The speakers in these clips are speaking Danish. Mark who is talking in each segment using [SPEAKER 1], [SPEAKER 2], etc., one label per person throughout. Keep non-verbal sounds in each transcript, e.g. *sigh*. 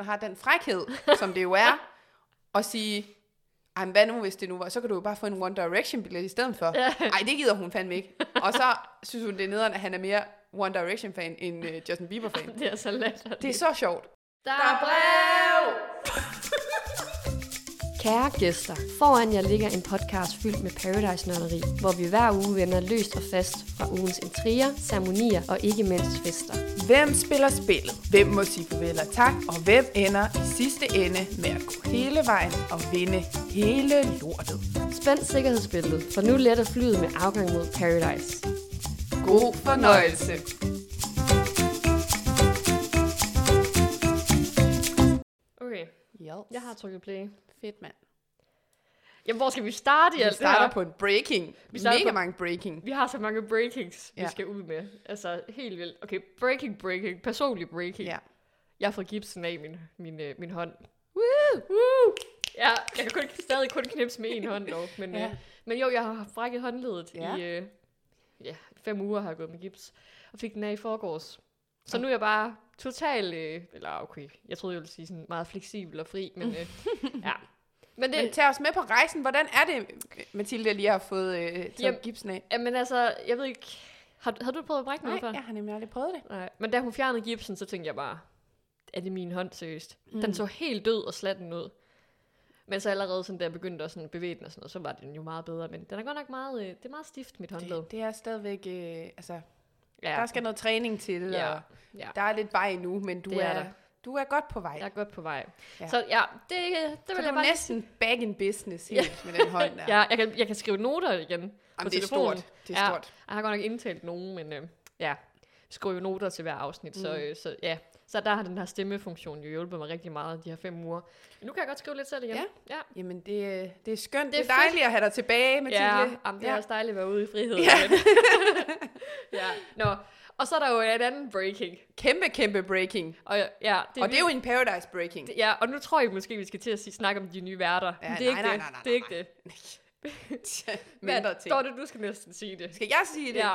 [SPEAKER 1] der har den frækhed, som det jo er,
[SPEAKER 2] *laughs*
[SPEAKER 1] og sige, ej, men hvad nu, hvis det nu var, så kan du jo bare få en One Direction-billet i stedet for. *laughs* Ej, det gider hun fandme ikke. Og så synes hun, det er nederen, at han er mere One Direction-fan end øh, Justin Bieber-fan.
[SPEAKER 2] Det er så let.
[SPEAKER 1] Det er så sjovt.
[SPEAKER 2] Der er brev! *laughs* Kære gæster, foran jer ligger en podcast fyldt med paradise nørderi, hvor vi hver uge vender løst og fast fra ugens intriger, ceremonier og ikke mindst fester.
[SPEAKER 1] Hvem spiller spillet? Hvem må sige farvel og tak? Og hvem ender i sidste ende med at gå hele vejen og vinde hele lortet?
[SPEAKER 2] Spænd sikkerhedsbilledet, for nu letter flyet med afgang mod paradise.
[SPEAKER 1] God fornøjelse.
[SPEAKER 2] Okay,
[SPEAKER 1] Jo,
[SPEAKER 2] jeg har trykket play.
[SPEAKER 1] fedt mand.
[SPEAKER 2] Jamen, hvor skal vi starte i
[SPEAKER 1] Vi
[SPEAKER 2] alt det
[SPEAKER 1] starter
[SPEAKER 2] her?
[SPEAKER 1] på en breaking.
[SPEAKER 2] Vi
[SPEAKER 1] Vi
[SPEAKER 2] starter
[SPEAKER 1] Mega
[SPEAKER 2] på-
[SPEAKER 1] mange breaking.
[SPEAKER 2] Vi har så mange breakings, vi
[SPEAKER 1] Ja.
[SPEAKER 2] skal ud med. Altså, helt vildt. Okay, breaking, breaking. Personlig breaking.
[SPEAKER 1] Ja.
[SPEAKER 2] Jeg har fået gipsen af min, min, øh, min hånd.
[SPEAKER 1] Woo!
[SPEAKER 2] Woo! Ja, jeg kan kun, stadig kun knipse med en hånd dog. Men, ja.
[SPEAKER 1] Ja.
[SPEAKER 2] øh, men jo, jeg har brækket håndledet
[SPEAKER 1] Ja.
[SPEAKER 2] ja. i øh, ja, fem uger har jeg gået med gips. Og fik den af i forgårs. Så nu er jeg bare totalt, øh, eller okay, jeg troede, jeg ville sige sådan meget fleksibel og fri, men
[SPEAKER 1] *laughs*
[SPEAKER 2] øh, ja. Men det,
[SPEAKER 1] Men tag os med på rejsen. Hvordan er det, Mathilde lige har fået øh, taget
[SPEAKER 2] Jamen,
[SPEAKER 1] gipsen af?
[SPEAKER 2] men altså, jeg ved ikke, har, har du prøvet at brække noget
[SPEAKER 1] Nej,
[SPEAKER 2] før?
[SPEAKER 1] jeg har nemlig aldrig prøvet det.
[SPEAKER 2] Nej, men da hun fjernede gipsen, så tænkte jeg bare, er det min hånd seriøst? Mm. Den
[SPEAKER 1] Mm.
[SPEAKER 2] så helt død og slatten ud. Men så allerede sådan, da jeg begyndte at sådan bevæge den og sådan noget, så var den jo meget bedre. Men den er godt nok meget, øh, det er meget stift, mit håndled.
[SPEAKER 1] Det, det er stadigvæk, øh, altså,
[SPEAKER 2] Ja,
[SPEAKER 1] der skal noget træning til,
[SPEAKER 2] Ja.
[SPEAKER 1] ja. og
[SPEAKER 2] Ja.
[SPEAKER 1] der er lidt vej nu, men du
[SPEAKER 2] Det
[SPEAKER 1] er,
[SPEAKER 2] er der.
[SPEAKER 1] er du er godt på vej.
[SPEAKER 2] jeg er godt på vej. Ja.
[SPEAKER 1] Ja.
[SPEAKER 2] Så ja, det, øh, det
[SPEAKER 1] Så du
[SPEAKER 2] vil jeg bare
[SPEAKER 1] er
[SPEAKER 2] lige
[SPEAKER 1] næsten back in business helt med den *laughs* hånd der.
[SPEAKER 2] sige. Ja, jeg kan, jeg kan skrive noter igen på
[SPEAKER 1] Jamen, det er
[SPEAKER 2] telefonen.
[SPEAKER 1] stort. Det er
[SPEAKER 2] Ja.
[SPEAKER 1] stort.
[SPEAKER 2] Jeg har godt nok indtalt nogen, men øh, ja, skriver jo noter til hver afsnit, mm. så, øh, så ja. Så der har den her stemmefunktion jo hjulpet mig rigtig meget de her fem uger. Nu kan jeg godt skrive lidt selv igen.
[SPEAKER 1] Ja.
[SPEAKER 2] ja.
[SPEAKER 1] Jamen, det, øh, det er skønt.
[SPEAKER 2] Det
[SPEAKER 1] Det
[SPEAKER 2] er
[SPEAKER 1] er, dejligt at have dig tilbage, Mathilde.
[SPEAKER 2] Ja, jamen, det er
[SPEAKER 1] Ja.
[SPEAKER 2] også dejligt at være ude i frihed.
[SPEAKER 1] Ja.
[SPEAKER 2] Ja. *laughs* ja. Nå, og så er der jo et andet breaking.
[SPEAKER 1] Kæmpe, kæmpe breaking.
[SPEAKER 2] Og, ja, ja,
[SPEAKER 1] Det og det er jo
[SPEAKER 2] vildt.
[SPEAKER 1] en paradise breaking. Det,
[SPEAKER 2] Ja, og nu tror jeg måske, vi skal til at sige, snakke om de nye værter.
[SPEAKER 1] Ja,
[SPEAKER 2] Men det er
[SPEAKER 1] nej,
[SPEAKER 2] ikke
[SPEAKER 1] nej,
[SPEAKER 2] det.
[SPEAKER 1] nej, nej,
[SPEAKER 2] det er ikke
[SPEAKER 1] nej.
[SPEAKER 2] det.
[SPEAKER 1] *laughs* Mindre ting.
[SPEAKER 2] Dorte, du skal næsten sige det.
[SPEAKER 1] Skal jeg sige det?
[SPEAKER 2] Ja.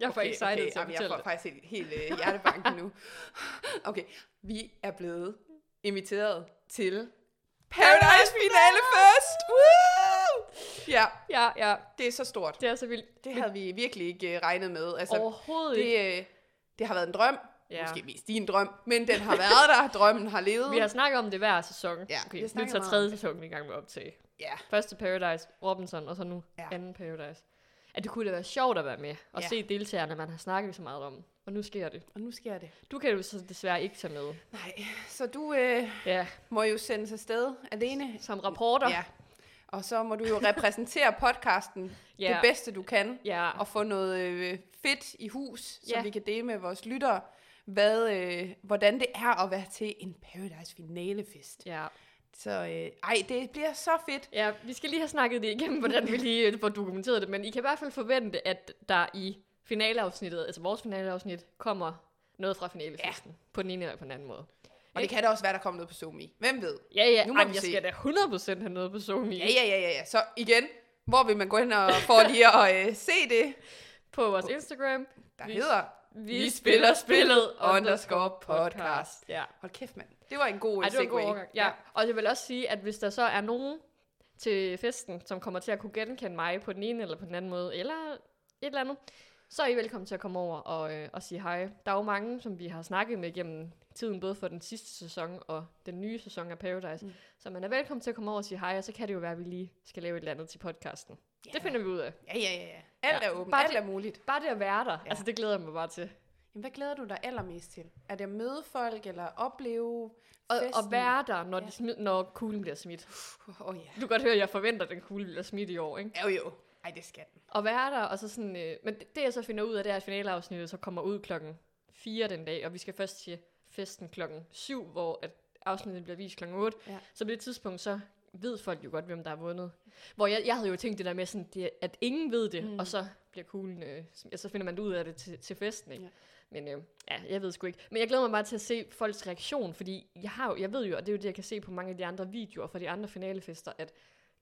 [SPEAKER 2] Jeg får okay, excited okay, til at
[SPEAKER 1] Jamen, jeg
[SPEAKER 2] fortælle
[SPEAKER 1] får
[SPEAKER 2] det.
[SPEAKER 1] faktisk helt, helt øh, hjertebanken nu. Okay, vi er blevet inviteret til Paradise Finale Fest! Woo! Ja,
[SPEAKER 2] Ja, ja.
[SPEAKER 1] det er så stort.
[SPEAKER 2] Det er så vildt.
[SPEAKER 1] Det havde vi virkelig ikke øh, regnet med. Altså,
[SPEAKER 2] Overhovedet ikke.
[SPEAKER 1] det, øh, det har været en drøm.
[SPEAKER 2] Ja.
[SPEAKER 1] Ja. Måske mest din drøm, men den har været der. Drømmen har levet.
[SPEAKER 2] Vi har snakket om det hver sæson.
[SPEAKER 1] vi har
[SPEAKER 2] okay, nu
[SPEAKER 1] snakket
[SPEAKER 2] tager
[SPEAKER 1] meget
[SPEAKER 2] tredje sæson vi er i gang med op til.
[SPEAKER 1] Ja.
[SPEAKER 2] Første Paradise, Robinson, og så nu ja.
[SPEAKER 1] Ja.
[SPEAKER 2] anden Paradise. At det kunne da være sjovt at være med, og ja.
[SPEAKER 1] Ja.
[SPEAKER 2] se deltagerne, man har snakket så meget om. Og nu sker det.
[SPEAKER 1] Og nu sker det.
[SPEAKER 2] Du kan jo så desværre ikke tage med.
[SPEAKER 1] Nej, så du øh,
[SPEAKER 2] Ja,
[SPEAKER 1] må jo sendes afsted alene.
[SPEAKER 2] som rapporter.
[SPEAKER 1] Ja. Og så må du jo repræsentere podcasten
[SPEAKER 2] Ja.
[SPEAKER 1] ja. det bedste du kan.
[SPEAKER 2] ja.
[SPEAKER 1] Og få noget øh, fedt i hus, så
[SPEAKER 2] Ja.
[SPEAKER 1] vi kan dele med vores lyttere, hvad, øh, hvordan det er at være til en Paradise finalefest.
[SPEAKER 2] ja.
[SPEAKER 1] Så øh, ej, det bliver så fedt.
[SPEAKER 2] Ja, vi skal lige have snakket det igennem, hvordan vi lige øh, får dokumenteret det, men I kan i hvert fald forvente, at der i finaleafsnittet, altså vores finaleafsnit, kommer noget fra finalefesten, ja. på den ene eller på den anden måde.
[SPEAKER 1] Og det kan da også være, der kommer noget på Zoom i. Hvem ved?
[SPEAKER 2] Ja, ja,
[SPEAKER 1] Nu
[SPEAKER 2] nu
[SPEAKER 1] må
[SPEAKER 2] Ej,
[SPEAKER 1] vi
[SPEAKER 2] jeg
[SPEAKER 1] se.
[SPEAKER 2] skal da 100% have noget på Zoom i.
[SPEAKER 1] Ja, ja, ja, ja. ja. Så igen, hvor vil man gå hen og for lige at øh, se det?
[SPEAKER 2] På vores Instagram.
[SPEAKER 1] Der
[SPEAKER 2] Vi-
[SPEAKER 1] hedder...
[SPEAKER 2] Vi,
[SPEAKER 1] Vi
[SPEAKER 2] spiller
[SPEAKER 1] spiller
[SPEAKER 2] spillet
[SPEAKER 1] spillet
[SPEAKER 2] underscore
[SPEAKER 1] podcast.
[SPEAKER 2] podcast. Ja.
[SPEAKER 1] Hold kæft, mand. Det var en god
[SPEAKER 2] Ej,
[SPEAKER 1] øh,
[SPEAKER 2] det var en god
[SPEAKER 1] segue.
[SPEAKER 2] overgang. Ja. Og jeg vil også sige, at hvis der så er nogen til festen, som kommer til at kunne genkende mig på den ene eller på den anden måde, eller et eller andet, så er I velkommen til at komme over og, øh, og sige hej. Der er jo mange, som vi har snakket med gennem tiden, både for den sidste sæson og den nye sæson af Paradise. Mm. Så man er velkommen til at komme over og sige hej, og så kan det jo være, at vi lige skal lave et eller andet til podcasten. Yeah. Det finder vi ud af.
[SPEAKER 1] Ja, ja, ja. ja. Alt
[SPEAKER 2] Ja.
[SPEAKER 1] er åbent.
[SPEAKER 2] Bare
[SPEAKER 1] Alt
[SPEAKER 2] det-
[SPEAKER 1] er muligt.
[SPEAKER 2] Bare det at være der, ja.
[SPEAKER 1] Ja.
[SPEAKER 2] altså det glæder jeg mig bare til.
[SPEAKER 1] Jamen, hvad glæder du dig allermest til? Er det at møde folk, eller opleve
[SPEAKER 2] Og,
[SPEAKER 1] festen?
[SPEAKER 2] og være der, når, ja.
[SPEAKER 1] Ja.
[SPEAKER 2] de smid, når kuglen bliver smidt.
[SPEAKER 1] Åh, oh, ja.
[SPEAKER 2] Du kan godt høre, at jeg forventer, at den kugle bliver smidt i år, ikke?
[SPEAKER 1] Jo, jo. Ej, det skal den.
[SPEAKER 2] at være der, og så sådan, øh, men det, det jeg så finder ud af, det er, at finaleafsnittet så kommer ud klokken 4 den dag, og vi skal først til festen klokken 7, hvor at afsnittet bliver vist klokken 8. Ja.
[SPEAKER 1] Ja.
[SPEAKER 2] Så på det tidspunkt, så ved folk jo godt, hvem der har vundet. Hvor jeg, jeg havde jo tænkt det der med, sådan, det, at ingen ved det, mm. og så bliver kuglen, øh, sm- ja, så finder man det ud af det til, til festen, ikke? Ja.
[SPEAKER 1] Ja.
[SPEAKER 2] Men øh, ja, jeg ved sgu ikke. Men jeg glæder mig bare til at se folks reaktion, fordi jeg, har jo, jeg ved jo, og det er jo det, jeg kan se på mange af de andre videoer fra de andre finalefester, at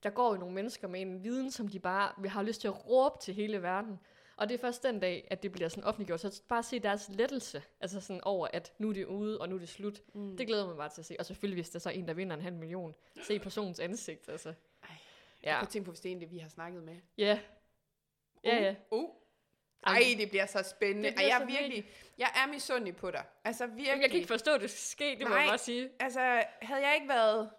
[SPEAKER 2] der går jo nogle mennesker med en viden, som de bare vi har lyst til at råbe til hele verden. Og det er først den dag, at det bliver sådan offentliggjort. Så bare se deres lettelse, altså sådan over, at nu er det ude, og nu er det slut. Mm. Det glæder jeg mig bare til at se. Og selvfølgelig, hvis der så er en, der vinder en halv million, se personens ansigt, altså.
[SPEAKER 1] Ej, Ja. Jeg
[SPEAKER 2] Ja,
[SPEAKER 1] kunne tænke på, hvis det er en, det vi har snakket med.
[SPEAKER 2] ja, ja, ja.
[SPEAKER 1] Uh, uh.
[SPEAKER 2] Ej,
[SPEAKER 1] Ej, det bliver så spændende.
[SPEAKER 2] det
[SPEAKER 1] Bliver
[SPEAKER 2] bliver
[SPEAKER 1] og jeg,
[SPEAKER 2] så
[SPEAKER 1] er virkelig, jeg er misundelig på dig. Altså virkelig.
[SPEAKER 2] Jamen, jeg kan ikke forstå, at det sker, det må
[SPEAKER 1] Nej.
[SPEAKER 2] jeg bare sige.
[SPEAKER 1] Altså, havde jeg ikke været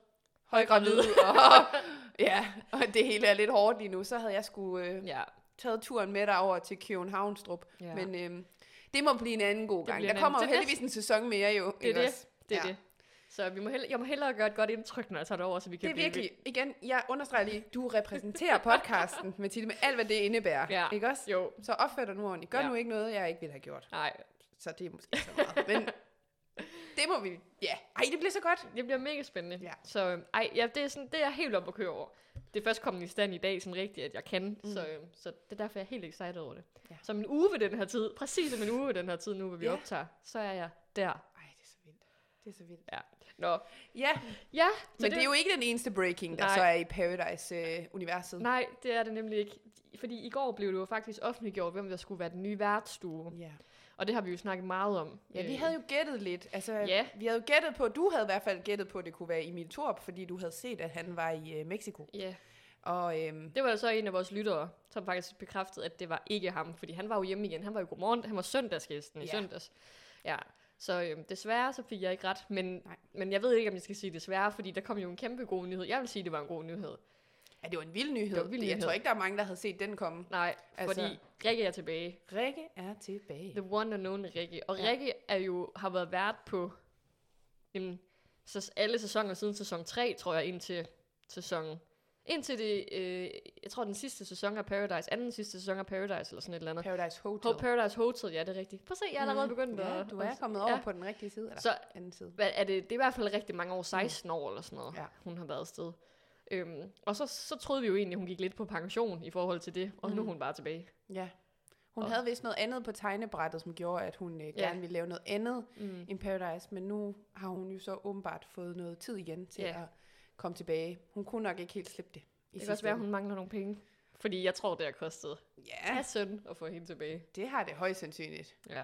[SPEAKER 1] højgravid,
[SPEAKER 2] Højgravid.
[SPEAKER 1] og, *laughs* ja, og det hele er lidt hårdt lige nu, så havde jeg skulle øh,
[SPEAKER 2] Ja,
[SPEAKER 1] taget turen med dig over til København Havnstrup.
[SPEAKER 2] ja.
[SPEAKER 1] Ja. Men øh, det må blive en anden god
[SPEAKER 2] Det
[SPEAKER 1] gang.
[SPEAKER 2] bliver
[SPEAKER 1] Der
[SPEAKER 2] en
[SPEAKER 1] kommer jo
[SPEAKER 2] anden- det er
[SPEAKER 1] heldigvis en sæson mere jo.
[SPEAKER 2] det er
[SPEAKER 1] ikke også?
[SPEAKER 2] det. Det er
[SPEAKER 1] Ja.
[SPEAKER 2] det. Så vi må hellere, jeg må hellere gøre et godt indtryk, når jeg tager det over, så vi
[SPEAKER 1] Det
[SPEAKER 2] kan
[SPEAKER 1] er
[SPEAKER 2] blive ved.
[SPEAKER 1] virkelig, igen, jeg understreger lige, du repræsenterer podcasten, Mathilde, med alt, hvad det indebærer.
[SPEAKER 2] Ja.
[SPEAKER 1] Ikke også?
[SPEAKER 2] Jo,
[SPEAKER 1] Så opfør dig nu ordentligt. Gør ja.
[SPEAKER 2] Ja.
[SPEAKER 1] nu ikke noget, jeg ikke ville have gjort.
[SPEAKER 2] nej.
[SPEAKER 1] Så det er måske ikke så meget. Men det må vi... Ja. Ej, det bliver så godt.
[SPEAKER 2] Det bliver mega spændende.
[SPEAKER 1] Ja.
[SPEAKER 2] Så øh, ej, ja, det, er sådan, det er jeg helt op at køre over. Det er først kommet i stand i dag, sådan rigtigt, at jeg kan. Mm. Så, øh, så det er derfor, jeg er helt excited over det.
[SPEAKER 1] Ja.
[SPEAKER 2] Ja. Så om en uge ved den her tid, præcis om en uge ved den her tid nu, hvor vi
[SPEAKER 1] Ja.
[SPEAKER 2] ja. optager, så er jeg der.
[SPEAKER 1] Ej, det er så vildt. Det er så vildt.
[SPEAKER 2] Nå,
[SPEAKER 1] Ja,
[SPEAKER 2] ja.
[SPEAKER 1] Så Men det... det er jo ikke den eneste breaking, der Nej.
[SPEAKER 2] Nej.
[SPEAKER 1] så er i øh, Paradise-universet.
[SPEAKER 2] Nej, det er det nemlig ikke. Fordi i går blev det jo faktisk offentliggjort, hvem der skulle være den nye værtsstue.
[SPEAKER 1] ja.
[SPEAKER 2] Og det har vi jo snakket meget om.
[SPEAKER 1] ja, vi
[SPEAKER 2] Øh,
[SPEAKER 1] havde jo gættet lidt. Altså,
[SPEAKER 2] Ja.
[SPEAKER 1] Vi havde jo gættet på, du havde i hvert fald gættet på, at det kunne være Emil Torp, fordi du havde set, at han var i øh, Mexico.
[SPEAKER 2] Ja,
[SPEAKER 1] Og øhm,
[SPEAKER 2] det var så en af vores lyttere, som faktisk bekræftede, at det var ikke ham, fordi han var jo hjemme igen. Han var jo godmorgen, han var søndagsgæsten i
[SPEAKER 1] Ja.
[SPEAKER 2] søndags. Ja, så øhm, desværre så fik jeg ikke ret, men,
[SPEAKER 1] Nej.
[SPEAKER 2] men jeg ved ikke, om jeg skal sige desværre, fordi der kom jo en kæmpe god nyhed. Jeg vil sige, det var en god nyhed.
[SPEAKER 1] ja, det var en vild nyhed.
[SPEAKER 2] Det var en vild
[SPEAKER 1] Jeg
[SPEAKER 2] nyhed.
[SPEAKER 1] tror ikke, der er mange, der havde set den komme.
[SPEAKER 2] Nej,
[SPEAKER 1] Altså-
[SPEAKER 2] altså... fordi Rikke er tilbage.
[SPEAKER 1] Rikke er tilbage.
[SPEAKER 2] The one and only Rikke. Og
[SPEAKER 1] Ja.
[SPEAKER 2] ja. Rikke er jo, har været vært på jamen, så alle sæsoner siden sæson 3, tror jeg, indtil sæson... Indtil det, øh, jeg tror, den sidste sæson af Paradise, anden sidste sæson af Paradise, eller sådan et eller andet.
[SPEAKER 1] Paradise Hotel.
[SPEAKER 2] Hotel. Paradise Hotel, ja, det er rigtigt. Prøv at se, jeg er allerede
[SPEAKER 1] Mhm.
[SPEAKER 2] begyndt
[SPEAKER 1] ja,
[SPEAKER 2] at...
[SPEAKER 1] du er
[SPEAKER 2] at-
[SPEAKER 1] kommet over
[SPEAKER 2] ja.
[SPEAKER 1] på den rigtige side. Eller
[SPEAKER 2] Så
[SPEAKER 1] anden side.
[SPEAKER 2] hvad er det, det er i hvert fald rigtig mange år, 16 år eller sådan noget,
[SPEAKER 1] Mm. Ja.
[SPEAKER 2] ja. hun har været afsted. Øhm, og så, så troede vi jo egentlig, at hun gik lidt på pension i forhold til det, og mm. nu er hun bare tilbage.
[SPEAKER 1] Ja. Hun
[SPEAKER 2] Og-
[SPEAKER 1] havde vist noget andet på tegnebrættet, som gjorde, at hun øh, gerne ville lave noget andet
[SPEAKER 2] Mm.
[SPEAKER 1] end Paradise, men nu har hun jo så åbenbart fået noget tid igen til
[SPEAKER 2] Ja.
[SPEAKER 1] at komme tilbage. Hun kunne nok ikke helt slippe det. I
[SPEAKER 2] Det kan også være, hun mangler nogle penge, fordi jeg tror, det har kostet.
[SPEAKER 1] Ja,
[SPEAKER 2] af søn og få hende tilbage.
[SPEAKER 1] det har det højst sandsynligt.
[SPEAKER 2] Ja.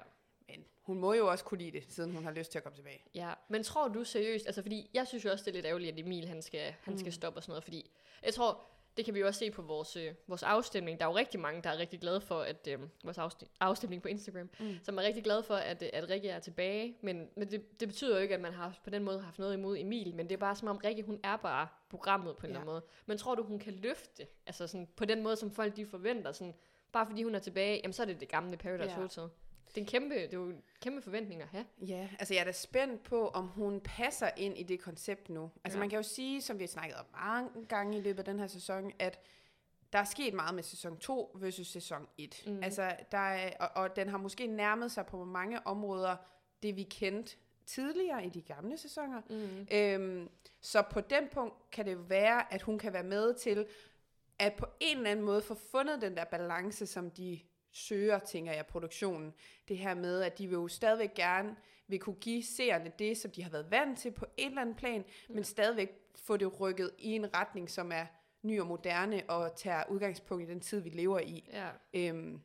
[SPEAKER 1] Men hun må jo også kunne lide det, siden hun har lyst til at komme tilbage.
[SPEAKER 2] ja. Men tror du seriøst, altså fordi jeg synes jo også, det er lidt ærgerligt, at Emil han skal, han skal stoppe og sådan noget, fordi jeg tror, det kan vi jo også se på vores, øh, vores afstemning. Der er jo rigtig mange, der er rigtig glade for, at øh, vores afstemning, afstemning på Instagram,
[SPEAKER 1] Mm.
[SPEAKER 2] mm. som er rigtig glade for, at, øh, at Rikke er tilbage. Men, men det, det, betyder jo ikke, at man har på den måde haft noget imod Emil, men det er bare som om Rikke, hun er bare programmet på en
[SPEAKER 1] Ja.
[SPEAKER 2] eller anden måde. Men tror du, hun kan løfte det? Altså sådan, på den måde, som folk de forventer, sådan, bare fordi hun er tilbage, jamen så er det det gamle Paradise
[SPEAKER 1] Ja.
[SPEAKER 2] Hotel. Det er en kæmpe, det er jo en kæmpe forventning at have.
[SPEAKER 1] Ja, altså jeg er da spændt på, om hun passer ind i det koncept nu. Altså ja.
[SPEAKER 2] Ja.
[SPEAKER 1] man kan jo sige, som vi har snakket om mange gange i løbet af den her sæson, at der er sket meget med sæson 2 versus sæson 1. Mm.
[SPEAKER 2] Mhm.
[SPEAKER 1] Altså der er, og, og den har måske nærmet sig på mange områder det, vi kendte tidligere i de gamle sæsoner.
[SPEAKER 2] Mm.
[SPEAKER 1] Øhm, så på den punkt kan det jo være, at hun kan være med til at på en eller anden måde få fundet den der balance, som de søger, tænker jeg, produktionen. Det her med, at de vil jo stadigvæk gerne vil kunne give seerne det, som de har været vant til på et eller andet plan, men stadigvæk få det rykket i en retning, som er ny og moderne og tager udgangspunkt i den tid, vi lever i.
[SPEAKER 2] Ja.
[SPEAKER 1] Øhm,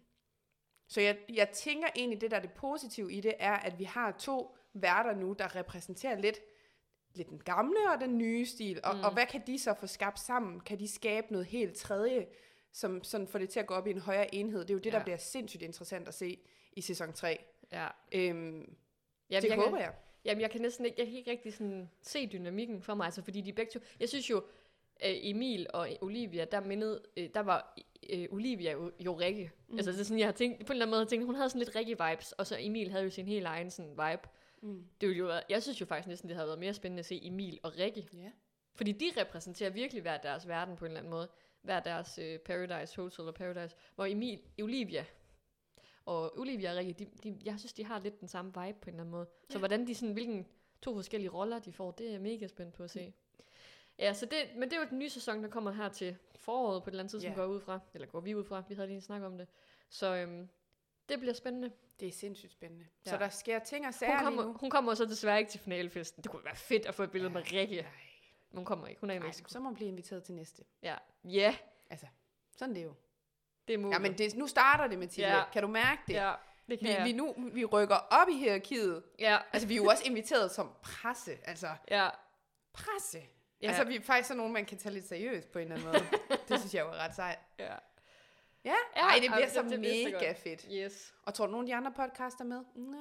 [SPEAKER 1] så jeg, jeg tænker egentlig, det der er det positive i det, er, at vi har to værter nu, der repræsenterer lidt, lidt den gamle og den nye stil. Og, mm. og hvad kan de så få skabt sammen? Kan de skabe noget helt tredje, som sådan får det til at gå op i en højere enhed? Det er jo det, ja. der
[SPEAKER 2] Ja.
[SPEAKER 1] bliver sindssygt interessant at se i sæson 3.
[SPEAKER 2] Ja.
[SPEAKER 1] Øhm,
[SPEAKER 2] Jamen,
[SPEAKER 1] det
[SPEAKER 2] jeg
[SPEAKER 1] håber
[SPEAKER 2] kan,
[SPEAKER 1] jeg.
[SPEAKER 2] Jamen, jeg kan næsten ikke, jeg kan ikke rigtig sådan se dynamikken for mig, altså, fordi de begge to... Jeg synes jo, øh, Emil og Olivia, der mindede, øh, der var øh, Olivia jo, jo Rikke. Mm. Altså, det er sådan, jeg har tænkt, på en eller anden måde har jeg tænkt, hun havde sådan lidt Rikke-vibes, og så Emil havde jo sin helt egen sådan vibe.
[SPEAKER 1] Mm.
[SPEAKER 2] Det ville jo være, jeg synes jo faktisk næsten, det havde været mere spændende at se Emil og Rikke.
[SPEAKER 1] Ja.
[SPEAKER 2] Fordi de repræsenterer virkelig hver deres verden på en eller anden måde. Hver deres øh, Paradise Hotel og Paradise. Hvor Emil, Olivia og Olivia og Rikke, de, de, jeg synes, de har lidt den samme vibe på en eller anden måde. Så hvordan de sådan, hvilken to forskellige roller de får, det er jeg mega spændt på at se. Ja, så det, men det er jo den nye sæson, der kommer her til foråret på et eller andet tidspunkt,
[SPEAKER 1] Ja.
[SPEAKER 2] går jeg ud fra. Eller går vi ud fra, vi havde lige en snak om det. Så øhm, det bliver spændende.
[SPEAKER 1] Det er sindssygt spændende. Ja.
[SPEAKER 2] Ja.
[SPEAKER 1] Så der sker ting og sager
[SPEAKER 2] Hun
[SPEAKER 1] lige
[SPEAKER 2] kommer,
[SPEAKER 1] nu.
[SPEAKER 2] hun kommer så desværre ikke til finalefesten. Det kunne være fedt at få et billede med Rikke.
[SPEAKER 1] Ej,
[SPEAKER 2] Men hun kommer ikke, hun er i
[SPEAKER 1] ej,
[SPEAKER 2] Mexico.
[SPEAKER 1] så må hun blive inviteret til næste.
[SPEAKER 2] Ja, ja.
[SPEAKER 1] Altså, sådan er det jo.
[SPEAKER 2] Det er muligt.
[SPEAKER 1] Jamen, det, nu starter det, Mathilde.
[SPEAKER 2] Ja.
[SPEAKER 1] Ja. Kan du mærke det?
[SPEAKER 2] ja, det kan
[SPEAKER 1] Vi,
[SPEAKER 2] jeg.
[SPEAKER 1] vi, nu, vi rykker op i hierarkiet.
[SPEAKER 2] ja,
[SPEAKER 1] Altså, vi er jo også inviteret som presse. Altså,
[SPEAKER 2] ja,
[SPEAKER 1] presse.
[SPEAKER 2] Ja.
[SPEAKER 1] Ja. Altså, vi er faktisk sådan nogen, man kan tage lidt seriøst på en eller anden *laughs* måde. det synes jeg jo er ret sejt.
[SPEAKER 2] ja.
[SPEAKER 1] Ja,
[SPEAKER 2] Ja,
[SPEAKER 1] Ej, det
[SPEAKER 2] ej,
[SPEAKER 1] bliver
[SPEAKER 2] det-
[SPEAKER 1] så
[SPEAKER 2] det bliver så
[SPEAKER 1] mega fedt.
[SPEAKER 2] Yes.
[SPEAKER 1] Og tror du, nogle af de andre podcaster er med? Nå.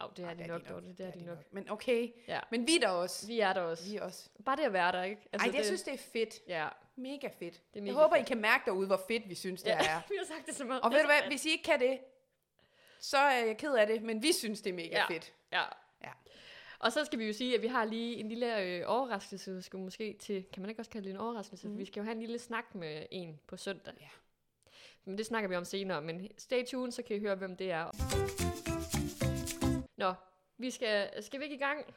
[SPEAKER 2] Au, det er
[SPEAKER 1] Ej,
[SPEAKER 2] de nok, Dorte. Det er de nok.
[SPEAKER 1] Men okay.
[SPEAKER 2] Ja.
[SPEAKER 1] Men vi er der også.
[SPEAKER 2] Vi er der også.
[SPEAKER 1] Vi er også.
[SPEAKER 2] Bare det at være der, ikke?
[SPEAKER 1] Altså, Ej, det, jeg synes, det er fedt.
[SPEAKER 2] Ja,
[SPEAKER 1] Mega fedt.
[SPEAKER 2] det er
[SPEAKER 1] Mega
[SPEAKER 2] mega
[SPEAKER 1] jeg håber,
[SPEAKER 2] fedt.
[SPEAKER 1] fedt. I kan mærke derude, hvor fedt vi synes, det
[SPEAKER 2] *laughs*
[SPEAKER 1] ja. er.
[SPEAKER 2] vi har sagt det så meget.
[SPEAKER 1] Og ved du hvad, hvis I ikke kan det, så er jeg ked af det, men vi synes, det er mega
[SPEAKER 2] Ja.
[SPEAKER 1] ja. fedt.
[SPEAKER 2] Ja.
[SPEAKER 1] Ja.
[SPEAKER 2] Og så skal vi jo sige, at vi har lige en lille øh, overraskelse, skal vi måske til, kan man ikke også kalde det en overraskelse? Mm.
[SPEAKER 1] Mhm.
[SPEAKER 2] Vi skal jo have en lille snak med en på søndag.
[SPEAKER 1] Ja.
[SPEAKER 2] Men det snakker vi om senere, men stay tuned, så kan I høre, hvem det er. Nå, vi skal, skal vi ikke i gang?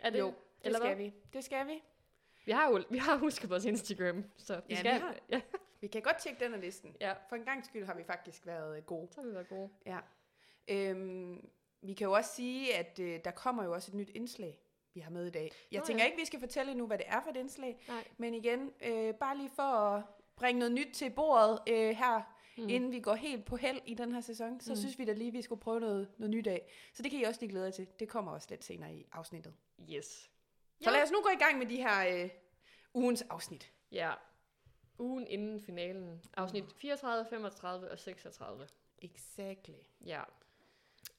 [SPEAKER 2] Er det,
[SPEAKER 1] Jo, det
[SPEAKER 2] eller
[SPEAKER 1] skal
[SPEAKER 2] hvad?
[SPEAKER 1] vi. Det skal vi.
[SPEAKER 2] Vi har jo vi har husket vores Instagram, så vi
[SPEAKER 1] Ja,
[SPEAKER 2] skal.
[SPEAKER 1] vi har.
[SPEAKER 2] Ja,
[SPEAKER 1] Vi kan godt tjekke den her listen.
[SPEAKER 2] ja,
[SPEAKER 1] For en gang skyld har vi faktisk været øh, gode.
[SPEAKER 2] så har vi været gode.
[SPEAKER 1] Ja. Øhm, vi kan jo også sige, at øh, der kommer jo også et nyt indslag, vi har med i dag. Jeg
[SPEAKER 2] Nå,
[SPEAKER 1] tænker
[SPEAKER 2] ja.
[SPEAKER 1] ikke, vi skal fortælle nu, hvad det er for et indslag,
[SPEAKER 2] Nej.
[SPEAKER 1] men igen, øh, bare lige for at bringe noget nyt til bordet øh, her, mm. inden vi går helt på held i den her sæson, så
[SPEAKER 2] Mm.
[SPEAKER 1] mm. synes vi da lige, vi skulle prøve noget, noget nyt af. Så det kan I også lige glæde jer til. Det kommer også lidt senere i afsnittet.
[SPEAKER 2] Hmm. Yes.
[SPEAKER 1] Så
[SPEAKER 2] Ja.
[SPEAKER 1] lad os nu gå i gang med de her øh, ugens afsnit.
[SPEAKER 2] Ja. Ugen inden finalen. Afsnit 34, 35 og 36.
[SPEAKER 1] Exactly.
[SPEAKER 2] Ja.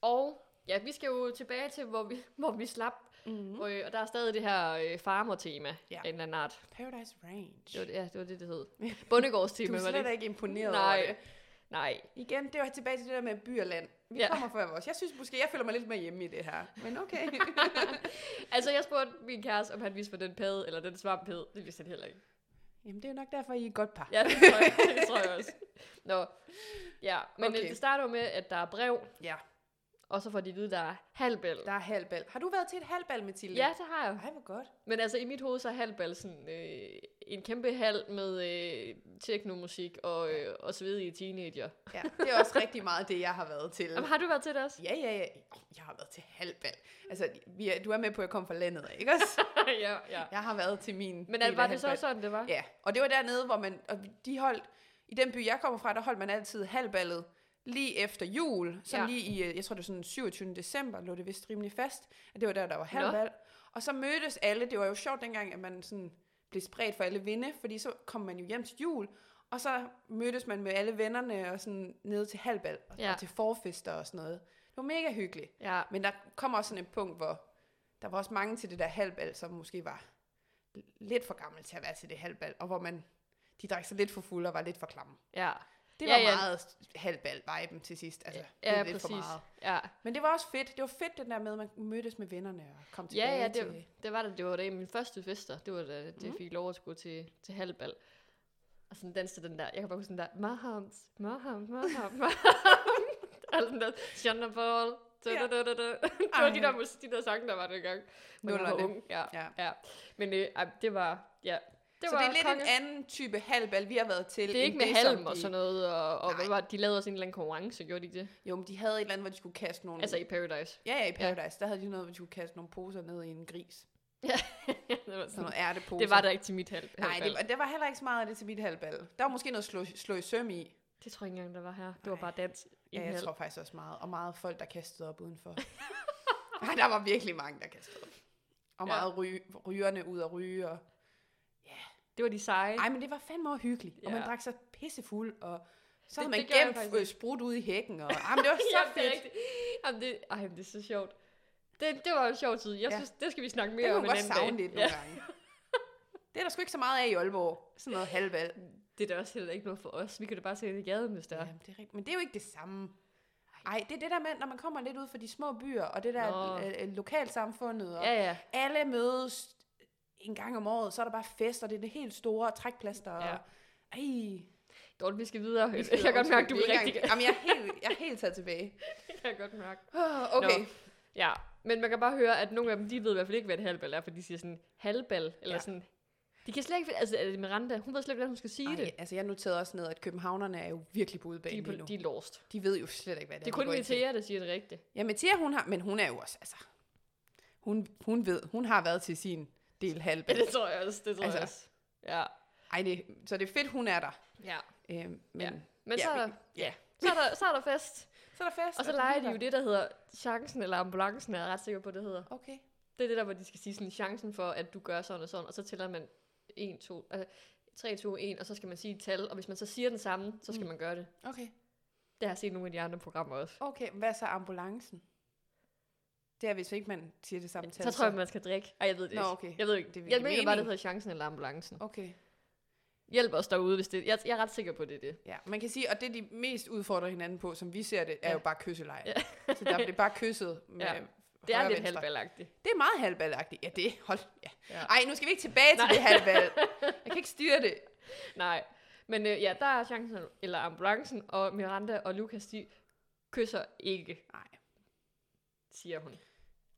[SPEAKER 2] Og ja, vi skal jo tilbage til, hvor vi, *laughs* hvor vi slap.
[SPEAKER 1] Mm.
[SPEAKER 2] Mm. Og, øh, og der er stadig det her øh, farmer-tema
[SPEAKER 1] Ja.
[SPEAKER 2] ja. af en eller anden art.
[SPEAKER 1] Paradise Range.
[SPEAKER 2] Det var, det- ja, det var det,
[SPEAKER 1] *laughs*
[SPEAKER 2] det hed.
[SPEAKER 1] Du
[SPEAKER 2] Bondegårdstema,
[SPEAKER 1] er
[SPEAKER 2] var
[SPEAKER 1] slet
[SPEAKER 2] det
[SPEAKER 1] ikke imponeret over
[SPEAKER 2] Nej.
[SPEAKER 1] det.
[SPEAKER 2] Nej. *laughs*
[SPEAKER 1] Igen, det var tilbage til det der med by og land. Vi
[SPEAKER 2] Ja.
[SPEAKER 1] ja. kommer fra vores. Jeg synes måske, jeg føler mig lidt mere hjemme i det her. Men
[SPEAKER 2] *laughs*
[SPEAKER 1] okay.
[SPEAKER 2] Altså, jeg spurgte min kæreste, om han vidste, hvad den pæde eller den svamp hed. Det vidste han heller ikke.
[SPEAKER 1] Jamen, det er jo nok derfor, I er et godt par.
[SPEAKER 2] Ja, det tror jeg, det tror jeg
[SPEAKER 1] *laughs*
[SPEAKER 2] også. Nå. Ja, men okay.
[SPEAKER 1] Okay.
[SPEAKER 2] det starter jo med, at der er brev,
[SPEAKER 1] ja.
[SPEAKER 2] og så får de at vide, der er halvbæl.
[SPEAKER 1] Der er halvbal. Har du været til et halvbal, Mathilde?
[SPEAKER 2] Ja, det har jeg.
[SPEAKER 1] Ej, hvor godt.
[SPEAKER 2] Men altså, i mit hoved, så er halvbal sådan øh, en kæmpe halv med øh, teknomusik og, øh, og svedige teenager.
[SPEAKER 1] Ja, det er også rigtig meget det, jeg har været til.
[SPEAKER 2] Jamen, har du været til
[SPEAKER 1] *laughs*
[SPEAKER 2] det også?
[SPEAKER 1] Ja, ja, ja. Åh, Jeg har været til halvbal. Altså, vi er, du er med på, at jeg kom fra landet, ikke
[SPEAKER 2] *laughs*
[SPEAKER 1] også?
[SPEAKER 2] ja, ja.
[SPEAKER 1] Jeg har været til min
[SPEAKER 2] Men
[SPEAKER 1] del
[SPEAKER 2] al,
[SPEAKER 1] af
[SPEAKER 2] var det så
[SPEAKER 1] halvbal.
[SPEAKER 2] sådan, det var?
[SPEAKER 1] Ja, og det var dernede, hvor man, og de holdt, i den by, jeg kommer fra, der holdt man altid halvballet lige efter jul, så
[SPEAKER 2] Ja.
[SPEAKER 1] ja. lige i, øh, jeg tror det var sådan 27. december, lå det vist rimelig fast, at det var der, der var halvbal. Og så mødtes alle, det var jo sjovt dengang, at man sådan blev spredt for alle vinde, fordi så kom man jo hjem til jul, og så mødtes man med alle vennerne og sådan nede til halvbal, og,
[SPEAKER 2] Ja.
[SPEAKER 1] ja. og til forfester og sådan noget. Det var mega hyggeligt.
[SPEAKER 2] Ja,
[SPEAKER 1] Men der kom også sådan et punkt, hvor der var også mange til det der halvbal, som måske var l- lidt for gammel til at være til det halvbal, og hvor man, de drak sig lidt for fulde og var lidt for klamme.
[SPEAKER 2] ja.
[SPEAKER 1] Det
[SPEAKER 2] Ja,
[SPEAKER 1] var
[SPEAKER 2] ja.
[SPEAKER 1] meget halvbal-viben til sidst. Altså, det
[SPEAKER 2] Ja,
[SPEAKER 1] blev lidt for
[SPEAKER 2] præcis.
[SPEAKER 1] meget.
[SPEAKER 2] Ja,
[SPEAKER 1] Men det var også fedt. Det var fedt, det der med, at man mødtes med vennerne og kom tilbage
[SPEAKER 2] ja, ja
[SPEAKER 1] til...
[SPEAKER 2] det, det var det. Det var det. Min første fester, det var da, det
[SPEAKER 1] Mhm.
[SPEAKER 2] mm. fik lov at gå til, til halvbal. Og sådan danse den der, jeg kan bare huske den der, Mahams, Mahams, Mahams, *laughs* Mahams. Og den der, Shonda Paul. Da, da,
[SPEAKER 1] Ja.
[SPEAKER 2] da, da, da. Det var de
[SPEAKER 1] Ej.
[SPEAKER 2] der, mus- de der sange, der var dengang. Hvor jeg var
[SPEAKER 1] Nullerne.
[SPEAKER 2] ung. Ja,
[SPEAKER 1] Ja.
[SPEAKER 2] ja. Men øh, ej, det var, ja. Det
[SPEAKER 1] så
[SPEAKER 2] var
[SPEAKER 1] det er lidt
[SPEAKER 2] konge.
[SPEAKER 1] en anden type halvbal, vi har været til.
[SPEAKER 2] det er
[SPEAKER 1] end
[SPEAKER 2] ikke med
[SPEAKER 1] som
[SPEAKER 2] halm og
[SPEAKER 1] de-
[SPEAKER 2] sådan noget, og, og hvad
[SPEAKER 1] Nej.
[SPEAKER 2] var, det? de lavede også en eller anden konkurrence, gjorde de ikke det?
[SPEAKER 1] Jo, men de havde et eller andet, hvor de skulle kaste nogle...
[SPEAKER 2] Altså i Paradise.
[SPEAKER 1] Ja, ja, i Paradise, der havde de noget, hvor de skulle kaste nogle poser ned i en gris.
[SPEAKER 2] *laughs* det, var
[SPEAKER 1] Sådan
[SPEAKER 2] sådan,
[SPEAKER 1] nogle ærteposer.
[SPEAKER 2] det var der ikke til mit halv.
[SPEAKER 1] Nej, det,
[SPEAKER 2] halvbal.
[SPEAKER 1] var- der var heller ikke så meget af det til mit halvbal. Der var måske noget slå, slå i søm i.
[SPEAKER 2] Det tror jeg ikke engang, der var her. Det var
[SPEAKER 1] Nej.
[SPEAKER 2] bare dans. i
[SPEAKER 1] Ja,
[SPEAKER 2] en
[SPEAKER 1] jeg
[SPEAKER 2] hal.
[SPEAKER 1] tror faktisk også meget. Og meget folk, der kastede op udenfor. *laughs* Nej, der var virkelig mange, der kastede op. Og
[SPEAKER 2] Ja.
[SPEAKER 1] meget ry- rygerne ud at ryge. Og...
[SPEAKER 2] Det var de seje.
[SPEAKER 1] Ej, men det var fandme også hyggeligt. Og man
[SPEAKER 2] Ja.
[SPEAKER 1] drak sig pissefuld, og så
[SPEAKER 2] Det-
[SPEAKER 1] havde man
[SPEAKER 2] det gjorde jeg
[SPEAKER 1] gemt
[SPEAKER 2] faktisk
[SPEAKER 1] øh,
[SPEAKER 2] ikke.
[SPEAKER 1] sprut ude i hækken. Og... Ej,
[SPEAKER 2] *laughs*
[SPEAKER 1] men det var *laughs* så
[SPEAKER 2] det er
[SPEAKER 1] fedt.
[SPEAKER 2] rigtigt. Jamen, det, ej, men det er så sjovt. Det, det var en sjov tid. Jeg
[SPEAKER 1] Ja.
[SPEAKER 2] synes, det skal vi snakke
[SPEAKER 1] Det
[SPEAKER 2] mere
[SPEAKER 1] kunne
[SPEAKER 2] om
[SPEAKER 1] man
[SPEAKER 2] en
[SPEAKER 1] godt
[SPEAKER 2] anden
[SPEAKER 1] savne
[SPEAKER 2] dag.
[SPEAKER 1] lidt nogle gange. Det er der sgu ikke så meget af i Aalborg. Sådan
[SPEAKER 2] *laughs*
[SPEAKER 1] noget halvvalg.
[SPEAKER 2] Det er da også heller ikke noget for os. Vi kan da bare se det i gaden, hvis der.
[SPEAKER 1] Ja. Jamen, det er rigtigt. Men det er jo ikke det samme. Ej, det er det der med, når man kommer lidt ud fra de små byer, og det der
[SPEAKER 2] Nå.
[SPEAKER 1] øh, øh, lokalsamfundet, og
[SPEAKER 2] Ja, ja.
[SPEAKER 1] alle mødes en gang om året, så er der bare fest, og det er det helt store trækplaster. Ja.
[SPEAKER 2] Ja.
[SPEAKER 1] Og, ej,
[SPEAKER 2] Dorte, vi skal videre. jeg kan godt mærke, du er
[SPEAKER 1] Ikke
[SPEAKER 2] rigtig
[SPEAKER 1] engang- Jamen, jeg er helt, jeg er helt taget tilbage.
[SPEAKER 2] *laughs* Jeg kan godt mærke.
[SPEAKER 1] Åh, Okay.
[SPEAKER 2] Nå. Ja, men man kan bare høre, at nogle af dem, de ved i hvert fald ikke, hvad et halvbal er, for de siger sådan halvbal, eller ja.
[SPEAKER 1] Ja.
[SPEAKER 2] sådan... De kan slet ikke... finde- Altså, er det Miranda, hun ved slet ikke, hvordan hun skal sige Ej, det.
[SPEAKER 1] Ej, altså, jeg noterede også ned, at københavnerne er jo virkelig på
[SPEAKER 2] De,
[SPEAKER 1] udebane
[SPEAKER 2] er
[SPEAKER 1] lige nu.
[SPEAKER 2] på, de er lost.
[SPEAKER 1] De ved jo slet ikke, hvad det,
[SPEAKER 2] Det er
[SPEAKER 1] er, de
[SPEAKER 2] kun
[SPEAKER 1] går ind til.
[SPEAKER 2] Metea, der siger det rigtigt.
[SPEAKER 1] Ja, Mathia, hun har, men hun er jo også, altså, hun, hun ved, hun har været til sin del halv.
[SPEAKER 2] Ja, *laughs* det tror jeg også. Det tror altså.
[SPEAKER 1] Altså.
[SPEAKER 2] jeg også. Ja.
[SPEAKER 1] Ej, det, så det er fedt, hun er der.
[SPEAKER 2] Ja.
[SPEAKER 1] Øh, men
[SPEAKER 2] Ja.
[SPEAKER 1] ja.
[SPEAKER 2] Men
[SPEAKER 1] Ja,
[SPEAKER 2] så, er
[SPEAKER 1] vi-
[SPEAKER 2] der, ja. så, er der, så er der fest,
[SPEAKER 1] Så er der fest.
[SPEAKER 2] og så
[SPEAKER 1] så
[SPEAKER 2] leger de jo
[SPEAKER 1] hygger.
[SPEAKER 2] det, der hedder chancen eller ambulancen, er jeg ret sikker på, det hedder.
[SPEAKER 1] Okay.
[SPEAKER 2] Det er det der, hvor de skal sige sådan, chancen for, at du gør sådan og sådan, og så tæller man 1, 2, altså 3, 2, 1, og så skal man sige et tal, og hvis man så siger den samme, så skal
[SPEAKER 1] Mm.
[SPEAKER 2] man gøre det.
[SPEAKER 1] Okay.
[SPEAKER 2] Det har jeg set nogle af de andre programmer også.
[SPEAKER 1] Okay, hvad så ambulancen? Det er, hvis ikke man siger det samme tal.
[SPEAKER 2] Så tror jeg, man skal drikke. Ej, jeg ved det
[SPEAKER 1] Nå,
[SPEAKER 2] ikke.
[SPEAKER 1] okay.
[SPEAKER 2] Jeg ved ikke.
[SPEAKER 1] Det er
[SPEAKER 2] jeg
[SPEAKER 1] virkelig
[SPEAKER 2] mener bare, det
[SPEAKER 1] mening.
[SPEAKER 2] hedder chancen eller ambulancen.
[SPEAKER 1] Okay.
[SPEAKER 2] Hjælp os derude, hvis det... Jeg, jeg er ret sikker på, det er det.
[SPEAKER 1] Ja, man kan sige, og det de mest udfordrer hinanden på, som vi ser det, er
[SPEAKER 2] Ja.
[SPEAKER 1] ja. jo bare kysseleje.
[SPEAKER 2] Ja.
[SPEAKER 1] Ja. så der bliver bare kysset med
[SPEAKER 2] *laughs* Ja.
[SPEAKER 1] ja.
[SPEAKER 2] Det er lidt halvballagtigt.
[SPEAKER 1] Det er meget halvballagtigt. Ja, det hold. Ja.
[SPEAKER 2] Ja.
[SPEAKER 1] Ja. Ej, nu skal vi ikke tilbage til
[SPEAKER 2] Nej.
[SPEAKER 1] Nej. det halvball. Jeg kan ikke styre det.
[SPEAKER 2] Nej. Men øh, ja, der er chancen eller ambulancen, og Miranda og Lukas, de kysser ikke,
[SPEAKER 1] Nej.
[SPEAKER 2] siger hun.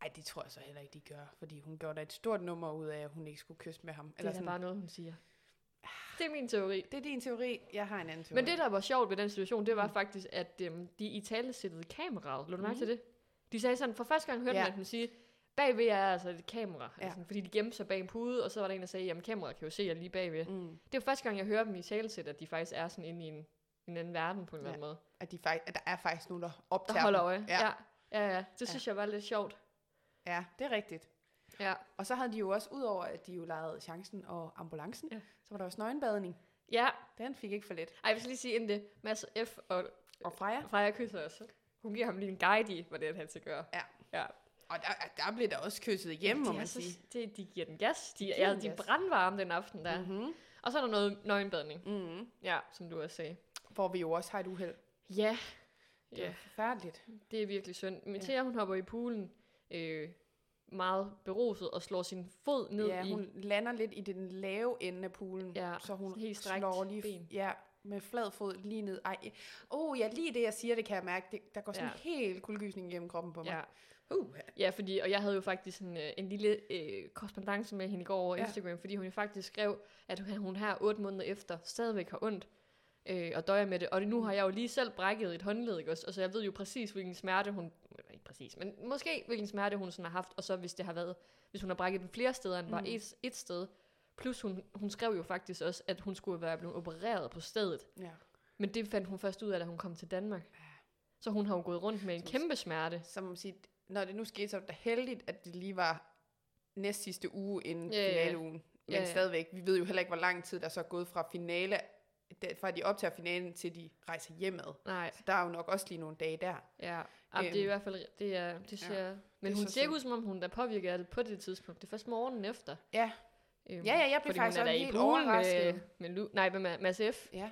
[SPEAKER 1] Ej, det tror jeg så heller ikke, de gør. Fordi hun gjorde da et stort nummer ud af, at hun ikke skulle kysse med ham.
[SPEAKER 2] Det er
[SPEAKER 1] Eller
[SPEAKER 2] da
[SPEAKER 1] sådan.
[SPEAKER 2] bare noget, hun siger. Det er min teori.
[SPEAKER 1] det er din teori. Jeg har en anden teori.
[SPEAKER 2] Men det, der var sjovt ved den situation, det var
[SPEAKER 1] Mm.
[SPEAKER 2] faktisk, at øhm, de i tale sættede kameraet. Lå du mærke til det? De sagde sådan, for første gang hørte
[SPEAKER 1] Ja.
[SPEAKER 2] man dem sige, bagved er altså et kamera. Ja.
[SPEAKER 1] Ja.
[SPEAKER 2] Altså, fordi de gemte sig bag en pude, og så var der en, der sagde, jamen kameraet kan jo se jer lige bagved. Mm.
[SPEAKER 1] Mm,
[SPEAKER 2] Det er jo første gang, jeg hører dem i tale sætte, at de faktisk er sådan inde i en, en anden verden på en eller
[SPEAKER 1] Ja.
[SPEAKER 2] anden måde.
[SPEAKER 1] at, de fakt- at der er faktisk nogen, der
[SPEAKER 2] Der
[SPEAKER 1] optager
[SPEAKER 2] holder
[SPEAKER 1] dem.
[SPEAKER 2] øje.
[SPEAKER 1] Ja.
[SPEAKER 2] ja. ja, ja. Det
[SPEAKER 1] Ja.
[SPEAKER 2] synes jeg var lidt sjovt.
[SPEAKER 1] ja, det er rigtigt.
[SPEAKER 2] Ja.
[SPEAKER 1] Og så havde de jo også, udover at de jo legede chancen og ambulancen,
[SPEAKER 2] Ja.
[SPEAKER 1] ja. så var der også nøgenbadning.
[SPEAKER 2] Ja,
[SPEAKER 1] Den fik ikke for lidt.
[SPEAKER 2] Ej, jeg skal lige sige inden det. Mads F. og
[SPEAKER 1] Og Freja,
[SPEAKER 2] Freja kysser også. Hun giver ham lige en guide i, hvordan han skal gøre.
[SPEAKER 1] Ja.
[SPEAKER 2] ja.
[SPEAKER 1] og der, der blev der også kysset igennem, må
[SPEAKER 2] de, er
[SPEAKER 1] man
[SPEAKER 2] så-
[SPEAKER 1] sige.
[SPEAKER 2] det, de giver den gas. De,
[SPEAKER 1] giver
[SPEAKER 2] er,
[SPEAKER 1] den
[SPEAKER 2] de er
[SPEAKER 1] gas.
[SPEAKER 2] brandvarme den aften der. Mm.
[SPEAKER 1] Mm-hmm.
[SPEAKER 2] Og så er der noget nøgenbadning.
[SPEAKER 1] Mm-hmm.
[SPEAKER 2] Ja, som du også sagde.
[SPEAKER 1] Hvor vi jo også har et uheld.
[SPEAKER 2] Ja.
[SPEAKER 1] Det er
[SPEAKER 2] Ja,
[SPEAKER 1] forfærdeligt.
[SPEAKER 2] det er virkelig synd. Men
[SPEAKER 1] Ja.
[SPEAKER 2] Thea, hun hopper i poolen øh, meget beruset og slår sin fod ned
[SPEAKER 1] Ja,
[SPEAKER 2] i...
[SPEAKER 1] hun lander lidt i den lave ende af poolen,
[SPEAKER 2] Ja,
[SPEAKER 1] så hun
[SPEAKER 2] sådan helt strækt
[SPEAKER 1] slår lige
[SPEAKER 2] ben.
[SPEAKER 1] Ja, med flad fod lige ned. Ej, eh. oh, ja, lige det, jeg siger, det kan jeg mærke. Det, der går sådan
[SPEAKER 2] Ja.
[SPEAKER 1] ja. en hel kuldegysning gennem kroppen på mig.
[SPEAKER 2] Ja.
[SPEAKER 1] Uh,
[SPEAKER 2] Ja, fordi, og jeg havde jo faktisk en, øh, en lille øh, korrespondence med hende i går over ja.
[SPEAKER 1] Ja.
[SPEAKER 2] Instagram, fordi hun jo faktisk skrev, at hun- hun her otte måneder efter stadigvæk har ondt øh, og døjer med det. Og nu har jeg jo lige selv brækket et håndled, ikke? også? Og så jeg ved jo præcis, hvilken smerte hun... eller Ikke præcis, men måske hvilken smerte hun sådan har haft, og så hvis det har været... Hvis hun har brækket den flere steder, end bare
[SPEAKER 1] Mm.
[SPEAKER 2] et, et sted. Plus hun, hun skrev jo faktisk også, at hun skulle være blevet opereret på stedet.
[SPEAKER 1] ja.
[SPEAKER 2] Men det fandt hun først ud af, da hun kom til Danmark. Så hun har jo gået rundt med en kæmpe smerte.
[SPEAKER 1] Som man siger, når det nu skete, så var det da heldigt, at det lige var næst sidste uge inden
[SPEAKER 2] Ja,
[SPEAKER 1] ja,
[SPEAKER 2] ja.
[SPEAKER 1] finaleugen. Men
[SPEAKER 2] Ja,
[SPEAKER 1] ja,
[SPEAKER 2] ja.
[SPEAKER 1] ja. stadigvæk, vi ved jo heller ikke, hvor lang tid der så er gået fra finale, da- fra de optager finalen, til de rejser hjemad.
[SPEAKER 2] Nej.
[SPEAKER 1] Så der er jo nok også lige nogle dage der.
[SPEAKER 2] Ja, Jamen, det er i
[SPEAKER 1] Øhm,
[SPEAKER 2] hvert fald, det er, det ser, ja, men
[SPEAKER 1] er
[SPEAKER 2] hun
[SPEAKER 1] så
[SPEAKER 2] ser ikke
[SPEAKER 1] synd.
[SPEAKER 2] ud som om hun er påvirket af det på det tidspunkt. Det er først morgenen efter.
[SPEAKER 1] Ja.
[SPEAKER 2] Øhm,
[SPEAKER 1] Ja, ja, jeg blev
[SPEAKER 2] fordi
[SPEAKER 1] faktisk
[SPEAKER 2] hun
[SPEAKER 1] også
[SPEAKER 2] er da i øh.
[SPEAKER 1] helt
[SPEAKER 2] pool Med,
[SPEAKER 1] overrasket.
[SPEAKER 2] med Lu, nej, med Ma- Mads F.
[SPEAKER 1] Ja.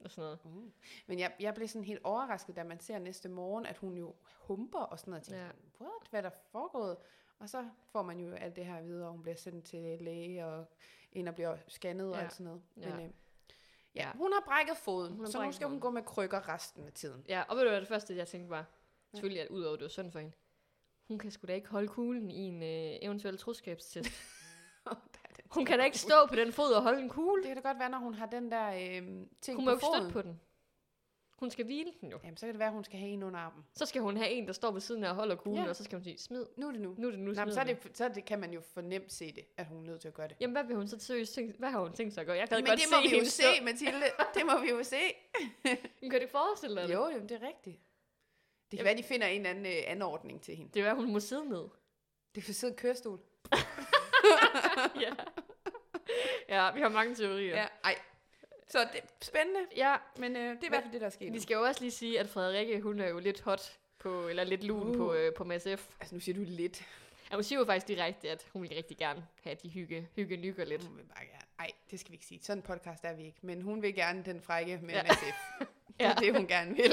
[SPEAKER 2] og sådan noget.
[SPEAKER 1] Mm. Men jeg, jeg blev sådan helt overrasket, da man ser næste morgen, at hun jo humper og sådan noget. Jeg tænker,
[SPEAKER 2] Ja.
[SPEAKER 1] ja. what? Hvad er der foregået? Og så får man jo alt det her videre, og hun bliver sendt til læge og ind og bliver scannet og
[SPEAKER 2] Ja.
[SPEAKER 1] alt sådan noget.
[SPEAKER 2] Ja.
[SPEAKER 1] Men, øh,
[SPEAKER 2] Ja.
[SPEAKER 1] ja, hun har brækket foden,
[SPEAKER 2] Hun har
[SPEAKER 1] så
[SPEAKER 2] brækket
[SPEAKER 1] nu skal hun
[SPEAKER 2] foden.
[SPEAKER 1] gå med krykker resten af tiden.
[SPEAKER 2] Ja, og ved du hvad det første, jeg tænkte var? Selvfølgelig, at udover det var synd for hende. Hun kan sgu da ikke holde kuglen i en øh,
[SPEAKER 1] *laughs*
[SPEAKER 2] eventuel troskabstest. Hun kan da ikke stå på den fod og holde en kugle.
[SPEAKER 1] Det kan da godt være, når hun har den der øh, ting
[SPEAKER 2] Hun
[SPEAKER 1] på
[SPEAKER 2] må jo ikke
[SPEAKER 1] foden.
[SPEAKER 2] støtte på den. Hun skal hvile den jo.
[SPEAKER 1] Jamen, så kan det være, hun skal have en under armen.
[SPEAKER 2] Så skal hun have en, der står ved siden af og holder kuglen,
[SPEAKER 1] Ja.
[SPEAKER 2] og så skal hun sige, smid.
[SPEAKER 1] Nu er det nu.
[SPEAKER 2] Nu er det nu,
[SPEAKER 1] Nå,
[SPEAKER 2] smid
[SPEAKER 1] men så, er
[SPEAKER 2] den."
[SPEAKER 1] det, så er det, kan man jo fornemt se det, at hun er nødt til at gøre det.
[SPEAKER 2] Jamen, hvad vil hun så seriøst tænke, hvad har hun tænkt sig at gøre? Jeg kan
[SPEAKER 1] Men
[SPEAKER 2] godt
[SPEAKER 1] det må
[SPEAKER 2] se
[SPEAKER 1] vi jo
[SPEAKER 2] hende stå-
[SPEAKER 1] se, Mathilde. Det må vi jo se.
[SPEAKER 2] Men kan du ikke forestille dig det?
[SPEAKER 1] Jo, jo, det er rigtigt. Det kan
[SPEAKER 2] Jamen-
[SPEAKER 1] være, de finder en eller anden øh, anordning til hende.
[SPEAKER 2] Det er være, hun må
[SPEAKER 1] *laughs*
[SPEAKER 2] sidde ned.
[SPEAKER 1] Det kan sidde i kørestol.
[SPEAKER 2] ja. ja, vi har mange teorier.
[SPEAKER 1] Ej. Så det er spændende,
[SPEAKER 2] ja.
[SPEAKER 1] men øh, det er i
[SPEAKER 2] Men-
[SPEAKER 1] hvert fald det, der er sket.
[SPEAKER 2] Vi skal jo også lige sige, at Frederikke, hun er jo lidt hot på, eller lidt lun uh.
[SPEAKER 1] Uh.
[SPEAKER 2] på, øh, på Mads F.
[SPEAKER 1] Altså, nu siger du lidt.
[SPEAKER 2] Ja, hun siger jo faktisk direkte, at hun vil rigtig gerne have at de hygge, hygge nykker lidt.
[SPEAKER 1] Hun vil bare gerne. Ej, det skal vi ikke sige. Sådan en podcast er vi ikke. Men hun vil gerne den frække med
[SPEAKER 2] Ja.
[SPEAKER 1] ja. SF. Det er
[SPEAKER 2] *laughs* Ja.
[SPEAKER 1] det, hun gerne vil.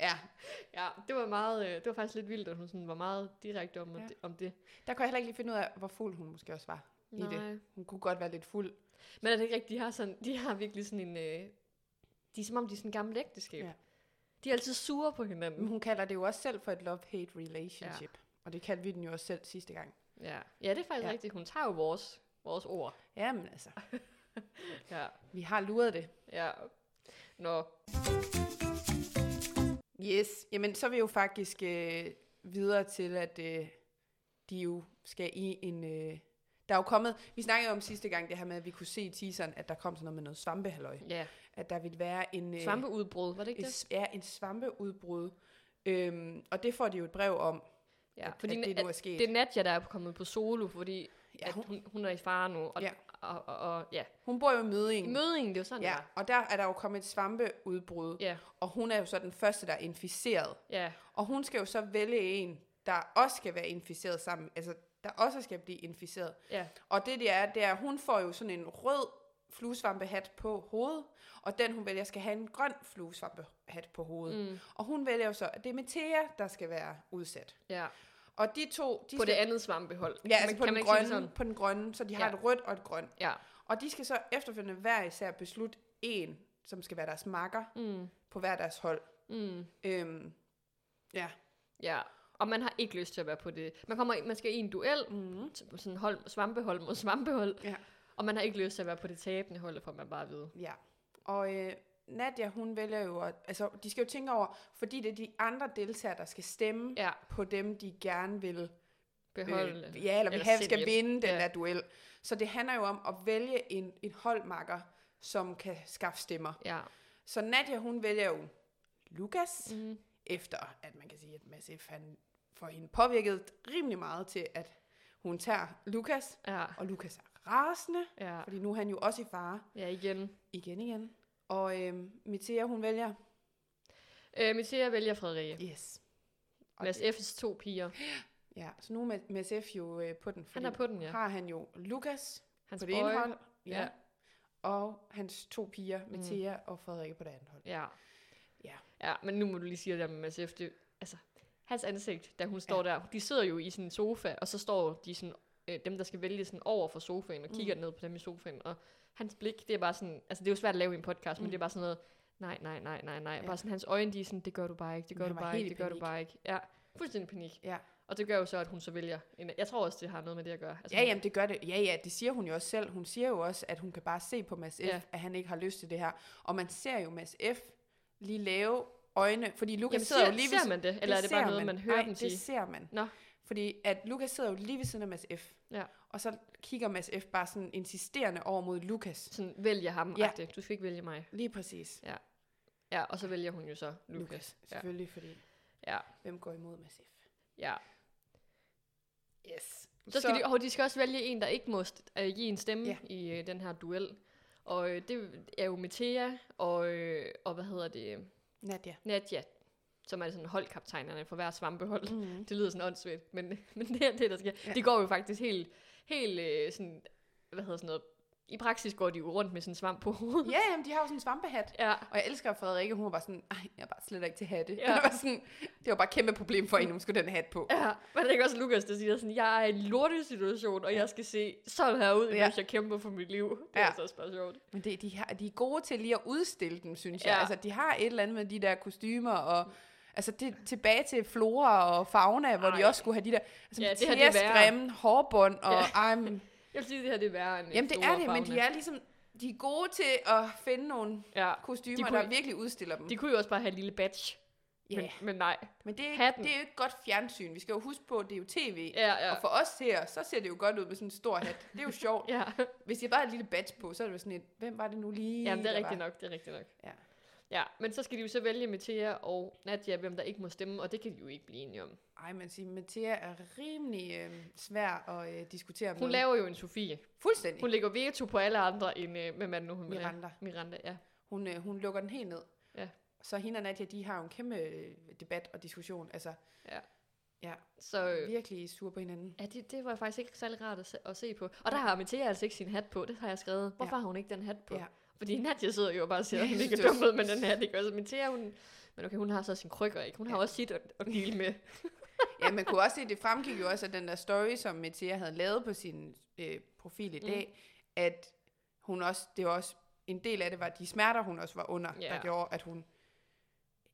[SPEAKER 1] Ja,
[SPEAKER 2] Ja, det var, meget, øh, det var faktisk lidt vildt, at hun sådan var meget direkte om, ja.
[SPEAKER 1] Ja.
[SPEAKER 2] om det.
[SPEAKER 1] der kunne jeg heller ikke lige finde ud af, hvor fuld hun måske også var. I det. Hun kunne godt være lidt fuld.
[SPEAKER 2] Men er det ikke rigtigt, de har, sådan, de har virkelig sådan en... Øh, de er som om, de er sådan en gammel ægteskab. Ja.
[SPEAKER 1] Ja.
[SPEAKER 2] De er altid sure på hinanden.
[SPEAKER 1] Men hun kalder det jo også selv for et love-hate relationship. Ja. Og det kaldte vi den jo også selv sidste gang.
[SPEAKER 2] Ja, ja det er faktisk ja.
[SPEAKER 1] Ja.
[SPEAKER 2] rigtigt. Hun tager jo vores, vores ord.
[SPEAKER 1] Jamen altså,
[SPEAKER 2] Ja.
[SPEAKER 1] vi har luret det.
[SPEAKER 2] ja. Nå,
[SPEAKER 1] Yes, jamen så er vi jo faktisk øh, videre til, at øh, de jo skal i en øh, Der er jo kommet, vi snakkede jo om sidste gang det her med, at vi kunne se i teaseren, at der kom sådan noget med noget svampehalløj.
[SPEAKER 2] Ja,
[SPEAKER 1] At der ville være en... øh,
[SPEAKER 2] svampeudbrud, var det ikke
[SPEAKER 1] et,
[SPEAKER 2] det?
[SPEAKER 1] s- ja, en svampeudbrud. Øhm, og det får de jo et brev om,
[SPEAKER 2] Ja,
[SPEAKER 1] at,
[SPEAKER 2] fordi
[SPEAKER 1] at det nu er sket.
[SPEAKER 2] det er Nadja, der er kommet på solo, fordi
[SPEAKER 1] ja,
[SPEAKER 2] at
[SPEAKER 1] hun,
[SPEAKER 2] hun, hun er i fare nu. Og,
[SPEAKER 1] Ja.
[SPEAKER 2] og, og, og ja.
[SPEAKER 1] hun bor jo i Mødingen.
[SPEAKER 2] Mødingen, det er jo sådan,
[SPEAKER 1] Ja,
[SPEAKER 2] det
[SPEAKER 1] og der er der jo kommet et svampeudbrud,
[SPEAKER 2] var. Ja,
[SPEAKER 1] og hun er jo så den første, der er inficeret.
[SPEAKER 2] ja,
[SPEAKER 1] Og hun skal jo så vælge en, der også skal være inficeret sammen, altså der også skal blive inficeret.
[SPEAKER 2] ja,
[SPEAKER 1] Og det det er, det er, at hun får jo sådan en rød fluesvampehat på hovedet, og den hun vælger skal have en grøn fluesvampehat på hovedet. Mm.
[SPEAKER 2] mm,
[SPEAKER 1] Og hun vælger jo så, at det er Metea, der skal være udsat.
[SPEAKER 2] ja.
[SPEAKER 1] Og de to, de
[SPEAKER 2] På
[SPEAKER 1] skal,
[SPEAKER 2] det andet svampehold.
[SPEAKER 1] ja, altså
[SPEAKER 2] Men
[SPEAKER 1] på,
[SPEAKER 2] kan
[SPEAKER 1] den
[SPEAKER 2] ikke sige det
[SPEAKER 1] grønne, på den grønne, så de har
[SPEAKER 2] Ja.
[SPEAKER 1] et rødt og et grønt.
[SPEAKER 2] Ja.
[SPEAKER 1] Og de skal så efterfølgende hver især beslutte en, som skal være deres makker
[SPEAKER 2] Mm,
[SPEAKER 1] på hver deres hold.
[SPEAKER 2] mm,
[SPEAKER 1] Øhm, ja.
[SPEAKER 2] ja. Og man har ikke lyst til at være på det. Man, kommer, i- man skal i en duel,
[SPEAKER 1] Mm.
[SPEAKER 2] t- på sådan hold, svampehold mod svampehold.
[SPEAKER 1] Ja.
[SPEAKER 2] Og man har ikke lyst til at være på det tabende hold, for man bare ved.
[SPEAKER 1] Ja. Og øh, Nadia, hun vælger jo, at, altså de skal jo tænke over, fordi det er de andre deltagere, der skal stemme
[SPEAKER 2] Ja,
[SPEAKER 1] på dem, de gerne vil,
[SPEAKER 2] beholde.
[SPEAKER 1] øh, ja, eller vil
[SPEAKER 2] eller
[SPEAKER 1] have,
[SPEAKER 2] selv
[SPEAKER 1] skal
[SPEAKER 2] hjælp.
[SPEAKER 1] vinde den
[SPEAKER 2] Ja.
[SPEAKER 1] der duel. Så det handler jo om at vælge en, en holdmakker, som kan skaffe stemmer.
[SPEAKER 2] Ja.
[SPEAKER 1] Så Nadia, hun vælger jo Lukas, mm.
[SPEAKER 2] Mm,
[SPEAKER 1] efter at man kan sige, at Mads F, han får hende påvirket rimelig meget til, at hun tager Lukas,
[SPEAKER 2] ja,
[SPEAKER 1] og Lukas er rasende,
[SPEAKER 2] ja,
[SPEAKER 1] fordi nu er han jo også i fare.
[SPEAKER 2] ja, igen.
[SPEAKER 1] Igen igen. Og øh, Metea, hun vælger.
[SPEAKER 2] Øh, Messiah vælger Frederikke.
[SPEAKER 1] Yes. Og
[SPEAKER 2] Mads
[SPEAKER 1] det-
[SPEAKER 2] F's to piger.
[SPEAKER 1] Ja, så nu er Ma- Mads F jo øh, på den.
[SPEAKER 2] Han
[SPEAKER 1] fordi
[SPEAKER 2] er på den, ja.
[SPEAKER 1] Har han jo Lukas
[SPEAKER 2] Hans
[SPEAKER 1] på det ene
[SPEAKER 2] boy.
[SPEAKER 1] hold. Ja.
[SPEAKER 2] Ja. Mm.
[SPEAKER 1] ja. Og hans to piger, Metea og Frederikke på det andet hold.
[SPEAKER 2] Ja.
[SPEAKER 1] Ja.
[SPEAKER 2] Ja, men nu må du lige sige det der med Mads F. Det, altså, hans ansigt, da hun står ja. der, de sidder jo i sin sofa, og så står de sådan, øh, dem, der skal vælge sådan over for sofaen, og
[SPEAKER 1] Mm.
[SPEAKER 2] kigger ned på dem i sofaen, og hans blik, det er bare sådan, altså det er jo svært at lave i en podcast, mm. men det er bare sådan noget, nej, nej, nej, nej, nej. Ja.
[SPEAKER 1] Ja.
[SPEAKER 2] Bare sådan, hans øjne, de er sådan, det gør du bare ikke, det
[SPEAKER 1] Men
[SPEAKER 2] gør du
[SPEAKER 1] han var
[SPEAKER 2] bare
[SPEAKER 1] helt
[SPEAKER 2] ikke,
[SPEAKER 1] i
[SPEAKER 2] det gør du
[SPEAKER 1] panik.
[SPEAKER 2] bare ikke. Ja, fuldstændig panik.
[SPEAKER 1] Ja.
[SPEAKER 2] Og det gør jo så, at hun så vælger. En, jeg tror også, det har noget med det at gøre. Altså,
[SPEAKER 1] Ja, jamen det gør det. Ja, ja, det siger hun jo også selv. Hun siger jo også, at hun kan bare se på Mads F,
[SPEAKER 2] Ja.
[SPEAKER 1] ja. at han ikke har lyst til det her. Og man ser jo Mads F lige lave øjne, fordi Lukas
[SPEAKER 2] Jamen,
[SPEAKER 1] sidder
[SPEAKER 2] ser,
[SPEAKER 1] jo lige ved
[SPEAKER 2] ser man det, eller er det bare
[SPEAKER 1] ser
[SPEAKER 2] noget, man, hører
[SPEAKER 1] Nej,
[SPEAKER 2] dem
[SPEAKER 1] det
[SPEAKER 2] sige?
[SPEAKER 1] ser man.
[SPEAKER 2] Nå.
[SPEAKER 1] Fordi at Lukas sidder jo lige ved siden af Mads F.
[SPEAKER 2] Ja.
[SPEAKER 1] Og så kigger Mads F bare sådan insisterende over mod Lukas.
[SPEAKER 2] Sådan, vælger ham,
[SPEAKER 1] Ja.
[SPEAKER 2] ja. du skal ikke vælge mig.
[SPEAKER 1] Lige præcis.
[SPEAKER 2] Ja, og så vælger hun jo så Lukas.
[SPEAKER 1] Lukas.
[SPEAKER 2] Ja.
[SPEAKER 1] Selvfølgelig, fordi
[SPEAKER 2] Ja,
[SPEAKER 1] hvem går imod Mads F?
[SPEAKER 2] ja.
[SPEAKER 1] Yes.
[SPEAKER 2] Så skal så... de, og de skal også vælge en, der ikke må st- øh, give en stemme
[SPEAKER 1] Ja.
[SPEAKER 2] ja. i øh, den her duel. Og øh, det er jo Metea og, øh, og hvad hedder det, øh,
[SPEAKER 1] Nadia.
[SPEAKER 2] Nadja, som er sådan holdkaptajnerne for hver svampehold. *laughs* Mm.
[SPEAKER 1] Mm.
[SPEAKER 2] Det lyder sådan åndssvagt, men, *laughs* men det er det, der sker. Ja.
[SPEAKER 1] Ja.
[SPEAKER 2] De går jo faktisk helt, helt øh, sådan, hvad hedder sådan noget, i praksis går de jo rundt med sådan en svamp på hovedet.
[SPEAKER 1] Ja, jamen, de har jo sådan en svampehat.
[SPEAKER 2] Ja,
[SPEAKER 1] Og jeg elsker at Frederikke, hun var bare sådan, ej, jeg er bare slet ikke til hatte.
[SPEAKER 2] Ja.
[SPEAKER 1] Ja. *laughs* Det, var sådan, det var bare et kæmpe problem for hende, hun skulle den hat på.
[SPEAKER 2] ja. Men det er ikke også Lukas, der siger sådan, jeg er i en lortesituation, og jeg skal se sådan her ud,
[SPEAKER 1] Ja.
[SPEAKER 2] ja. hvis jeg kæmper for mit liv. Det er
[SPEAKER 1] Ja.
[SPEAKER 2] altså også bare sjovt.
[SPEAKER 1] Men det, de, har, de er gode til lige at udstille dem, synes jeg.
[SPEAKER 2] Ja.
[SPEAKER 1] Ja. Altså, de har et eller andet med de der kostymer og... Altså, det, tilbage til flora og fauna, hvor Ej.
[SPEAKER 2] Ej.
[SPEAKER 1] de også skulle have de der... Altså,
[SPEAKER 2] Ja,
[SPEAKER 1] ja,
[SPEAKER 2] det her, det er værre.
[SPEAKER 1] grimme, hårbånd og...
[SPEAKER 2] Ja.
[SPEAKER 1] Ja. Ej, men,
[SPEAKER 2] Jeg vil sige, det her det er værre end øh,
[SPEAKER 1] jamen, det
[SPEAKER 2] Flora
[SPEAKER 1] er det,
[SPEAKER 2] og
[SPEAKER 1] men
[SPEAKER 2] Fauna.
[SPEAKER 1] de er ligesom... De er gode til at finde nogle
[SPEAKER 2] Ja,
[SPEAKER 1] kostymer,
[SPEAKER 2] De
[SPEAKER 1] de
[SPEAKER 2] kunne-
[SPEAKER 1] kunne, der virkelig udstiller dem.
[SPEAKER 2] de kunne jo også bare have en lille badge.
[SPEAKER 1] ja.
[SPEAKER 2] Men, men nej.
[SPEAKER 1] men det, er,
[SPEAKER 2] hatten.
[SPEAKER 1] ikke- det er jo ikke godt fjernsyn. Vi skal jo huske på, at det er jo tv.
[SPEAKER 2] Ja, ja.
[SPEAKER 1] Og for os her, så ser det jo godt ud med sådan en stor hat.
[SPEAKER 2] *laughs*
[SPEAKER 1] Det er jo sjovt.
[SPEAKER 2] Ja,
[SPEAKER 1] Hvis de bare har et lille badge på, så er det jo sådan et... Hvem var det nu lige,
[SPEAKER 2] Jamen, det er
[SPEAKER 1] der
[SPEAKER 2] rigtigt
[SPEAKER 1] var?
[SPEAKER 2] nok, det er rigtigt nok.
[SPEAKER 1] Ja.
[SPEAKER 2] Ja, men så skal de jo så vælge Metea og Nadia, hvem der ikke må stemme, og det kan de jo ikke blive enige om.
[SPEAKER 1] Ej, man siger, Mathia er rimelig øh, svær at øh, diskutere med.
[SPEAKER 2] Hun laver jo en Sofie.
[SPEAKER 1] Fuldstændig.
[SPEAKER 2] Hun
[SPEAKER 1] Hun,
[SPEAKER 2] lægger veto på alle andre end, øh, hvem er det nu, hun vil have?
[SPEAKER 1] Miranda.
[SPEAKER 2] Miranda, ja.
[SPEAKER 1] Hun, øh, hun lukker den helt ned.
[SPEAKER 2] Ja.
[SPEAKER 1] Så hende og Nadia, de har jo en kæmpe øh, debat og diskussion. Altså,
[SPEAKER 2] Så øh,
[SPEAKER 1] virkelig sure på hinanden.
[SPEAKER 2] ja, det, det var faktisk ikke særlig rart at se, at se på. Og der har Metea altså ikke sin hat på, det har jeg skrevet. Hvorfor
[SPEAKER 1] Ja.
[SPEAKER 2] har hun ikke den hat på?
[SPEAKER 1] Ja.
[SPEAKER 2] Fordi Nadia sidder jo og bare og siger, at hun
[SPEAKER 1] Jeg
[SPEAKER 2] ikke er
[SPEAKER 1] synes,
[SPEAKER 2] dum
[SPEAKER 1] det
[SPEAKER 2] ud med den her. Det gør så Metea, hun... Men okay, hun har så sin krykker, ikke? Hun har også sit at, at dele med.
[SPEAKER 1] ja, man kunne også se, det fremgik jo også af den der story, som Mathia havde lavet på sin øh, profil i
[SPEAKER 2] Mm.
[SPEAKER 1] dag, at hun også, det var også, en del af det var de smerter, hun også var under,
[SPEAKER 2] Ja.
[SPEAKER 1] der gjorde, at hun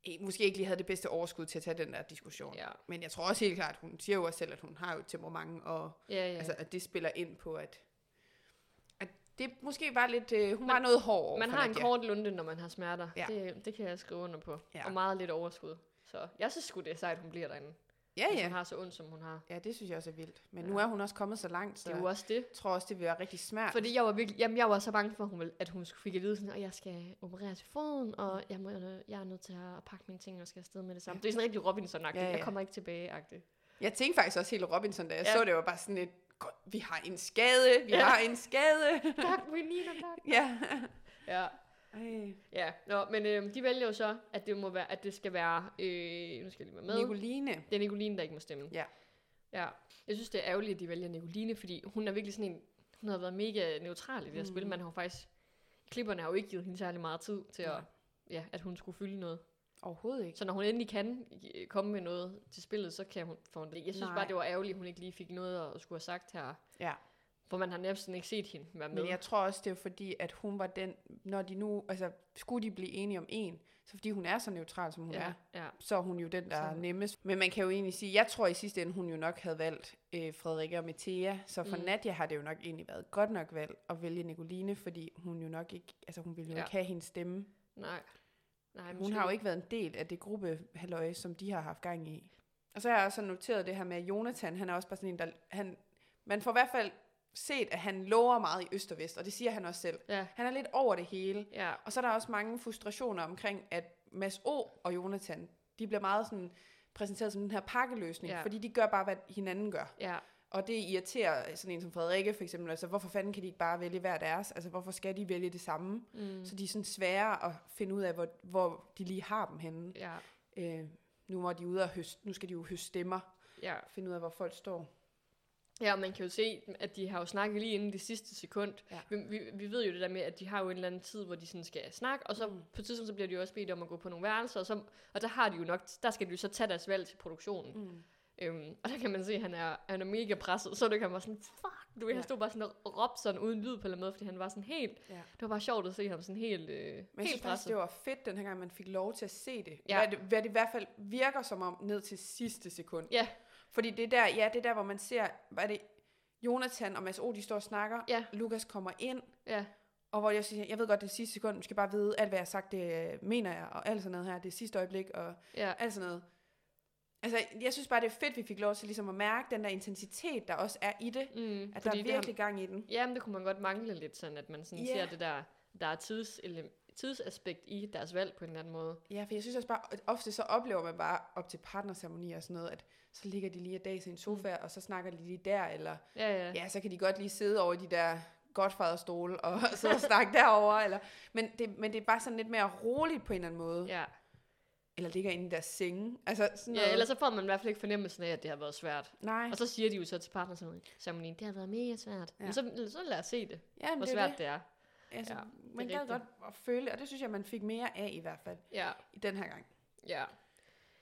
[SPEAKER 1] eh, måske ikke lige havde det bedste overskud til at tage den der diskussion.
[SPEAKER 2] Ja,
[SPEAKER 1] Men jeg tror også helt klart, hun siger jo også selv, at hun har jo et temperament, og
[SPEAKER 2] ja, ja.
[SPEAKER 1] Altså, at det spiller ind på, at, at det måske var lidt... Øh, hun man, var noget hård over
[SPEAKER 2] man
[SPEAKER 1] for
[SPEAKER 2] har en
[SPEAKER 1] Nadia.
[SPEAKER 2] kort lunde, når man har smerter. Ja.
[SPEAKER 1] Ja.
[SPEAKER 2] Det, det kan jeg skrive under på. Ja.
[SPEAKER 1] Ja.
[SPEAKER 2] Og meget lidt overskud. Så jeg synes sgu, det er sejt, hun bliver derinde.
[SPEAKER 1] Ja,
[SPEAKER 2] hvis Altså, hun
[SPEAKER 1] ja.
[SPEAKER 2] har så ondt, som hun har.
[SPEAKER 1] Ja, det synes jeg også er vildt. Men
[SPEAKER 2] Ja.
[SPEAKER 1] nu er hun også kommet så langt, så
[SPEAKER 2] Det er jo også det.
[SPEAKER 1] jeg tror også, det vil være rigtig smart.
[SPEAKER 2] Fordi jeg var virkelig, jamen jeg var så bange for, at hun, ville, at hun skulle fik at vide sådan, at jeg skal operere til foden,
[SPEAKER 1] Mm.
[SPEAKER 2] og jeg, må, jeg er nødt til at pakke mine ting og skal afsted med det samme. Det er sådan rigtig Robinson-agtigt.
[SPEAKER 1] Ja,
[SPEAKER 2] Ja,
[SPEAKER 1] ja.
[SPEAKER 2] ja. Jeg kommer ikke
[SPEAKER 1] *laughs*
[SPEAKER 2] tilbage-agtigt.
[SPEAKER 1] Jeg tænkte faktisk også helt Robinson, da jeg ja.
[SPEAKER 2] Ja.
[SPEAKER 1] så det, var bare sådan lidt, "Godt, vi har en skade, vi ja.
[SPEAKER 2] Ja.
[SPEAKER 1] har en *laughs* skade.
[SPEAKER 2] Tak, we need a doc.
[SPEAKER 1] ja.
[SPEAKER 2] Ja.
[SPEAKER 1] Ej.
[SPEAKER 2] Ja, Nå, men øh, de vælger jo så, at det, må være, at det skal være, øh, nu skal jeg lige være med,
[SPEAKER 1] Nicoline.
[SPEAKER 2] det er Nicoline, der ikke må stemme.
[SPEAKER 1] Ja.
[SPEAKER 2] ja. Jeg synes, det er ærgerligt, at de vælger Nicoline, fordi hun er virkelig sådan en, hun har været mega neutral i det her mm. spil.
[SPEAKER 1] Mm.
[SPEAKER 2] Man har jo faktisk, klipperne har jo ikke givet hende særlig meget tid til at,
[SPEAKER 1] Nej.
[SPEAKER 2] ja, at hun skulle fylde noget.
[SPEAKER 1] Overhovedet ikke.
[SPEAKER 2] Så når hun endelig kan øh, komme med noget til spillet, så kan hun få det. Jeg synes
[SPEAKER 1] Nej.
[SPEAKER 2] Nej. bare, det var ærgerligt, at hun ikke lige fik noget at skulle have sagt her.
[SPEAKER 1] Ja.
[SPEAKER 2] For man har næsten ikke set hende være med.
[SPEAKER 1] Men jeg tror også, det er fordi, at hun var den, når de nu, altså skulle de blive enige om en, så fordi hun er så neutral, som hun ja. er,
[SPEAKER 2] ja, ja.
[SPEAKER 1] så er hun jo den, der er
[SPEAKER 2] Så-
[SPEAKER 1] nemmest. Men man kan jo egentlig sige, jeg tror i sidste ende, hun jo nok havde valgt øh, Frederikke og Metea, så for mm.
[SPEAKER 2] Mm.
[SPEAKER 1] Nadia har det jo nok egentlig været et godt nok valg at vælge Nicoline, fordi hun jo nok ikke, altså hun ville jo ja.
[SPEAKER 2] Ja.
[SPEAKER 1] ikke have hendes stemme.
[SPEAKER 2] Nej. Nej,
[SPEAKER 1] Hun har jo ikke været en del af det gruppe, halløj, som de har haft gang i. Og så har jeg også noteret det her med, at Jonathan, han er også bare sådan en, der... Han, man får i hvert fald set, at han lover meget i øst og vest, og det siger han også selv.
[SPEAKER 2] Ja,
[SPEAKER 1] Han er lidt over det hele.
[SPEAKER 2] ja.
[SPEAKER 1] Og så er der også mange frustrationer omkring, at Mads O og Jonathan, de bliver meget sådan præsenteret som den her pakkeløsning, ja.
[SPEAKER 2] Ja.
[SPEAKER 1] fordi de gør bare, hvad hinanden gør.
[SPEAKER 2] Ja,
[SPEAKER 1] Og det irriterer sådan en som Frederikke for eksempel. Altså, hvorfor fanden kan de ikke bare vælge hver deres? Altså, hvorfor skal de vælge det samme?
[SPEAKER 2] mm,
[SPEAKER 1] Så de er sådan svære at finde ud af, hvor, hvor de lige har dem henne.
[SPEAKER 2] ja,
[SPEAKER 1] Øh, nu må de ude og høste, nu skal de jo høste stemmer,
[SPEAKER 2] ja.
[SPEAKER 1] finde ud af, hvor folk står.
[SPEAKER 2] Ja, og man kan jo se, at de har jo snakket lige inden det sidste sekund.
[SPEAKER 1] Ja.
[SPEAKER 2] Ja. Vi, vi, vi ved jo det der med, at de har jo en eller anden tid, hvor de sådan skal snakke, og så
[SPEAKER 1] Mm.
[SPEAKER 2] mm. på et tidspunkt, så bliver de jo også bedt om at gå på nogle værelser, og, så, og der har de jo nok, der skal de jo så tage deres valg til produktionen.
[SPEAKER 1] Mm.
[SPEAKER 2] Øhm, og der kan man se, at han er, han er mega presset. Så det kan man bare sådan, fuck, du ved,
[SPEAKER 1] Ja.
[SPEAKER 2] han stod bare sådan og råbte sådan uden lyd på en eller anden måde, fordi han var sådan helt,
[SPEAKER 1] Ja.
[SPEAKER 2] det var bare sjovt at se ham sådan helt, øh,
[SPEAKER 1] Men jeg synes faktisk,
[SPEAKER 2] helt presset.
[SPEAKER 1] det var fedt den her gang, man fik lov til at se det. Ja.
[SPEAKER 2] Ja.
[SPEAKER 1] Hvad, det, hvad det i hvert fald virker som om, ned til sidste sekund.
[SPEAKER 2] Ja.
[SPEAKER 1] Fordi det er der, ja, det er der, hvor man ser, hvad er det, Jonathan og Mads O, de står og snakker.
[SPEAKER 2] Ja.
[SPEAKER 1] Lukas kommer ind,
[SPEAKER 2] Ja,
[SPEAKER 1] og hvor jeg siger, jeg ved godt, det er sidste sekund, du skal bare vide, alt hvad jeg har sagt, det øh, mener jeg, og alt sådan noget her, det er sidste øjeblik, og
[SPEAKER 2] ja,
[SPEAKER 1] alt sådan noget. Altså, jeg synes bare, det er fedt, vi fik lov til ligesom at mærke den der intensitet, der også er i det.
[SPEAKER 2] mm,
[SPEAKER 1] At der er
[SPEAKER 2] det har-
[SPEAKER 1] virkelig gang i den.
[SPEAKER 2] Ja, men det kunne man godt mangle lidt, sådan at man sådan
[SPEAKER 1] Ja.
[SPEAKER 2] yeah. ser det der, der er tids, tidsaspekt i deres valg på en eller anden måde.
[SPEAKER 1] Ja, for jeg synes også bare, at ofte så oplever man bare op til partnerceremonier og sådan noget, at så ligger de lige og dag i en sofa, og så snakker de lige der, eller
[SPEAKER 2] Ja, Mm. ja.
[SPEAKER 1] ja, så kan de godt lige sidde over i de der godfaderstole og *laughs* sidde og snakke derover eller men det, men det er bare sådan lidt mere roligt på en eller anden måde. Ja.
[SPEAKER 2] ja.
[SPEAKER 1] Eller ligger inde i deres senge. Altså sådan noget.
[SPEAKER 2] ja ellers så får man i hvert fald ikke fornemmelsen af, at det har været svært.
[SPEAKER 1] Nej.
[SPEAKER 2] Og så siger de jo så til partnersamlingen, det har været mega svært.
[SPEAKER 1] Ja.
[SPEAKER 2] Ja. Men så, så lad os se det,
[SPEAKER 1] Ja, men
[SPEAKER 2] hvor
[SPEAKER 1] det er
[SPEAKER 2] svært
[SPEAKER 1] det.
[SPEAKER 2] det er.
[SPEAKER 1] Altså,
[SPEAKER 2] Ja,
[SPEAKER 1] ja,
[SPEAKER 2] det er
[SPEAKER 1] man gad
[SPEAKER 2] rigtigt.
[SPEAKER 1] godt at føle, og det synes jeg, man fik mere af i hvert fald
[SPEAKER 2] Ja,
[SPEAKER 1] i den her gang.
[SPEAKER 2] ja.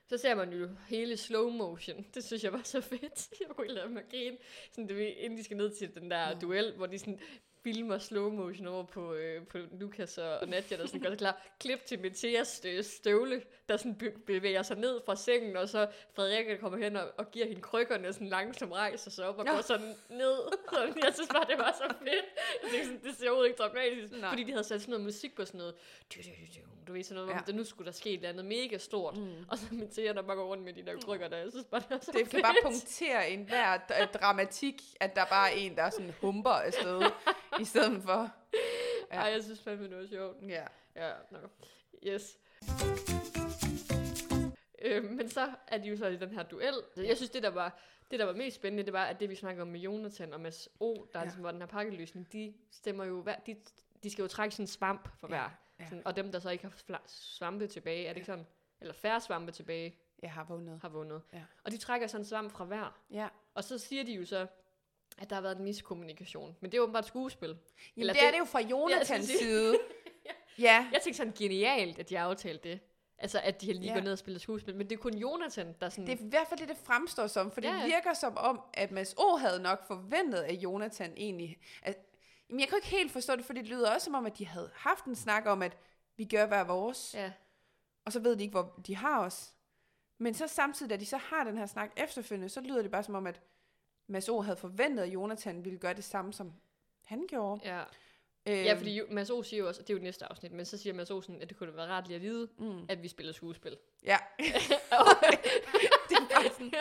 [SPEAKER 2] Så ser man jo hele slow motion. Det synes jeg var så fedt. *laughs* Jeg kunne ikke lade mig at grine. Sådan, det, ved- inden de skal ned til den der
[SPEAKER 1] Nå.
[SPEAKER 2] duel, hvor de sådan filmer slow motion over på, øh, på Lukas og, og Nadia, der sådan gør sig klar. Klip til Meteas øh, støvle, der sådan be- bevæger sig ned fra sengen, og så Frederikke kommer hen og, og giver hende krykkerne, og sådan langsomt rejser sig op og
[SPEAKER 1] Nå.
[SPEAKER 2] går sådan ned. *laughs* Så jeg synes bare, det var så fedt. Jeg tænkte sådan, det ser overhovedet ikke dramatisk,
[SPEAKER 1] Nej.
[SPEAKER 2] fordi de havde sat sådan noget musik på sådan noget. Du, du, du, du, du ved sådan noget,
[SPEAKER 1] Ja.
[SPEAKER 2] ja. der nu skulle der ske et eller andet mega stort.
[SPEAKER 1] Mm.
[SPEAKER 2] Og så min tæer, der bare går rundt med de der krykker der. Jeg synes bare, det er så
[SPEAKER 1] Det kan
[SPEAKER 2] fedt.
[SPEAKER 1] bare punktere en hver d- øh, dramatik, at der bare er en, der sådan humper afsted, i stedet for... ja.
[SPEAKER 2] Ja. Ej, jeg synes fandme, det var sjovt.
[SPEAKER 1] Ja.
[SPEAKER 2] Ja, no. Yes. Øh, men så er de jo så i den her duel. Altså, Jeg synes, det der, var, det der var mest spændende, det var, at det vi snakkede om med Jonathan og Mads O, der
[SPEAKER 1] Ja.
[SPEAKER 2] ja. ligesom var den her pakkeløsning, de stemmer jo hver, de, de skal jo trække sådan en svamp for
[SPEAKER 1] Ja,
[SPEAKER 2] hver.
[SPEAKER 1] ja.
[SPEAKER 2] Sådan, og dem, der så ikke har fla- svampe tilbage, er det ikke sådan? Eller færre svampe tilbage
[SPEAKER 1] Jeg har vågnet.
[SPEAKER 2] har vundet.
[SPEAKER 1] Ja.
[SPEAKER 2] Og de trækker sådan en svamp fra hver.
[SPEAKER 1] Ja.
[SPEAKER 2] Og så siger de jo så, at der har været en miskommunikation. Men det er åbenbart skuespil.
[SPEAKER 1] Jamen,
[SPEAKER 2] Eller
[SPEAKER 1] det, det er det
[SPEAKER 2] det-
[SPEAKER 1] jo fra
[SPEAKER 2] Ja, *laughs*
[SPEAKER 1] Jonathans
[SPEAKER 2] jeg skulle sige-
[SPEAKER 1] side. ja.
[SPEAKER 2] Jeg tænkte sådan, genialt, at de aftalte det. Altså, at de har lige
[SPEAKER 1] Ja.
[SPEAKER 2] ja. gået ned og spillet skuespil. Men det er kun Jonathan, der sådan...
[SPEAKER 1] Det er i hvert fald det, det fremstår som, for det
[SPEAKER 2] Ja, ja.
[SPEAKER 1] virker som om, at Mads O. havde nok forventet, at Jonathan egentlig... At, jamen, jeg kan ikke helt forstå det, for det lyder også som om, at de havde haft en snak om, at vi gør hver vores, ja.
[SPEAKER 2] Ja,
[SPEAKER 1] og så ved de ikke, hvor de har os. Men så samtidig, da de så har den her snak efterfølgende, så lyder det bare som om, at Mads O. havde forventet, at Jonathan ville gøre det samme, som han gjorde.
[SPEAKER 2] ja.
[SPEAKER 1] Øhm,
[SPEAKER 2] ja fordi jo, Mads O siger jo også, og det er jo næste afsnit, men så siger Mads O sådan, at det kunne da være rart lige at vide,
[SPEAKER 1] Mm.
[SPEAKER 2] at vi spiller skuespil.
[SPEAKER 1] Ja. det Jonathan.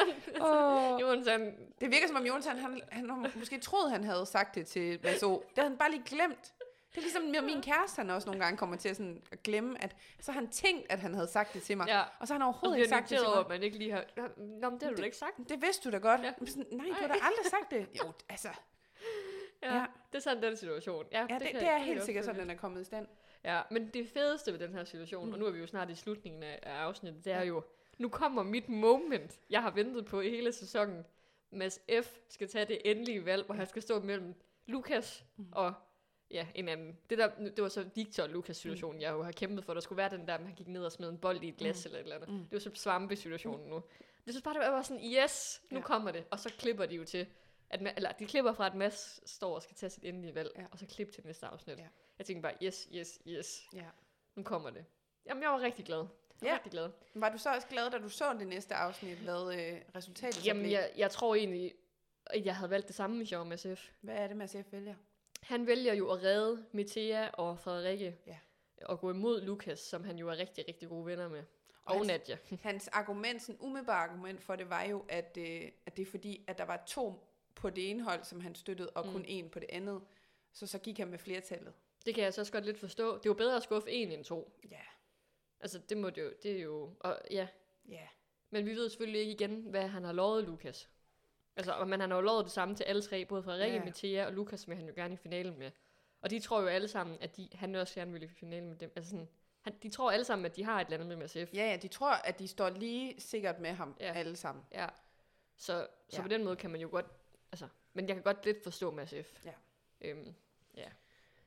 [SPEAKER 1] Oh.
[SPEAKER 2] *laughs* Jonathan,
[SPEAKER 1] Det virker som om Jonathan, han, han har måske troede, han havde sagt det til Vaso. Det havde han bare lige glemt. Det er ligesom med min kæreste, han også nogle gange kommer til at, sådan, at glemme, at så har han tænkt, at han havde sagt det til mig.
[SPEAKER 2] ja.
[SPEAKER 1] Og så har han
[SPEAKER 2] Og
[SPEAKER 1] overhovedet
[SPEAKER 2] bliver
[SPEAKER 1] ikke sagt det
[SPEAKER 2] noteret
[SPEAKER 1] til
[SPEAKER 2] over,
[SPEAKER 1] mig.
[SPEAKER 2] at man ikke lige har... Nå, men det har du da ikke sagt.
[SPEAKER 1] Det vidste du da godt.
[SPEAKER 2] Ja.
[SPEAKER 1] Ja. Sådan, nej, du har da aldrig sagt det. Jo, altså.
[SPEAKER 2] Ja, ja.
[SPEAKER 1] Ja.
[SPEAKER 2] Det er sådan den situation. Ja,
[SPEAKER 1] Ja, det,
[SPEAKER 2] kan-
[SPEAKER 1] det, er
[SPEAKER 2] kan jeg
[SPEAKER 1] helt
[SPEAKER 2] godt
[SPEAKER 1] sikkert
[SPEAKER 2] følge.
[SPEAKER 1] sådan, den er kommet i stand.
[SPEAKER 2] Ja, men det fedeste ved den her situation, mm. og nu er vi jo snart i slutningen af, af afsnittet, det er
[SPEAKER 1] Ja.
[SPEAKER 2] jo, nu kommer mit moment, jeg har ventet på i hele sæsonen. Mads F. skal tage det endelige valg, hvor han skal stå mellem Lukas mm. og ja, en anden. Det, der, det var så Victor og Lukas situationen, mm. jeg jo har kæmpet for. Der skulle være den der, man han gik ned og smed en bold i et glas mm. eller et eller andet. Mm.
[SPEAKER 1] Mm.
[SPEAKER 2] Det var så svampe-situationen nu. Jeg synes bare, det var bare sådan, yes, nu ja.
[SPEAKER 1] Ja.
[SPEAKER 2] kommer det. Og så klipper de jo til, at, Ma- eller de klipper fra, at Mads står og skal tage sit endelige valg, ja.
[SPEAKER 1] Ja.
[SPEAKER 2] og så klip til næste afsnit. Ja.
[SPEAKER 1] Ja.
[SPEAKER 2] Jeg tænkte bare, yes, yes, yes.
[SPEAKER 1] Ja.
[SPEAKER 2] Nu kommer det. Jamen, jeg var rigtig glad. Jeg var ja.
[SPEAKER 1] Ja.
[SPEAKER 2] rigtig glad.
[SPEAKER 1] Var du så også glad, da du så det næste afsnit, hvad øh, resultatet så
[SPEAKER 2] Jamen,
[SPEAKER 1] blev?
[SPEAKER 2] jeg, jeg tror egentlig, at jeg havde valgt det samme med Sjov med SF.
[SPEAKER 1] Hvad er det, Mads F. vælger?
[SPEAKER 2] Han vælger jo at redde Metea og Frederikke.
[SPEAKER 1] Ja.
[SPEAKER 2] Og gå imod Lukas, som han jo er rigtig, rigtig gode venner med.
[SPEAKER 1] Og
[SPEAKER 2] Og, og
[SPEAKER 1] hans-
[SPEAKER 2] Nadia.
[SPEAKER 1] Hans argument, sådan umiddelbare argument for det, var jo, at, øh, at det er fordi, at der var to på det ene hold, som han støttede, og
[SPEAKER 2] Mm.
[SPEAKER 1] mm. kun en på det andet. Så så gik han med flertallet.
[SPEAKER 2] Det kan jeg så også godt lidt forstå. Det er jo bedre at skuffe en end to.
[SPEAKER 1] Ja,
[SPEAKER 2] Altså, det må det jo... Det er jo og, ja.
[SPEAKER 1] ja.
[SPEAKER 2] Men vi ved selvfølgelig ikke igen, hvad han har lovet Lukas. Altså, og- men han har jo lovet det samme til alle tre, både Frederikke,
[SPEAKER 1] Ja.
[SPEAKER 2] yeah. Mathia og Lukas vil han jo gerne i finalen med. Og de tror jo alle sammen, at de, han også gerne vil i finalen med dem. Altså sådan, han, de tror alle sammen, at de har et eller andet med MSF.
[SPEAKER 1] Ja, ja, de tror, at de står lige sikkert med ham
[SPEAKER 2] Ja.
[SPEAKER 1] ja. alle sammen.
[SPEAKER 2] Ja. Så, så
[SPEAKER 1] Ja.
[SPEAKER 2] på den måde kan man jo godt, altså, men jeg kan godt lidt forstå MSF.
[SPEAKER 1] Ja.
[SPEAKER 2] Øhm,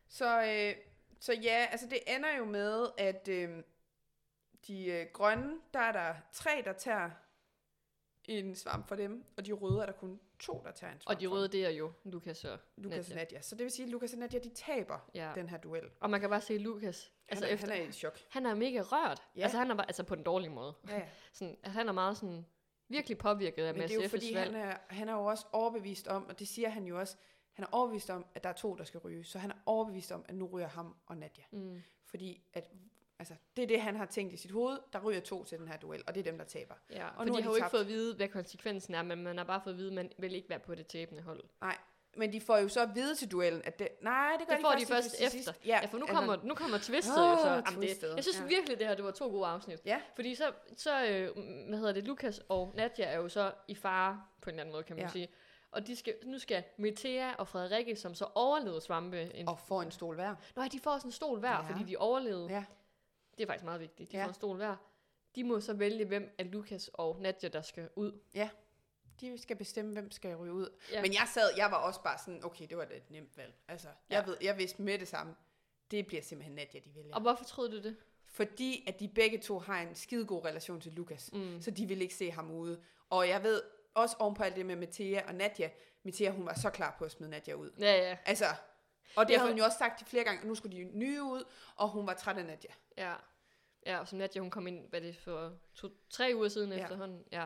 [SPEAKER 1] Så, øh, så ja, altså det ender jo med, at øh, de øh, grønne, der er der tre, der tager en svamp for dem, og de røde er der kun to, der tager en svamp
[SPEAKER 2] og de
[SPEAKER 1] for
[SPEAKER 2] røde, det er jo Lukas og
[SPEAKER 1] dem. Lukas
[SPEAKER 2] Nadia.
[SPEAKER 1] og Nadia. Så det vil sige, at Lukas og Nadia, de taber
[SPEAKER 2] Ja.
[SPEAKER 1] ja. den her duel.
[SPEAKER 2] Og man kan bare se Lukas,
[SPEAKER 1] Altså
[SPEAKER 2] altså
[SPEAKER 1] han, er, efter...
[SPEAKER 2] efter,
[SPEAKER 1] han er i chok.
[SPEAKER 2] han er mega rørt.
[SPEAKER 1] Ja.
[SPEAKER 2] Altså han er bare, altså på den dårlige måde.
[SPEAKER 1] Ja, ja.
[SPEAKER 2] Sådan, altså, han er meget sådan, virkelig påvirket af
[SPEAKER 1] Men det er jo
[SPEAKER 2] MSF's
[SPEAKER 1] fordi,
[SPEAKER 2] valg.
[SPEAKER 1] han er, han er jo også overbevist om, og det siger han jo også, han er overbevist om, at der er to, der skal ryge. Så han er overbevist om, at nu ryger ham og Nadia.
[SPEAKER 2] Mm.
[SPEAKER 1] Fordi at, altså, det er det, han har tænkt i sit hoved. Der ryger to til den her duel, og det er dem, der taber.
[SPEAKER 2] Ja, og
[SPEAKER 1] Og
[SPEAKER 2] for
[SPEAKER 1] nu har
[SPEAKER 2] de har jo
[SPEAKER 1] de
[SPEAKER 2] ikke
[SPEAKER 1] tabt.
[SPEAKER 2] fået at vide, hvad konsekvensen er, men man har bare fået at vide, at man vil ikke være på det tabende hold.
[SPEAKER 1] Men de får jo så at vide til duellen, at det, nej, det gør
[SPEAKER 2] Det
[SPEAKER 1] de
[SPEAKER 2] får de
[SPEAKER 1] lige
[SPEAKER 2] først
[SPEAKER 1] til
[SPEAKER 2] efter.
[SPEAKER 1] sidst.
[SPEAKER 2] Ja, ja, for nu kommer, nu kommer twistet oh, jo
[SPEAKER 1] altså-
[SPEAKER 2] så.
[SPEAKER 1] Åh,
[SPEAKER 2] Jamen, det,
[SPEAKER 1] twistet,
[SPEAKER 2] jeg synes ja.
[SPEAKER 1] ja.
[SPEAKER 2] virkelig, det her det var to gode afsnit.
[SPEAKER 1] Ja.
[SPEAKER 2] Fordi så, så øh, hvad hedder det, Lukas og Nadia er jo så i fare, på en eller anden måde, kan man ja.
[SPEAKER 1] Ja.
[SPEAKER 2] sige. Og de skal, nu skal Metea og Frederikke, som så overlevede svampe... En,
[SPEAKER 1] og får en stol hver.
[SPEAKER 2] Nå, ja, de får sådan en stol hver,
[SPEAKER 1] Ja.
[SPEAKER 2] ja. fordi de overlevede.
[SPEAKER 1] Ja.
[SPEAKER 2] Det er faktisk meget vigtigt. De ja.
[SPEAKER 1] Ja.
[SPEAKER 2] får en stol hver. De må så vælge, hvem af Lukas og Nadia, der skal ud.
[SPEAKER 1] De skal bestemme, hvem skal ryge ud.
[SPEAKER 2] Ja.
[SPEAKER 1] Ja. Men jeg sad, jeg var også bare sådan, okay, det var da et nemt valg. Altså, jeg,
[SPEAKER 2] Ja.
[SPEAKER 1] ved, jeg vidste med det samme, det bliver simpelthen Nadia, de vælger.
[SPEAKER 2] Og hvorfor troede du det?
[SPEAKER 1] Fordi at de begge to har en skide god relation til Lukas.
[SPEAKER 2] Mm.
[SPEAKER 1] Så de ville ikke se ham ude. Og jeg ved også ovenpå alt det med Mathia og Nadia. Mathia, hun var så klar på at smide Nadia ud.
[SPEAKER 2] Ja, ja,
[SPEAKER 1] Altså, og det
[SPEAKER 2] Ja,
[SPEAKER 1] havde
[SPEAKER 2] for-
[SPEAKER 1] hun jo også sagt flere gange, at nu skulle de nye ud, og hun var træt af Nadia.
[SPEAKER 2] Ja. Ja, og som Nadia, hun kom ind, hvad er det for to, tre uger siden ja.
[SPEAKER 1] Ja.
[SPEAKER 2] efterhånden. Ja.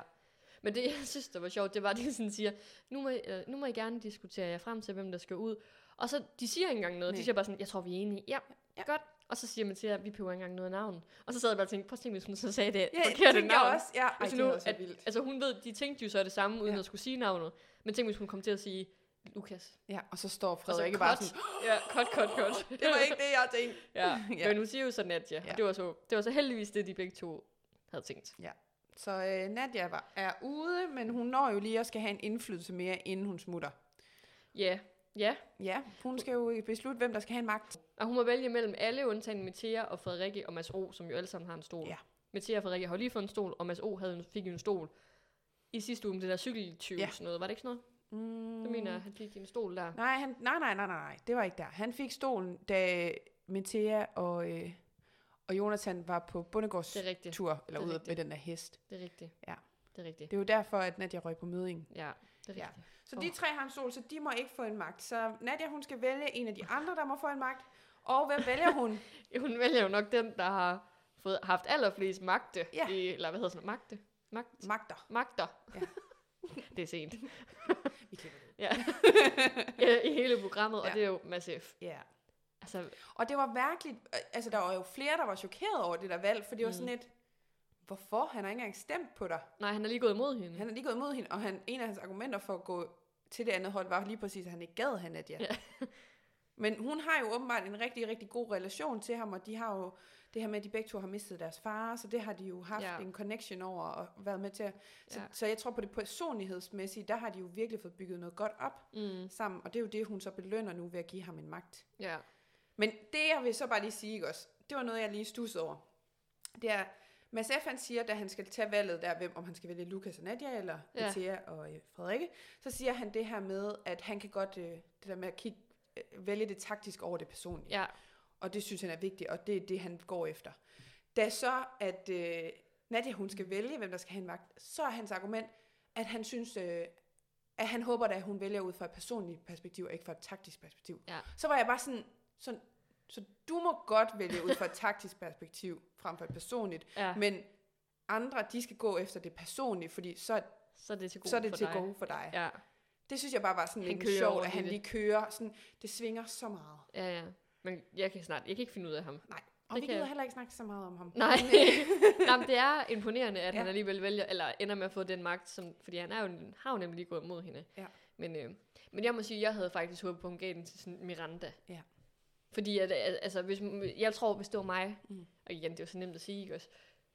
[SPEAKER 2] Men det, *laughs* jeg synes, der var sjovt, det var, at de sådan siger, nu må, I- øh, nu må I gerne diskutere jer frem til, hvem der skal ud. Og så, de siger ikke engang noget. Nej. De
[SPEAKER 1] Nej.
[SPEAKER 2] siger bare sådan, jeg tror, vi er enige. Ja, ja.
[SPEAKER 1] Ja.
[SPEAKER 2] godt. Og så siger man til jer, vi behøver ikke engang noget navn. Og så sad jeg bare og tænkte, prøv at tænke, hvis hun så sagde det ja,
[SPEAKER 1] det
[SPEAKER 2] forkerte
[SPEAKER 1] tænkte jeg
[SPEAKER 2] navn.
[SPEAKER 1] også. Ja, ej,
[SPEAKER 2] Hvis
[SPEAKER 1] det
[SPEAKER 2] nu,
[SPEAKER 1] havde også
[SPEAKER 2] at,
[SPEAKER 1] været vildt.
[SPEAKER 2] altså hun ved, de tænkte jo så det samme, uden ja.
[SPEAKER 1] Ja.
[SPEAKER 2] at skulle sige navnet. Men tænk, hvis hun kom til at sige, Lukas.
[SPEAKER 1] Ja, og så står
[SPEAKER 2] Og så
[SPEAKER 1] Frederik bare
[SPEAKER 2] cut.
[SPEAKER 1] sådan,
[SPEAKER 2] Ja, kort, kort, kort.
[SPEAKER 1] det var ikke det, jeg tænkte.
[SPEAKER 2] *laughs* Ja, ja.
[SPEAKER 1] Ja.
[SPEAKER 2] men hun siger jo så Nadia, ja.
[SPEAKER 1] Ja.
[SPEAKER 2] og det var, så, det var så heldigvis det, de begge to havde tænkt.
[SPEAKER 1] Så øh, Nadia var, er ude, men hun når jo lige at skal have en indflydelse mere, inden hun smutter.
[SPEAKER 2] Ja, ja.
[SPEAKER 1] Ja, hun skal jo beslutte, hvem der skal have en magt.
[SPEAKER 2] Og hun må vælge mellem alle undtagen Metea og Frederikke og Mads O, som jo alle sammen har en stol.
[SPEAKER 1] Ja.
[SPEAKER 2] Metea og Frederikke har jo lige fået en stol, og Mads O havde en, fik jo en stol i sidste uge med det der cykeltyv ja.
[SPEAKER 1] Ja.
[SPEAKER 2] sådan noget. Var det ikke sådan noget?
[SPEAKER 1] Mm.
[SPEAKER 2] Mm. Det mener jeg, han fik en stol der.
[SPEAKER 1] Nej, han, nej, nej, nej, nej, nej, det var ikke der. Han fik stolen, da Metea og, øh, og Jonathan var på
[SPEAKER 2] Det er
[SPEAKER 1] Bundegårds
[SPEAKER 2] rigtigt,
[SPEAKER 1] tur, eller
[SPEAKER 2] det er
[SPEAKER 1] ude
[SPEAKER 2] rigtigt.
[SPEAKER 1] med den der hest.
[SPEAKER 2] det er rigtigt.
[SPEAKER 1] Ja.
[SPEAKER 2] Det er rigtigt.
[SPEAKER 1] Det er jo derfor, at Nadia røg på mødingen.
[SPEAKER 2] Ja, det er
[SPEAKER 1] Ja.
[SPEAKER 2] rigtigt.
[SPEAKER 1] Så
[SPEAKER 2] Åh.
[SPEAKER 1] de tre har en stol, så de må ikke få en magt. Så Nadia, hun skal vælge en af de andre, der må få en magt. Og hvem vælger *laughs* hun?
[SPEAKER 2] Ja. Hun vælger jo nok den, der har fået, haft allerflest magte.
[SPEAKER 1] Ja.
[SPEAKER 2] I, eller hvad hedder sådan noget? Magte? Magt,
[SPEAKER 1] Magter.
[SPEAKER 2] magter. Ja.
[SPEAKER 1] Ja.
[SPEAKER 2] *laughs* det er sent.
[SPEAKER 1] Vi klipper det.
[SPEAKER 2] Ja. I hele programmet, og
[SPEAKER 1] Ja.
[SPEAKER 2] det er jo Mads F.
[SPEAKER 1] Ja.
[SPEAKER 2] Altså,
[SPEAKER 1] øh, Mm. Og det var virkelig, altså der var jo flere, der var chokeret over det der valg, for det var sådan lidt, hvorfor? Han har ikke engang stemt på dig.
[SPEAKER 2] Nej, han er lige gået imod hende.
[SPEAKER 1] Han er lige gået imod hende, og han, en af hans argumenter for at gå til det andet hold var lige præcis, at han ikke gad han at ja.
[SPEAKER 2] Ja.
[SPEAKER 1] *laughs* Men hun har jo åbenbart en rigtig, rigtig god relation til ham, og de har jo det her med, at de begge to har mistet deres far, så det har de jo haft
[SPEAKER 2] Ja.
[SPEAKER 1] ja. en connection over og været med til. at- Så,
[SPEAKER 2] Ja.
[SPEAKER 1] ja. så jeg tror på det personlighedsmæssige, der har de jo virkelig fået bygget noget godt op
[SPEAKER 2] Mm,
[SPEAKER 1] sammen, og det er jo det, hun så belønner nu ved at give ham en magt.
[SPEAKER 2] ja.
[SPEAKER 1] Men det, jeg vil så bare lige sige, ikke også, det var noget, jeg lige stussede over. Det er, Mads F. han siger, da han skal tage valget der, hvem, om han skal vælge Lukas og Nadia, eller
[SPEAKER 2] Ja.
[SPEAKER 1] ja. Etia og øh, Frederikke, så siger han det her med, at han kan godt, øh, det der med at kigge, øh, vælge det taktisk over det personlige.
[SPEAKER 2] Ja,
[SPEAKER 1] Og det synes han er vigtigt, og det er det, han går efter. Da så, at øh, Nadia, hun skal vælge, hvem der skal have en magt, så er hans argument, at han synes, øh, at han håber, da, at hun vælger ud fra et personligt perspektiv, og ikke fra et taktisk perspektiv.
[SPEAKER 2] Ja.
[SPEAKER 1] Så var jeg bare sådan, sådan, så du må godt vælge ud fra et taktisk perspektiv, frem for et personligt,
[SPEAKER 2] ja.
[SPEAKER 1] men andre, de skal gå efter det personlige, fordi så,
[SPEAKER 2] Så er det til gode
[SPEAKER 1] så er det
[SPEAKER 2] for
[SPEAKER 1] til
[SPEAKER 2] dig.
[SPEAKER 1] gode for dig. Ja.
[SPEAKER 2] Ja,
[SPEAKER 1] Det synes jeg bare var sådan
[SPEAKER 2] Han
[SPEAKER 1] lidt
[SPEAKER 2] kører
[SPEAKER 1] sjovt,
[SPEAKER 2] over
[SPEAKER 1] at han
[SPEAKER 2] i det.
[SPEAKER 1] lige kører. Sådan, det svinger så meget.
[SPEAKER 2] ja, ja. Men jeg kan snart, jeg kan ikke finde ud af ham.
[SPEAKER 1] Nej, og
[SPEAKER 2] Det
[SPEAKER 1] vi
[SPEAKER 2] kan-
[SPEAKER 1] gider heller ikke snakke så meget om ham.
[SPEAKER 2] Nej, *laughs* Nej men det er imponerende, at ja. han
[SPEAKER 1] Ja.
[SPEAKER 2] alligevel vælger, eller ender med at få den magt, som, fordi han er jo, har jo nemlig lige gået mod hende.
[SPEAKER 1] Ja.
[SPEAKER 2] Men, øh, men jeg må sige, jeg havde faktisk håbet på, at hun gav den til sådan Miranda.
[SPEAKER 1] Ja.
[SPEAKER 2] Fordi at, al- altså, hvis, jeg tror, hvis det var mig, mm.
[SPEAKER 1] Mm.
[SPEAKER 2] og igen, det er jo så nemt at sige, ikke også?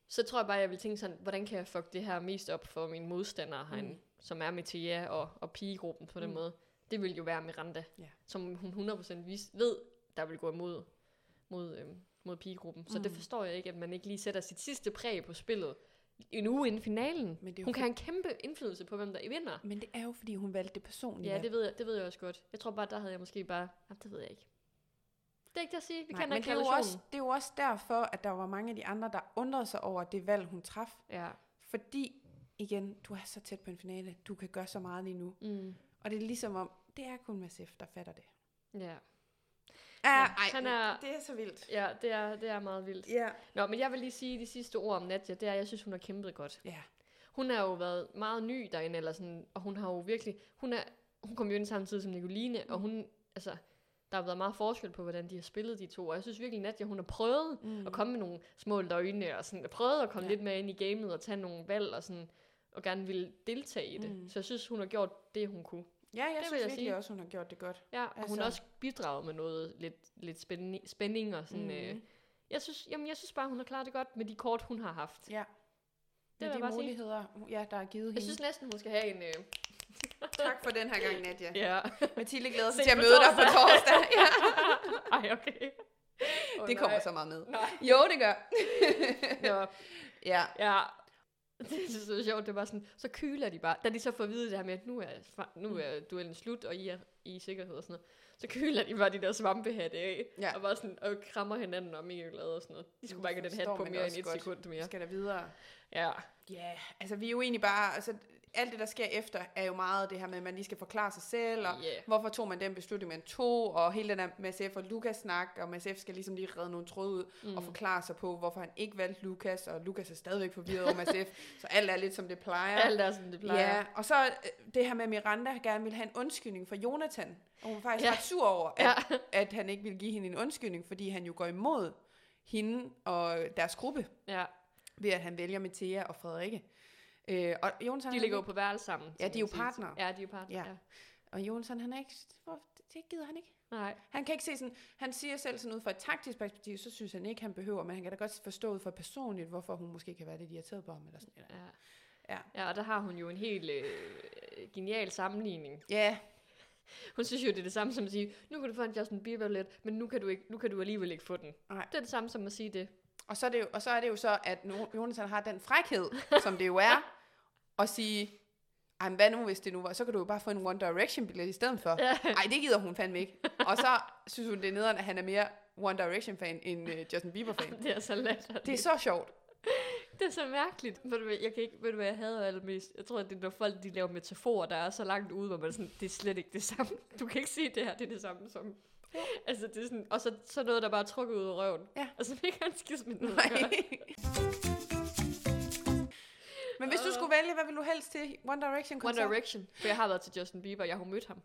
[SPEAKER 2] Så tror jeg bare, jeg ville tænke sådan, hvordan kan jeg fuck det her mest op for mine modstandere herinde, mm. som er Metea og, og pigegruppen på den
[SPEAKER 1] Mm.
[SPEAKER 2] måde. Det ville jo være Miranda,
[SPEAKER 1] Ja.
[SPEAKER 2] som hun 100% vis, ved, der vil gå imod mod, øhm, mod pigegruppen. Så mm. det
[SPEAKER 1] Mm.
[SPEAKER 2] forstår jeg ikke, at man ikke lige sætter sit sidste præg på spillet en uge inden finalen.
[SPEAKER 1] Men det er jo
[SPEAKER 2] Hun kan have en kæmpe indflydelse på, hvem der vinder.
[SPEAKER 1] Men det er jo, fordi hun valgte det personlige.
[SPEAKER 2] Ja, det ved, jeg, det ved jeg også godt. Jeg tror bare, der havde jeg måske bare... Jamen, det ved jeg ikke. Det er ikke det at sige. Vi
[SPEAKER 1] Nej,
[SPEAKER 2] kan
[SPEAKER 1] men
[SPEAKER 2] ikke
[SPEAKER 1] det er, jo
[SPEAKER 2] relationen.
[SPEAKER 1] også, det er jo også derfor, at der var mange af de andre, der undrede sig over det valg, hun traf.
[SPEAKER 2] Ja.
[SPEAKER 1] Fordi, igen, du er så tæt på en finale. Du kan gøre så meget lige nu.
[SPEAKER 2] Mm.
[SPEAKER 1] Og det er ligesom om, det er kun Mads F., der fatter det.
[SPEAKER 2] Ja.
[SPEAKER 1] Ja,
[SPEAKER 2] ej, han er-
[SPEAKER 1] det er så vildt.
[SPEAKER 2] ja, det er, det er meget vildt.
[SPEAKER 1] Ja.
[SPEAKER 2] Nå, men jeg vil lige sige de sidste ord om Nadja, det er, at jeg synes, hun har kæmpet godt.
[SPEAKER 1] Ja.
[SPEAKER 2] Hun har jo været meget ny derinde, eller sådan, og hun har jo virkelig... Hun, er, hun kom jo ind samtidig som Nicoline, mm. og hun... Altså, der har været meget forskel på, hvordan de har spillet de to, og jeg synes virkelig, Nadja, hun har prøvet
[SPEAKER 1] Mm.
[SPEAKER 2] og komme med nogle små løgne, og sådan, prøvede at komme ja.
[SPEAKER 1] Ja.
[SPEAKER 2] lidt med ind i gamet, og tage nogle valg, og sådan, og gerne ville deltage i det. Mm.
[SPEAKER 1] Mm.
[SPEAKER 2] Så jeg synes, hun har gjort det, hun kunne.
[SPEAKER 1] Ja, jeg
[SPEAKER 2] vil
[SPEAKER 1] det synes jeg
[SPEAKER 2] jeg
[SPEAKER 1] virkelig
[SPEAKER 2] sige.
[SPEAKER 1] sige. også, hun har gjort det godt.
[SPEAKER 2] Ja, og altså. hun
[SPEAKER 1] Altså-
[SPEAKER 2] har også bidraget med noget lidt, lidt spænding, spænding og sådan. Mm. Øh,
[SPEAKER 1] Mhm.
[SPEAKER 2] jeg, synes, jamen, jeg synes bare, hun har klaret det godt med de kort, hun har haft.
[SPEAKER 1] Ja.
[SPEAKER 2] vil
[SPEAKER 1] Med
[SPEAKER 2] jeg
[SPEAKER 1] de
[SPEAKER 2] bare sige.
[SPEAKER 1] muligheder, hun- ja, der er givet hende.
[SPEAKER 2] Jeg synes næsten, hun skal have en... Øh,
[SPEAKER 1] Tak for den her
[SPEAKER 2] *laughs*
[SPEAKER 1] gang, Nadia.
[SPEAKER 2] ja.
[SPEAKER 1] Mathilde glæder sig
[SPEAKER 2] Ses
[SPEAKER 1] til at
[SPEAKER 2] på
[SPEAKER 1] møde dig på
[SPEAKER 2] torsdag.
[SPEAKER 1] torsdag. *laughs* Ja.
[SPEAKER 2] Ej, okay. *laughs* Oh,
[SPEAKER 1] Det kommer så meget med.
[SPEAKER 2] Nej.
[SPEAKER 1] Jo, det gør.
[SPEAKER 2] Nå,
[SPEAKER 1] Ja.
[SPEAKER 2] Ja. Det er så sjovt, det var sådan, så kyler de bare. Da de så får at vide det her med, at nu er, fa-
[SPEAKER 1] Mm.
[SPEAKER 2] nu er duellen slut, og I er i er i sikkerhed og sådan noget, så kyler de bare de der svampehatte af,
[SPEAKER 1] Ja.
[SPEAKER 2] og bare sådan, og krammer hinanden og mega glade og sådan noget. De skulle
[SPEAKER 1] Det
[SPEAKER 2] bare ikke have den
[SPEAKER 1] forstår
[SPEAKER 2] hat på
[SPEAKER 1] man
[SPEAKER 2] mere
[SPEAKER 1] også
[SPEAKER 2] end et
[SPEAKER 1] godt.
[SPEAKER 2] sekund
[SPEAKER 1] Vi
[SPEAKER 2] mere.
[SPEAKER 1] skal der videre.
[SPEAKER 2] Ja,
[SPEAKER 1] Ja, yeah. altså vi er jo egentlig bare, altså alt det, der sker efter, er jo meget det her med, at man lige skal forklare sig selv, og
[SPEAKER 2] Ja.
[SPEAKER 1] hvorfor tog man den beslutning, man tog, og hele den der Mads F. og Lukas-snak, og Mads F. skal ligesom lige redde nogle tråde ud, mm. og forklare sig på, hvorfor han ikke valgte Lukas, og Lukas er stadigvæk forvirret over Mads
[SPEAKER 2] *laughs*
[SPEAKER 1] F., så alt er lidt, som det plejer.
[SPEAKER 2] alt er, som det plejer.
[SPEAKER 1] Ja, og så øh, det her med, at Miranda gerne ville have en undskyldning for Jonathan. Og hun var faktisk
[SPEAKER 2] Ja.
[SPEAKER 1] ja. ret sur over, at, ja. at han ikke ville give hende en undskyldning, fordi han jo går imod hende og deres gruppe,
[SPEAKER 2] ja.
[SPEAKER 1] ved at han vælger Metea og Frederikke. Øh, og Jonathan,
[SPEAKER 2] De
[SPEAKER 1] han
[SPEAKER 2] ligger jo
[SPEAKER 1] ikke,
[SPEAKER 2] på værelse sammen.
[SPEAKER 1] Ja,
[SPEAKER 2] som
[SPEAKER 1] de er jo
[SPEAKER 2] man siger.
[SPEAKER 1] partnere.
[SPEAKER 2] Ja, de er jo partnere, ja.
[SPEAKER 1] Ja. og Jonathan, han er ikke... Hvor, det gider han ikke.
[SPEAKER 2] Nej,
[SPEAKER 1] Han kan ikke se sådan... Han siger selv sådan ud fra et taktisk perspektiv, så synes han ikke, han behøver, men han kan da godt forstå ud fra personligt, hvorfor hun måske kan være lidt irriteret på ham. Eller sådan. Eller.
[SPEAKER 2] ja.
[SPEAKER 1] Ja.
[SPEAKER 2] ja, og der har hun jo en helt øh, genial sammenligning
[SPEAKER 1] Ja,
[SPEAKER 2] Hun synes jo, det er det samme som at sige, nu kan du få en Justin Bieber-billet, men nu kan, du ikke, nu kan du alligevel ikke få den.
[SPEAKER 1] Nej.
[SPEAKER 2] Det er det samme som at sige det. *laughs*
[SPEAKER 1] og så, er det jo, og så er det jo så, at no- Jonathan har den frækhed, som det jo
[SPEAKER 2] *laughs*
[SPEAKER 1] er, at sige, ej, men hvad nu, hvis det nu var? Så kan du jo bare få en One Direction-billet i stedet for.
[SPEAKER 2] Ja.
[SPEAKER 1] Ej, det gider hun fandme ikke. Og så synes hun, det er nederen, at han er mere One Direction-fan end øh, Justin Bieber-fan.
[SPEAKER 2] *laughs* Det er så latterligt.
[SPEAKER 1] Det
[SPEAKER 2] Det,
[SPEAKER 1] er så sjovt.
[SPEAKER 2] det er så mærkeligt. Ved du, hvad, jeg kan ikke, ved du, hvad jeg hader allermest? Jeg tror, at det er, når folk de laver metaforer, der er så langt ude, hvor man er sådan, det er slet ikke det samme. *laughs* Du kan ikke sige, det her det er det samme som... Altså, det er sådan, og så, så noget, der bare er trukket ud af røven.
[SPEAKER 1] Ja.
[SPEAKER 2] Altså, vi kan ikke skide med noget.
[SPEAKER 1] Nej. Men hvis du skulle vælge, hvad vil du helst til? One Direction
[SPEAKER 2] *laughs* One
[SPEAKER 1] koncert?
[SPEAKER 2] Direction, for jeg har været til Justin Bieber, jeg har jo mødt ham.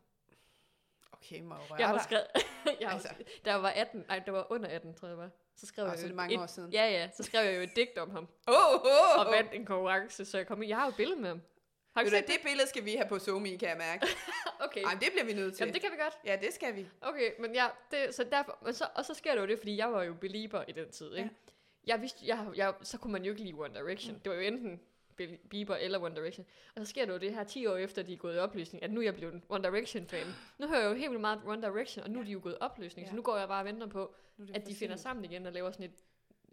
[SPEAKER 1] okay, må jeg røre
[SPEAKER 2] Jeg har
[SPEAKER 1] dig?
[SPEAKER 2] skrevet... *laughs* jeg har,
[SPEAKER 1] Altså.
[SPEAKER 2] altså. Der var 18... Nej, der var under 18, tror jeg det var. Så skrev
[SPEAKER 1] Åh,
[SPEAKER 2] jeg
[SPEAKER 1] så
[SPEAKER 2] jo
[SPEAKER 1] er det mange
[SPEAKER 2] øh, et,
[SPEAKER 1] år siden.
[SPEAKER 2] Ja, ja. Så skrev jeg jo et digt om
[SPEAKER 1] *laughs*
[SPEAKER 2] ham.
[SPEAKER 1] Åh, oh, oh,
[SPEAKER 2] Og vandt en konkurrence, så jeg kom i. Jeg har jo et billede med ham. Har
[SPEAKER 1] Ved
[SPEAKER 2] du set
[SPEAKER 1] du, hvad, det billede skal vi have på Zomi, kan jeg mærke.
[SPEAKER 2] Okay.
[SPEAKER 1] Ej, det bliver vi nødt til.
[SPEAKER 2] Jamen, det kan vi godt.
[SPEAKER 1] Ja, det skal vi.
[SPEAKER 2] Okay, men ja, det, så derfor, men så, og så sker det jo det, fordi jeg var jo belieber i den tid, ikke?
[SPEAKER 1] Ja.
[SPEAKER 2] Jeg vidste, jeg, jeg, så kunne man jo ikke lide One Direction. Mm. Det var jo enten Be- Bieber eller One Direction. Og så sker det jo det her 10 år efter, de er gået i opløsning, at nu er jeg blevet en One Direction-fan. Nu hører jeg jo helt vildt meget One Direction, og nu er de jo gået i opløsning,
[SPEAKER 1] Ja.
[SPEAKER 2] så nu går jeg bare og venter på,
[SPEAKER 1] Nu er det
[SPEAKER 2] at
[SPEAKER 1] for
[SPEAKER 2] de finder
[SPEAKER 1] sent.
[SPEAKER 2] sammen igen og laver sådan et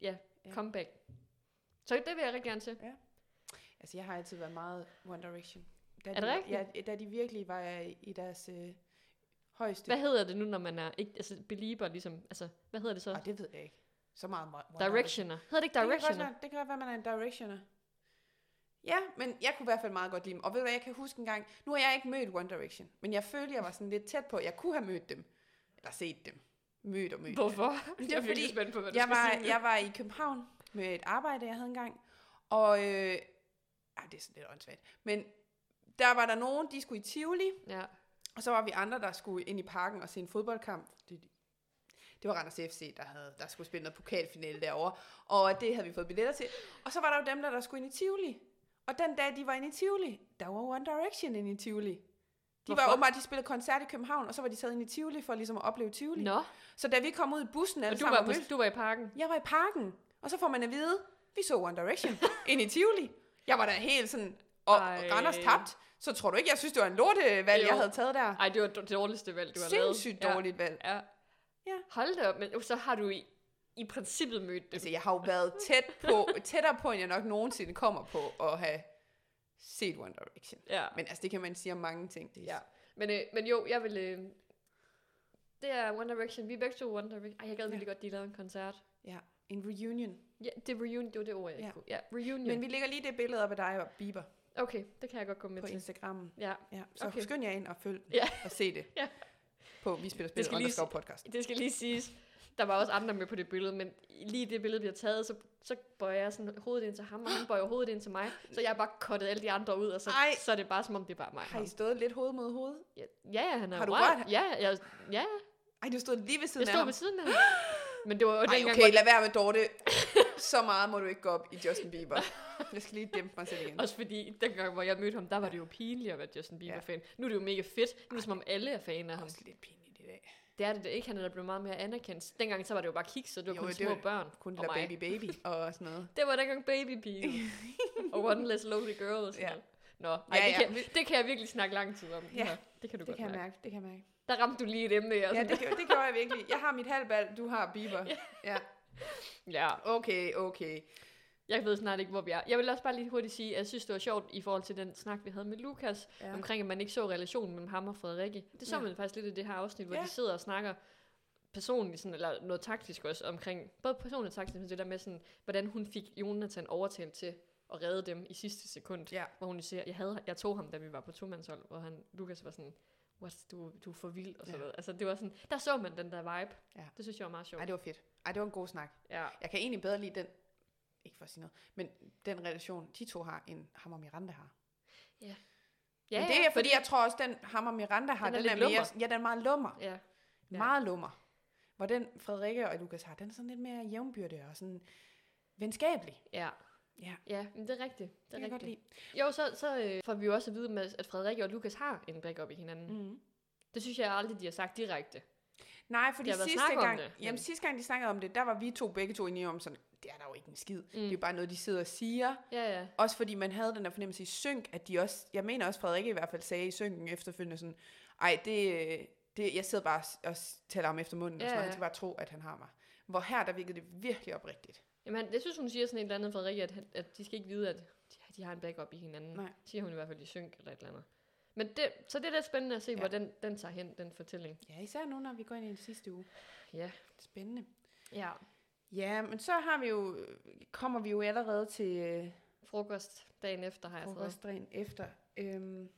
[SPEAKER 2] ja,
[SPEAKER 1] Ja.
[SPEAKER 2] comeback. Så det vil jeg rigtig gerne se.
[SPEAKER 1] Altså, jeg har altid været meget One Direction. Da
[SPEAKER 2] Er det
[SPEAKER 1] de, var-
[SPEAKER 2] rigtigt?
[SPEAKER 1] Ja, da de virkelig var i deres øh, højeste...
[SPEAKER 2] Hvad hedder det nu, når man er ikke, altså, belieber ligesom, altså, hvad hedder det så?
[SPEAKER 1] Ah, det ved jeg ikke. Så meget om One Direction.
[SPEAKER 2] Directioner. Hedder det ikke Directioner?
[SPEAKER 1] Det kan, godt være, det kan godt være, man er en directioner. Ja, men jeg kunne i hvert fald meget godt lide dem. Og ved du hvad, jeg kan huske en gang, nu har jeg ikke mødt One Direction, men jeg følte, jeg var sådan lidt tæt på, jeg kunne have mødt dem. Eller set dem. Mødt og mødt.
[SPEAKER 2] Hvorfor? *laughs*
[SPEAKER 1] Det er
[SPEAKER 2] jeg er virkelig
[SPEAKER 1] fordi,
[SPEAKER 2] spændt på, hvad du
[SPEAKER 1] jeg
[SPEAKER 2] skal
[SPEAKER 1] var,
[SPEAKER 2] sige. nu.
[SPEAKER 1] jeg var i København med et arbejde, jeg havde engang, og øh, ej, det er sådan lidt åndssvagt, men der var der nogen, de skulle i Tivoli,
[SPEAKER 2] Ja.
[SPEAKER 1] og så var vi andre, der skulle ind i parken og se en fodboldkamp. Det, det var Randers FC, der, havde, der skulle spille noget pokalfinale derovre, og det havde vi fået billetter til. Og så var der jo dem, der, der skulle ind i Tivoli. Og den dag, de var inde i Tivoli, der var One Direction inde i Tivoli. De var
[SPEAKER 2] Hvorfor?
[SPEAKER 1] åbenbart, de spillede koncert i København, og så var de taget ind i Tivoli for ligesom at opleve Tivoli.
[SPEAKER 2] Nå,
[SPEAKER 1] Så da vi kom ud i bussen alle
[SPEAKER 2] og du
[SPEAKER 1] sammen
[SPEAKER 2] var, på,
[SPEAKER 1] mødte-
[SPEAKER 2] du var i parken.
[SPEAKER 1] jeg var i parken, og så får man at vide, vi så One
[SPEAKER 2] *laughs*
[SPEAKER 1] Direction ind i Tivoli. Jeg var da helt sådan, og, og
[SPEAKER 2] Ej.
[SPEAKER 1] Randers tabt, så tror du ikke, jeg synes, det var en lortevalg,
[SPEAKER 2] Jo.
[SPEAKER 1] jeg havde taget der.
[SPEAKER 2] Ej, det var det dårligste valg, du har lavet.
[SPEAKER 1] Sindssygt dårligt valg.
[SPEAKER 2] Ja. ja.
[SPEAKER 1] Ja.
[SPEAKER 2] Hold da op, men så har du i, i princippet mødt dem.
[SPEAKER 1] Altså, jeg har jo været tæt på, tættere på, end jeg nok nogensinde kommer på at have set One Direction.
[SPEAKER 2] Ja.
[SPEAKER 1] Men altså, det kan man sige om mange ting. Det er-
[SPEAKER 2] ja. Men, øh, men jo, jeg vil... Øh, det er One Direction. Vi er begge to One Direction. Ej, jeg gad
[SPEAKER 1] Ja.
[SPEAKER 2] virkelig godt, de lavede en koncert.
[SPEAKER 1] ja. En reunion.
[SPEAKER 2] Ja, det er reunion, det var det ord, jeg ikke
[SPEAKER 1] Ja.
[SPEAKER 2] kunne. Ja, reunion.
[SPEAKER 1] Men vi lægger lige det billede op af dig og Bieber
[SPEAKER 2] Okay, det kan jeg godt gå med
[SPEAKER 1] på
[SPEAKER 2] til.
[SPEAKER 1] Instagram.
[SPEAKER 2] Ja.
[SPEAKER 1] Ja. Så
[SPEAKER 2] Okay.
[SPEAKER 1] okay. skynd jer ind og følg den
[SPEAKER 2] Ja.
[SPEAKER 1] og se det.
[SPEAKER 2] Ja.
[SPEAKER 1] På Vi Spiller
[SPEAKER 2] Det skal
[SPEAKER 1] Spil
[SPEAKER 2] lige
[SPEAKER 1] underscore podcast.
[SPEAKER 2] Det skal lige siges, der var også andre med på det billede, men lige det billede, vi har taget, så, så bøjer jeg sådan hovedet ind til ham, og han bøjer hovedet ind til mig. Så jeg har bare kottet alle de andre ud, og så,
[SPEAKER 1] Ej.
[SPEAKER 2] så er det bare som om, det er bare mig. og
[SPEAKER 1] Har I
[SPEAKER 2] ham.
[SPEAKER 1] stået lidt hoved mod hoved?
[SPEAKER 2] Ja, ja, han er
[SPEAKER 1] Har du
[SPEAKER 2] wild.
[SPEAKER 1] rørt-
[SPEAKER 2] Ja, jeg, ja,
[SPEAKER 1] Ej, du stod lige ved siden
[SPEAKER 2] jeg
[SPEAKER 1] af
[SPEAKER 2] stod
[SPEAKER 1] ham.
[SPEAKER 2] ved siden af ham. Men det var jo
[SPEAKER 1] Ej,
[SPEAKER 2] dengang,
[SPEAKER 1] okay,
[SPEAKER 2] hvor
[SPEAKER 1] lad være med
[SPEAKER 2] *laughs*
[SPEAKER 1] Dorte. Så meget må du ikke gå op i Justin Bieber. Jeg skal lige dæmpe mig selv igen.
[SPEAKER 2] det, også fordi dengang, hvor jeg mødte ham, der var det jo pinligt at være Justin Bieber-fan. Nu er det jo mega fedt. Nu er det som om alle er fan af ham.
[SPEAKER 1] Også lidt pinligt i dag.
[SPEAKER 2] Det er det da ikke. Han er da blevet meget mere anerkendt. Dengang så var det jo bare kiks, og det var
[SPEAKER 1] Jo,
[SPEAKER 2] kun
[SPEAKER 1] det
[SPEAKER 2] små
[SPEAKER 1] var-
[SPEAKER 2] børn.
[SPEAKER 1] Kun det
[SPEAKER 2] og
[SPEAKER 1] der
[SPEAKER 2] mig.
[SPEAKER 1] baby baby og sådan noget.
[SPEAKER 2] Det var dengang
[SPEAKER 1] *laughs*
[SPEAKER 2] babypigen. og One Less Lonely Girl og sådan
[SPEAKER 1] Ja.
[SPEAKER 2] noget. Nå, ej,
[SPEAKER 1] Ja,
[SPEAKER 2] det,
[SPEAKER 1] ja.
[SPEAKER 2] kan, det kan jeg virkelig snakke lang tid om.
[SPEAKER 1] Ja,
[SPEAKER 2] Nå, det kan du
[SPEAKER 1] Det
[SPEAKER 2] godt
[SPEAKER 1] kan jeg
[SPEAKER 2] mærke.
[SPEAKER 1] mærke, det kan jeg mærke.
[SPEAKER 2] Der ramte du lige et emne. Jeg,
[SPEAKER 1] Ja,
[SPEAKER 2] ja,
[SPEAKER 1] det, gjorde- det gjorde jeg virkelig. Jeg har mit halvbal, du har Bieber. Ja,
[SPEAKER 2] ja,
[SPEAKER 1] okay, okay.
[SPEAKER 2] jeg ved snart ikke, hvor vi er. Jeg vil også bare lige hurtigt sige, at jeg synes, det var sjovt i forhold til den snak, vi havde med Lukas, ja.
[SPEAKER 1] Ja.
[SPEAKER 2] omkring, at man ikke så relationen mellem ham og Frederikke. Det så
[SPEAKER 1] Ja.
[SPEAKER 2] man faktisk lidt i det her afsnit, hvor
[SPEAKER 1] Ja.
[SPEAKER 2] de sidder og snakker personligt, sådan, eller noget taktisk også, omkring både personligt og taktisk, men det der med, sådan, hvordan hun fik Jonathan overtalt til at redde dem i sidste sekund.
[SPEAKER 1] Ja,
[SPEAKER 2] hvor hun siger, jeg, havde, jeg tog ham, da vi var på tomandshold, hvor han, Lukas var sådan, What, du, du er for vild, og sådan
[SPEAKER 1] Ja.
[SPEAKER 2] noget. Altså, det var sådan, der så man den der vibe.
[SPEAKER 1] Ja.
[SPEAKER 2] Det synes jeg var meget sjovt.
[SPEAKER 1] ej, det var fedt. Ej, det var en god snak.
[SPEAKER 2] ja.
[SPEAKER 1] Jeg kan egentlig bedre lide den, ikke for at sige noget, men den relation, de to har, end ham og Miranda har.
[SPEAKER 2] Ja,
[SPEAKER 1] men det er,
[SPEAKER 2] ja,
[SPEAKER 1] fordi, fordi jeg tror også, den ham og Miranda har,
[SPEAKER 2] Den er
[SPEAKER 1] den,
[SPEAKER 2] lidt
[SPEAKER 1] er, mere,
[SPEAKER 2] lummer.
[SPEAKER 1] ja, den er meget lummer.
[SPEAKER 2] ja. Ja.
[SPEAKER 1] Ja. Meget lummer. Hvor den Frederikke og Lukas har, den er sådan lidt mere jævnbyrdig og sådan venskabelig.
[SPEAKER 2] Ja.
[SPEAKER 1] Ja.
[SPEAKER 2] Ja, men det er rigtigt.
[SPEAKER 1] Det
[SPEAKER 2] Det
[SPEAKER 1] kan jeg
[SPEAKER 2] er
[SPEAKER 1] godt
[SPEAKER 2] rigtigt.
[SPEAKER 1] lide.
[SPEAKER 2] Jo, så, så øh, får vi jo også at vide, med, at Frederikke og Lukas har en backup i hinanden. Mm.
[SPEAKER 1] Mm.
[SPEAKER 2] Det synes jeg aldrig, de har sagt direkte.
[SPEAKER 1] Nej, fordi
[SPEAKER 2] Der har været
[SPEAKER 1] sidste
[SPEAKER 2] snak om
[SPEAKER 1] gang,
[SPEAKER 2] det,
[SPEAKER 1] det,
[SPEAKER 2] men-
[SPEAKER 1] jamen, sidste gang, de snakkede om det, der var vi to begge to enige om sådan, det er der jo ikke en skid. Mm. Det er jo
[SPEAKER 2] Mm.
[SPEAKER 1] bare noget, de sidder og siger.
[SPEAKER 2] Ja, ja.
[SPEAKER 1] Også fordi man havde den der fornemmelse i synk, at de også, jeg mener også, Frederikke i hvert fald sagde i synken efterfølgende sådan, ej, det, det, jeg sidder bare og s- og s- taler om efter munden,
[SPEAKER 2] Ja,
[SPEAKER 1] og sådan, noget.
[SPEAKER 2] ja.
[SPEAKER 1] han skal bare tro, at han har mig. Hvor her, der virkede det virkelig oprigtigt.
[SPEAKER 2] Jamen, han- jeg synes, hun siger sådan et eller andet, Frederikke, at, han- at de skal ikke vide, at de, de har en backup i hinanden.
[SPEAKER 1] Nej.
[SPEAKER 2] Siger hun i hvert fald i synk eller et eller andet. Men det, så det er lidt spændende at se, ja.
[SPEAKER 1] Ja.
[SPEAKER 2] hvor den, den tager hen, den fortælling.
[SPEAKER 1] Ja, især nu, når vi går ind i den sidste uge.
[SPEAKER 2] Ja.
[SPEAKER 1] Spændende.
[SPEAKER 2] Ja.
[SPEAKER 1] Ja, men så har vi jo, kommer vi jo allerede til øh,
[SPEAKER 2] frokost dagen efter, har jeg frokost.
[SPEAKER 1] frokostdagen efter. Øhm,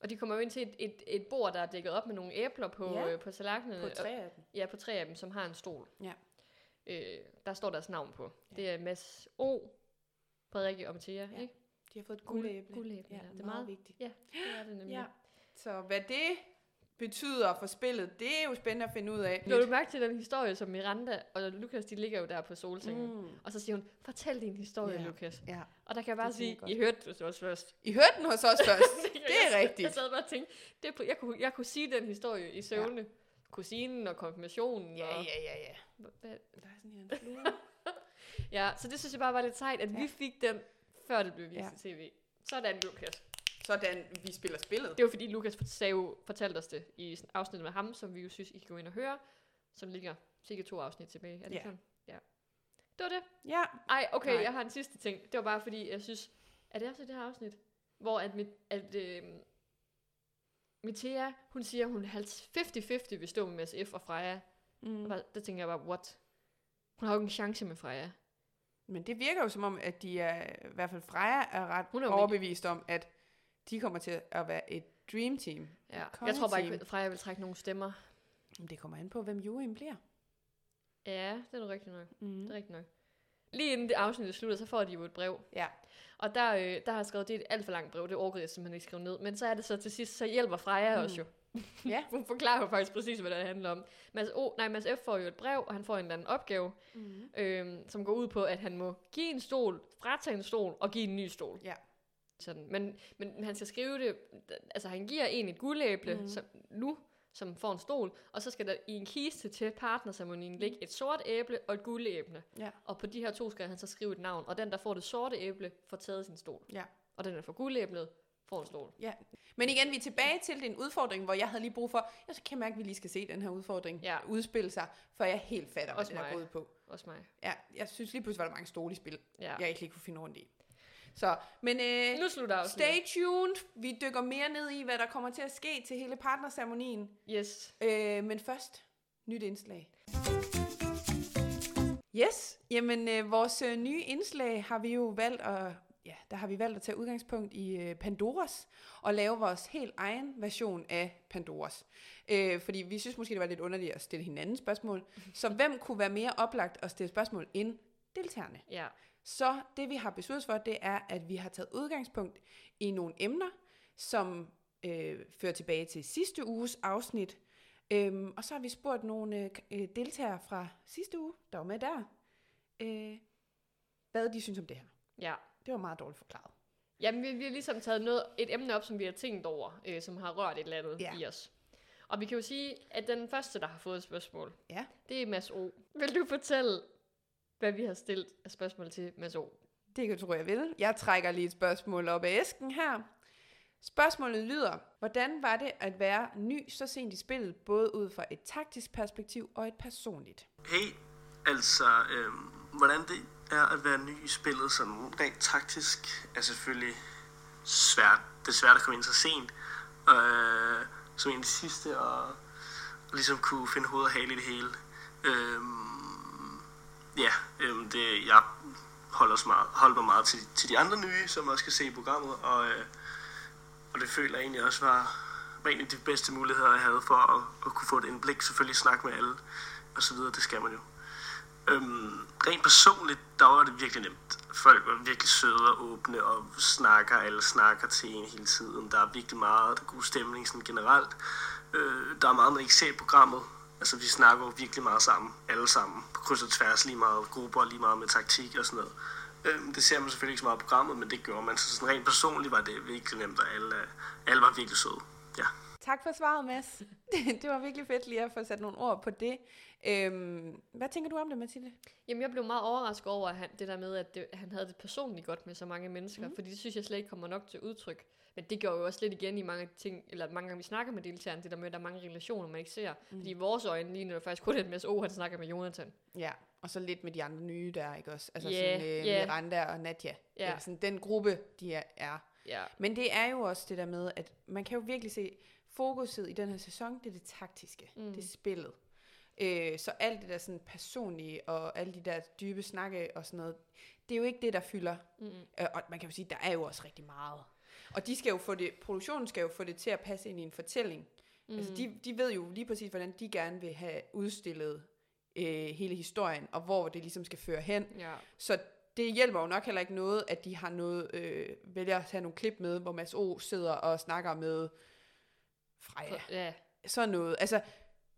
[SPEAKER 2] Og de kommer jo ind til et, et, et bord, der er dækket op med nogle æbler på, ja.
[SPEAKER 1] Ja.
[SPEAKER 2] øh, på tallerkenerne.
[SPEAKER 1] på
[SPEAKER 2] og-
[SPEAKER 1] tre af dem.
[SPEAKER 2] Ja, på tre af dem, som har en stol.
[SPEAKER 1] Ja.
[SPEAKER 2] Øh, der står deres navn på. Ja. Det er Mads O, Frederikke og Mathia, ja.
[SPEAKER 1] Ja.
[SPEAKER 2] ikke?
[SPEAKER 1] De har fået et
[SPEAKER 2] Guld-
[SPEAKER 1] guldæble.
[SPEAKER 2] guldæble, ja. Det er meget-
[SPEAKER 1] vigtigt.
[SPEAKER 2] Det er det nemlig.
[SPEAKER 1] Ja. Så hvad det betyder for spillet, det er jo spændende at finde ud af.
[SPEAKER 2] Lå du mærke til den historie, som Miranda og Lukas, de ligger jo der på solsengen. Mm.
[SPEAKER 1] Mm.
[SPEAKER 2] Og så siger hun, fortæl din historie,
[SPEAKER 1] Ja.
[SPEAKER 2] yeah. Lukas.
[SPEAKER 1] Ja.
[SPEAKER 2] Og der kan jeg bare
[SPEAKER 1] Det kan jeg
[SPEAKER 2] sige,
[SPEAKER 1] godt.
[SPEAKER 2] I hørte det også først.
[SPEAKER 1] I hørte den
[SPEAKER 2] *laughs*
[SPEAKER 1] hos os først. det er
[SPEAKER 2] jeg,
[SPEAKER 1] rigtigt.
[SPEAKER 2] Jeg sad bare og tænkte, det er på, jeg, kunne, jeg kunne sige den historie i søvne. Ja. Kusinen og konfirmationen. og,
[SPEAKER 1] ja, ja.
[SPEAKER 2] Hvad-
[SPEAKER 1] Der er sådan en flue.
[SPEAKER 2] ja. Så det synes jeg bare var lidt sejt, at ja.
[SPEAKER 1] Ja.
[SPEAKER 2] vi fik den, før det blev vist
[SPEAKER 1] Ja.
[SPEAKER 2] ja. i tv. Sådan, Lukas.
[SPEAKER 1] Sådan, vi spiller spillet.
[SPEAKER 2] Det var fordi, Lukas sagde jo, fortalte os det i sådan afsnittet med ham, som vi jo synes, I kan gå ind og høre, som ligger cirka to afsnit tilbage. Er det
[SPEAKER 1] Ja.
[SPEAKER 2] ja. sådan? Ja. Det var det.
[SPEAKER 1] Ja.
[SPEAKER 2] Ej, okay,
[SPEAKER 1] Nej.
[SPEAKER 2] Nej. jeg har en sidste ting. Det var bare fordi, jeg synes, er det også i det her afsnit, hvor at, mit, at øh, Mitea, hun siger, hun 50-50 vil stå med Mads F. og Freja.
[SPEAKER 1] Mm.
[SPEAKER 2] Og bare- Der tænker jeg bare, what? Hun har jo ikke en chance med Freja.
[SPEAKER 1] Men det virker jo som om, at de er, i hvert fald Freja er ret
[SPEAKER 2] Hun
[SPEAKER 1] Hun
[SPEAKER 2] er
[SPEAKER 1] er
[SPEAKER 2] jo
[SPEAKER 1] overbevist om, at de kommer til at være et dream team.
[SPEAKER 2] Ja.
[SPEAKER 1] Et
[SPEAKER 2] Jeg tror bare ikke,
[SPEAKER 1] kongeteam.
[SPEAKER 2] at Freja vil trække nogen stemmer.
[SPEAKER 1] Men det kommer an på, hvem juryen bliver.
[SPEAKER 2] Ja, det er du rigtigt nok.
[SPEAKER 1] Mm.
[SPEAKER 2] Det er rigtigt nok. Lige inden det afsnit slutter, så får de jo et brev.
[SPEAKER 1] Ja.
[SPEAKER 2] Og der, øh, der har jeg skrevet, det er et alt for langt brev, det orkede jeg simpelthen ikke skrive ned. Men så er det så til sidst, så hjælper Freja mm.
[SPEAKER 1] Mm.
[SPEAKER 2] os jo.
[SPEAKER 1] Ja.
[SPEAKER 2] *laughs* Hun forklarer jo faktisk præcis, hvad det handler om. Mads, o, nej, Mads F. får jo et brev, og han får en eller anden opgave,
[SPEAKER 1] Mm.
[SPEAKER 2] øh, som går ud på, at han må give en stol, fratage en stol og give en ny stol.
[SPEAKER 1] Ja.
[SPEAKER 2] Sådan. Men, men han skal skrive det, altså han giver en et guldæble mm.
[SPEAKER 1] Mhm.
[SPEAKER 2] som, nu, som får en stol, og så skal der i en kiste til partnerceremonien ligge et sort æble og et guldæble.
[SPEAKER 1] Mhm. Ja.
[SPEAKER 2] Og på de her to skal han så skrive et navn, og den, der får det sorte æble, får taget sin stol.
[SPEAKER 1] Ja.
[SPEAKER 2] Og den, der får guldæblet, får en stol.
[SPEAKER 1] Men igen, vi er tilbage til den udfordring, hvor jeg havde lige brug for, jeg kan mærke, at vi lige skal se den her udfordring
[SPEAKER 2] Ja.
[SPEAKER 1] udspille sig, før jeg helt fatter, hvad
[SPEAKER 2] Også
[SPEAKER 1] det er
[SPEAKER 2] mig.
[SPEAKER 1] gået på.
[SPEAKER 2] Også mig.
[SPEAKER 1] Ja, jeg synes lige pludselig, var der mange stole i spil,
[SPEAKER 2] Ja.
[SPEAKER 1] jeg ikke lige kunne finde rundt i. Så, men øh,
[SPEAKER 2] Nu slutter afsnittet.
[SPEAKER 1] stay tuned. Vi dykker mere ned i, hvad der kommer til at ske til hele partnerceremonien.
[SPEAKER 2] Yes.
[SPEAKER 1] Øh, men først, nyt indslag. Yes, jamen øh, vores øh, nye indslag har vi jo valgt at, ja, der har vi valgt at tage udgangspunkt i øh, Pandoras og lave vores helt egen version af Pandoras. Øh, fordi vi synes måske, det var lidt underligt at stille hinanden spørgsmål. Så hvem kunne være mere oplagt at stille spørgsmål end deltagerne?
[SPEAKER 2] Ja.
[SPEAKER 1] Så det vi har besluttet os for, det er, at vi har taget udgangspunkt i nogle emner, som øh, fører tilbage til sidste uges afsnit. Øhm, og så har vi spurgt nogle øh, k- øh, deltagere fra sidste uge, der var med der, øh, hvad de synes om det her.
[SPEAKER 2] Ja.
[SPEAKER 1] Det var meget dårligt forklaret.
[SPEAKER 2] Jamen, vi, vi har ligesom taget noget, et emne op, som vi har tænkt over, øh, som har rørt et eller andet
[SPEAKER 1] Ja.
[SPEAKER 2] i os. Og vi kan jo sige, at den første, der har fået et spørgsmål,
[SPEAKER 1] Ja.
[SPEAKER 2] det er Mads O. Vil du fortælle, hvad vi har stillet af spørgsmål til Mads O?
[SPEAKER 1] Det kan tror jeg vil. Jeg trækker lige et spørgsmål op af æsken her. Spørgsmålet lyder, hvordan var det at være ny så sent i spillet, både ud fra et taktisk perspektiv og et personligt?
[SPEAKER 3] Hey, altså, øh, hvordan det er at være ny i spillet sådan rent taktisk, er selvfølgelig svært. Det er svært at komme ind så sent, øh, som en af de sidste, og, og ligesom kunne finde hovedet og hale i det hele. Øh, ja, øh, det, jeg holder, os meget, holder mig meget til, til de andre nye, som også kan se i programmet, og, øh, og det føler jeg egentlig også var, var en af de bedste muligheder, jeg havde for at, at kunne få et indblik, selvfølgelig snakke med alle og så videre, det skal man jo. Øhm, rent personligt, der var det virkelig nemt. Folk var virkelig søde og åbne og snakker, alle snakker til en hele tiden. Der er virkelig meget der er god stemning sådan generelt. Øh, der er meget, man ikke ser i programmet. Altså, vi snakker jo virkelig meget sammen, alle sammen. På kryds og tværs lige meget, grupper lige meget med taktik og sådan noget. Øhm, det ser man selvfølgelig ikke så meget i programmet, men det gjorde man. Så sådan rent personligt var det virkelig nemt, og alle, alle var virkelig søde. Ja.
[SPEAKER 1] Tak for svaret, Mads. *laughs* Det, det var virkelig fedt lige at få sat nogle ord på det. Øhm, hvad tænker du om det, Mathilde?
[SPEAKER 2] Jamen, jeg blev meget overrasket over at han, det der med, at det, han havde det personligt godt med så mange mennesker, mm. fordi det synes jeg slet ikke kommer nok til udtryk. Men det gjorde jo også lidt igen i mange af de ting, eller mange gange vi snakker med deltagerne, det der med, at der er mange relationer, man ikke ser. Mm. Fordi i vores øjne lige nu er det faktisk kun et Mads O, han snakker med Jonathan.
[SPEAKER 1] Ja, og så lidt med de andre nye der, ikke også? Altså
[SPEAKER 2] Ja,
[SPEAKER 1] yeah, sådan øh,
[SPEAKER 2] ja.
[SPEAKER 1] yeah. Miranda og Nadia.
[SPEAKER 2] Ja.
[SPEAKER 1] Eller sådan den gruppe, de er, er.
[SPEAKER 2] Ja.
[SPEAKER 1] Men det er jo også det der med, at man kan jo virkelig se, fokuset i den her sæson, det er det taktiske. Mm. Det er spillet. Øh, så alt det der sådan personlige, og alle de der dybe snakke og sådan noget, det er jo ikke det, der fylder. Mm. Øh, og man kan jo sige, der er jo også rigtig meget. Og de skal jo få det, produktionen skal jo få det til at passe ind i en fortælling. Mm. Altså de, de ved jo lige præcis, hvordan de gerne vil have udstillet øh, hele historien, og hvor det ligesom skal føre hen.
[SPEAKER 2] Ja.
[SPEAKER 1] Så det hjælper jo nok heller ikke noget, at de har noget, øh, vælger at tage nogle klip med, hvor Mads O. sidder og snakker med Freja.
[SPEAKER 2] ja.
[SPEAKER 1] sådan noget. Altså,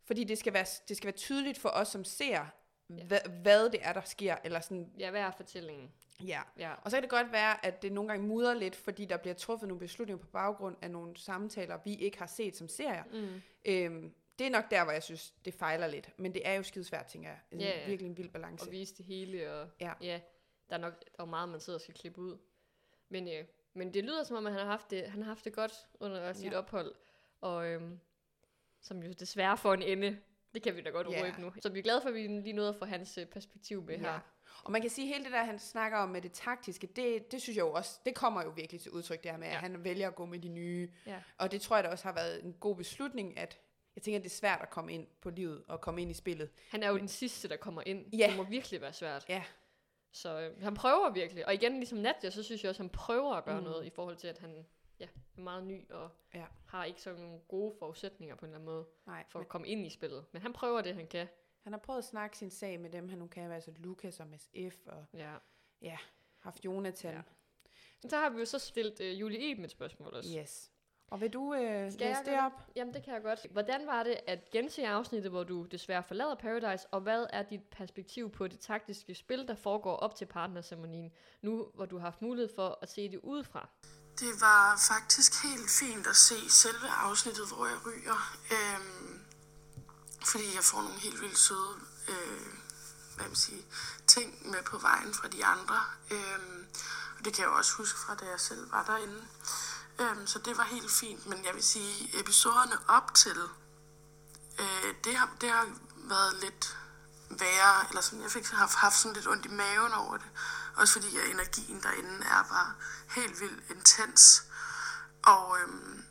[SPEAKER 1] fordi det skal være, det skal være tydeligt for os, som ser, hvad, hvad det er, der sker. Eller sådan,
[SPEAKER 2] Ja, hvad er fortællingen?
[SPEAKER 1] ja.
[SPEAKER 2] Ja.
[SPEAKER 1] Og så kan det godt være, at det nogle gange mudrer lidt, fordi der bliver truffet nogle beslutninger på baggrund af nogle samtaler, vi ikke har set som serier.
[SPEAKER 2] Mm.
[SPEAKER 1] Øhm, det er nok der, hvor jeg synes, det fejler lidt. Men det er jo skidesvært, tænker jeg. Det er
[SPEAKER 2] Ja, ja.
[SPEAKER 1] virkelig en vild balance.
[SPEAKER 2] Og vise det hele, og
[SPEAKER 1] Ja.
[SPEAKER 2] ja der er nok og meget, man sidder og skal klippe ud. Men, øh, men det lyder som om, at han har haft det, han har haft det godt under sit
[SPEAKER 1] Ja.
[SPEAKER 2] ophold, og øhm, som jo desværre får en ende. Det kan vi da godt
[SPEAKER 1] Ja.
[SPEAKER 2] yeah. røbe nu. Så vi er glade for, at vi lige nåede at få hans øh, perspektiv med her.
[SPEAKER 1] Og man kan sige, at hele det der, han snakker om med det taktiske, det, det synes jeg jo også, det kommer jo virkelig til udtryk, det her med, ja.
[SPEAKER 2] Ja.
[SPEAKER 1] at han vælger at gå med de nye.
[SPEAKER 2] Ja.
[SPEAKER 1] Og det tror jeg da også har været en god beslutning, at jeg tænker, at det er svært at komme ind på livet og komme ind i spillet.
[SPEAKER 2] Han er jo den sidste, der kommer ind.
[SPEAKER 1] Ja.
[SPEAKER 2] Det må virkelig være svært.
[SPEAKER 1] Ja.
[SPEAKER 2] Så øh, han prøver virkelig. Og igen, ligesom Nadia, så synes jeg også, at han prøver at gøre
[SPEAKER 1] Mm.
[SPEAKER 2] mm. noget i forhold til, at han ja, er meget ny og
[SPEAKER 1] Ja.
[SPEAKER 2] har ikke sådan nogle gode forudsætninger på en eller anden måde
[SPEAKER 1] Nej,
[SPEAKER 2] for
[SPEAKER 1] for...
[SPEAKER 2] at komme ind i spillet. Men han prøver det, han kan.
[SPEAKER 1] han har prøvet at snakke sin sag med dem, han nu kan, altså Lukas og Mads F. og
[SPEAKER 2] Ja.
[SPEAKER 1] haft Jonathan. Ja.
[SPEAKER 2] Ja. Så har vi jo så stillet øh, Julie Eben et spørgsmål også.
[SPEAKER 1] Yes. Og vil du øh,
[SPEAKER 2] Skal jeg
[SPEAKER 1] læse det
[SPEAKER 2] gøre
[SPEAKER 1] op?
[SPEAKER 2] Jamen, det kan jeg godt. Hvordan var det at gense afsnittet, hvor du desværre forlader Paradise, og hvad er dit perspektiv på det taktiske spil, der foregår op til partnerceremonien, nu hvor du har haft mulighed for at se det udefra?
[SPEAKER 4] Det var faktisk helt fint at se selve afsnittet, hvor jeg ryger. Øhm, fordi jeg får nogle helt vildt søde øh, hvad man siger, ting med på vejen fra de andre. Øhm, og det kan jeg jo også huske fra, da jeg selv var derinde. Øhm, så det var helt fint, men jeg vil sige, episoderne op til, øh, det, har, det har været lidt værre, eller sådan, jeg fik haft, haft sådan lidt ondt i maven over det. Også fordi at energien derinde er bare helt vildt intens. Og øhm,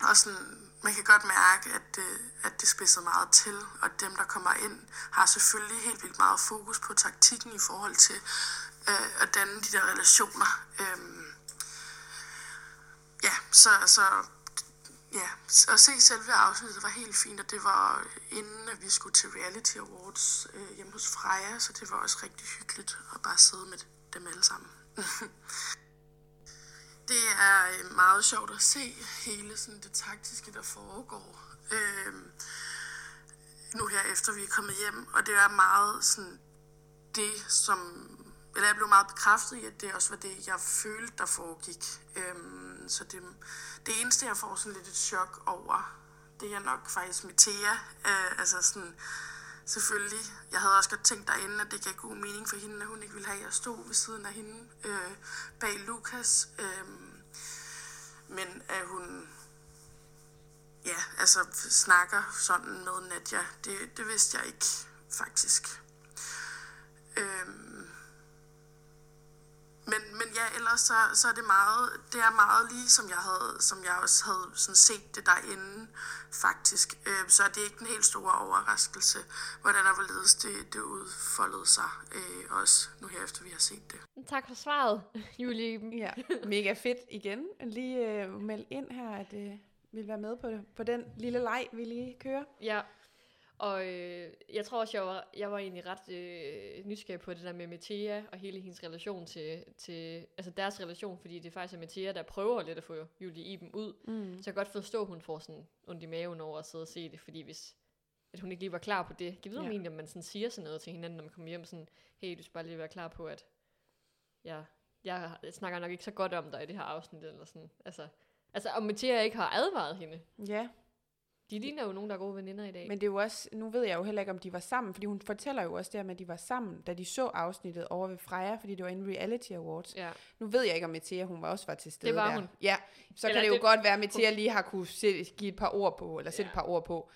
[SPEAKER 4] og sådan, man kan godt mærke, at det, at det spidser meget til, og dem, der kommer ind, har selvfølgelig helt vildt meget fokus på taktikken i forhold til øh, at danne de der relationer. Øhm, ja, så, så ja, at se selve afsnittet var helt fint, og det var øh, inden, at vi skulle til Reality Awards øh, hjemme hos Freja, så det var også rigtig hyggeligt at bare sidde med dem alle sammen. *laughs* Det er øh, meget sjovt at se hele sådan det taktiske, der foregår. Øh, nu her efter vi er kommet hjem, og det er meget sådan det, som... Eller jeg blev meget bekræftet i, at det også var det, jeg følte, der foregik. Øhm, så det, det eneste, jeg får sådan lidt et chok over, det er nok faktisk Metea. Øh, altså sådan, selvfølgelig. Jeg havde også godt tænkt derinde, at det gav god mening for hende, at hun ikke ville have, at jeg stod ved siden af hende øh, bag Lukas. Øh, men at hun ja, altså snakker sådan med Nadja, det, det vidste jeg ikke faktisk. Øhm, men, men ja, ellers så, så er det meget, det er meget lige som jeg havde, som jeg også havde sådan set det derinde faktisk. Øhm, så er det ikke en helt stor overraskelse, hvordan og hvorledes det, det udfoldede sig, øh, også nu her efter vi har set det.
[SPEAKER 2] Tak for svaret, *laughs* Julie Eben.
[SPEAKER 1] *laughs* Ja, mega fedt igen. Lige øh, meld ind her, at øh, vi vil være med på, på den lille leg, vi lige kører.
[SPEAKER 2] Ja, og øh, jeg tror også, jeg var, jeg var egentlig ret øh, nysgerrig på det der med Metea og hele hendes relation til, til, altså deres relation, fordi det faktisk er Metea, der prøver lidt at få Julie Iben ud.
[SPEAKER 1] Mm.
[SPEAKER 2] Så jeg kan godt forstå, at hun får sådan ondt i maven over at sidde og se det, fordi hvis at hun ikke lige var klar på det. Kan vide,
[SPEAKER 1] Ja.
[SPEAKER 2] ja. egentlig, om man sådan siger sådan noget til hinanden, når man kommer hjem sådan, hey, du skal bare lige være klar på, at jeg, jeg snakker nok ikke så godt om dig i det her afsnit, eller sådan. Altså, altså om Metea ikke har advaret hende.
[SPEAKER 1] Ja,
[SPEAKER 2] De ligner jo nogen, der er gode veninder i dag.
[SPEAKER 1] men det er jo også, nu ved jeg jo heller ikke, om de var sammen, fordi hun fortæller jo også det her med, at de var sammen, da de så afsnittet over ved Freja, fordi det var en reality awards.
[SPEAKER 2] ja.
[SPEAKER 1] Nu ved jeg ikke, om Metea, hun var også var til stede
[SPEAKER 2] Det var
[SPEAKER 1] der.
[SPEAKER 2] hun.
[SPEAKER 1] Ja, så
[SPEAKER 2] Eller
[SPEAKER 1] kan det jo
[SPEAKER 2] det-
[SPEAKER 1] godt være, at Metea lige har kunne sætte, give et par ord på, eller sætte
[SPEAKER 2] Ja.
[SPEAKER 1] et par ord på.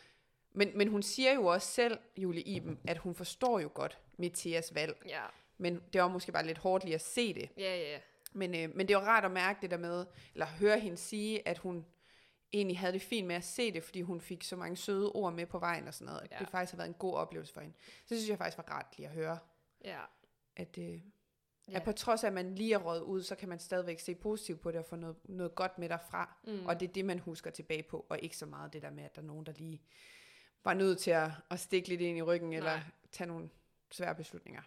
[SPEAKER 1] Men, men hun siger jo også selv, Julie Iben, at hun forstår jo godt Meteas valg.
[SPEAKER 2] Ja,
[SPEAKER 1] Men det var måske bare lidt hårdt lige at se det.
[SPEAKER 2] ja, ja.
[SPEAKER 1] Men, øh, men det var rart at mærke det der med, eller høre hende sige, at hun egentlig havde det fint med at se det, fordi hun fik så mange søde ord med på vejen og sådan noget. Ja.
[SPEAKER 2] Ja.
[SPEAKER 1] Det faktisk har været en god oplevelse for hende. Så synes jeg faktisk var rart lige at høre,
[SPEAKER 2] ja.
[SPEAKER 1] at, øh, ja.
[SPEAKER 2] Ja.
[SPEAKER 1] at på trods af, at man lige er røget ud, så kan man stadigvæk se positivt på det og få noget, noget godt med derfra. Mm. Og det er det, man husker tilbage på, og ikke så meget det der med, at der er nogen, der lige var nødt til at, at stikke lidt ind i ryggen, Nej. eller tage nogle svære beslutninger.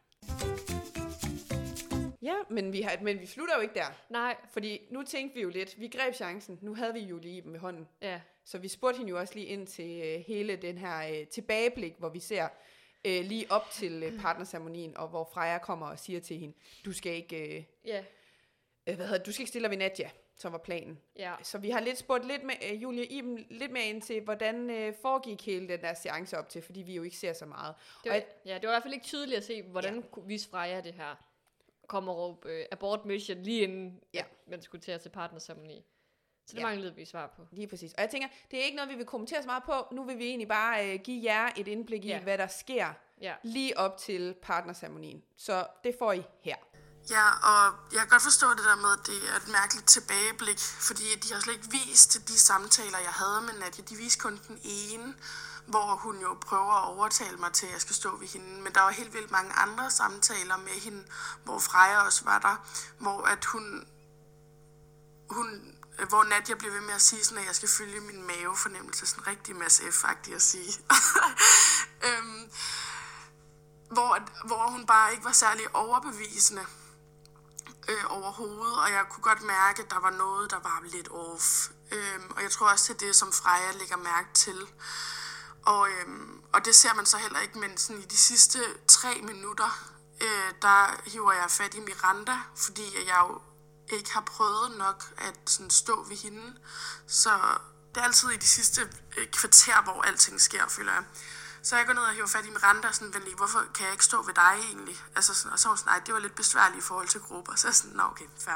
[SPEAKER 1] Ja, men vi, har, men vi slutter jo ikke der.
[SPEAKER 2] Nej,
[SPEAKER 1] Fordi nu tænkte vi jo lidt, vi greb chancen, nu havde vi jo lige Iben ved hånden.
[SPEAKER 2] ja.
[SPEAKER 1] Så vi spurgte hende jo også lige ind til øh, hele den her øh, tilbageblik, hvor vi ser øh, lige op til øh, partnerceremonien, og hvor Freja kommer og siger til hende, du skal ikke, øh,
[SPEAKER 2] Ja,
[SPEAKER 1] øh, hvad hedder, det, du skal ikke stille dig ved Nadja, som var planen.
[SPEAKER 2] ja.
[SPEAKER 1] Så vi har lidt spurgt lidt med, øh, Julie og Iben lidt mere ind til, hvordan øh, foregik hele den der seance op til, fordi vi jo ikke ser så meget.
[SPEAKER 2] Det
[SPEAKER 1] Og
[SPEAKER 2] var,
[SPEAKER 1] jeg-
[SPEAKER 2] ja, det var i hvert fald ikke tydeligt at se, hvordan ja. kunne vise Freja det her. Kom og råb øh, abort mission lige inden
[SPEAKER 1] Ja.
[SPEAKER 2] ja. man skulle til at se partnersamling Så det
[SPEAKER 1] Ja.
[SPEAKER 2] ja. manglede vi svar på.
[SPEAKER 1] Lige præcis. Og jeg tænker, det er ikke noget, vi vil kommentere så meget på. Nu vil vi egentlig bare øh, give jer et indblik i,
[SPEAKER 2] Ja.
[SPEAKER 1] hvad der sker
[SPEAKER 2] Ja.
[SPEAKER 1] lige op til partnerceremonien. Så det får I her.
[SPEAKER 4] Ja, og jeg kan godt forstå det der med, at det er et mærkeligt tilbageblik, fordi de har slet ikke vist de samtaler, jeg havde med Nadia. De viste kun den ene, hvor hun jo prøver at overtale mig til, at jeg skal stå ved hende. Men der var helt vildt mange andre samtaler med hende, hvor Freja også var der, hvor at hun hun, øh, hvor Nadia blev ved med at sige, sådan, at jeg skal følge min mavefornemmelse, sådan rigtig Mads F-agtig at sige. *laughs* øhm, hvor, hvor hun bare ikke var særlig overbevisende øh, overhovedet, og jeg kunne godt mærke, at der var noget, der var lidt off. Øhm, og jeg tror også, det er det, som Freja lægger mærke til. Og, øhm, og det ser man så heller ikke, men sådan i de sidste tre minutter, øh, der hiver jeg fat i Miranda, fordi at jeg jo ikke har prøvet nok at sådan stå ved hende. Så det er altid i de sidste øh, kvarter, hvor alting sker, føler jeg. Så jeg går ned og hiver fat i Miranda og sådan, "Vent lige, hvorfor kan jeg ikke stå ved dig egentlig? Altså sådan, og så er hun sådan, nej, det var lidt besværligt i forhold til grupper. Så er jeg sådan, nå okay, fair.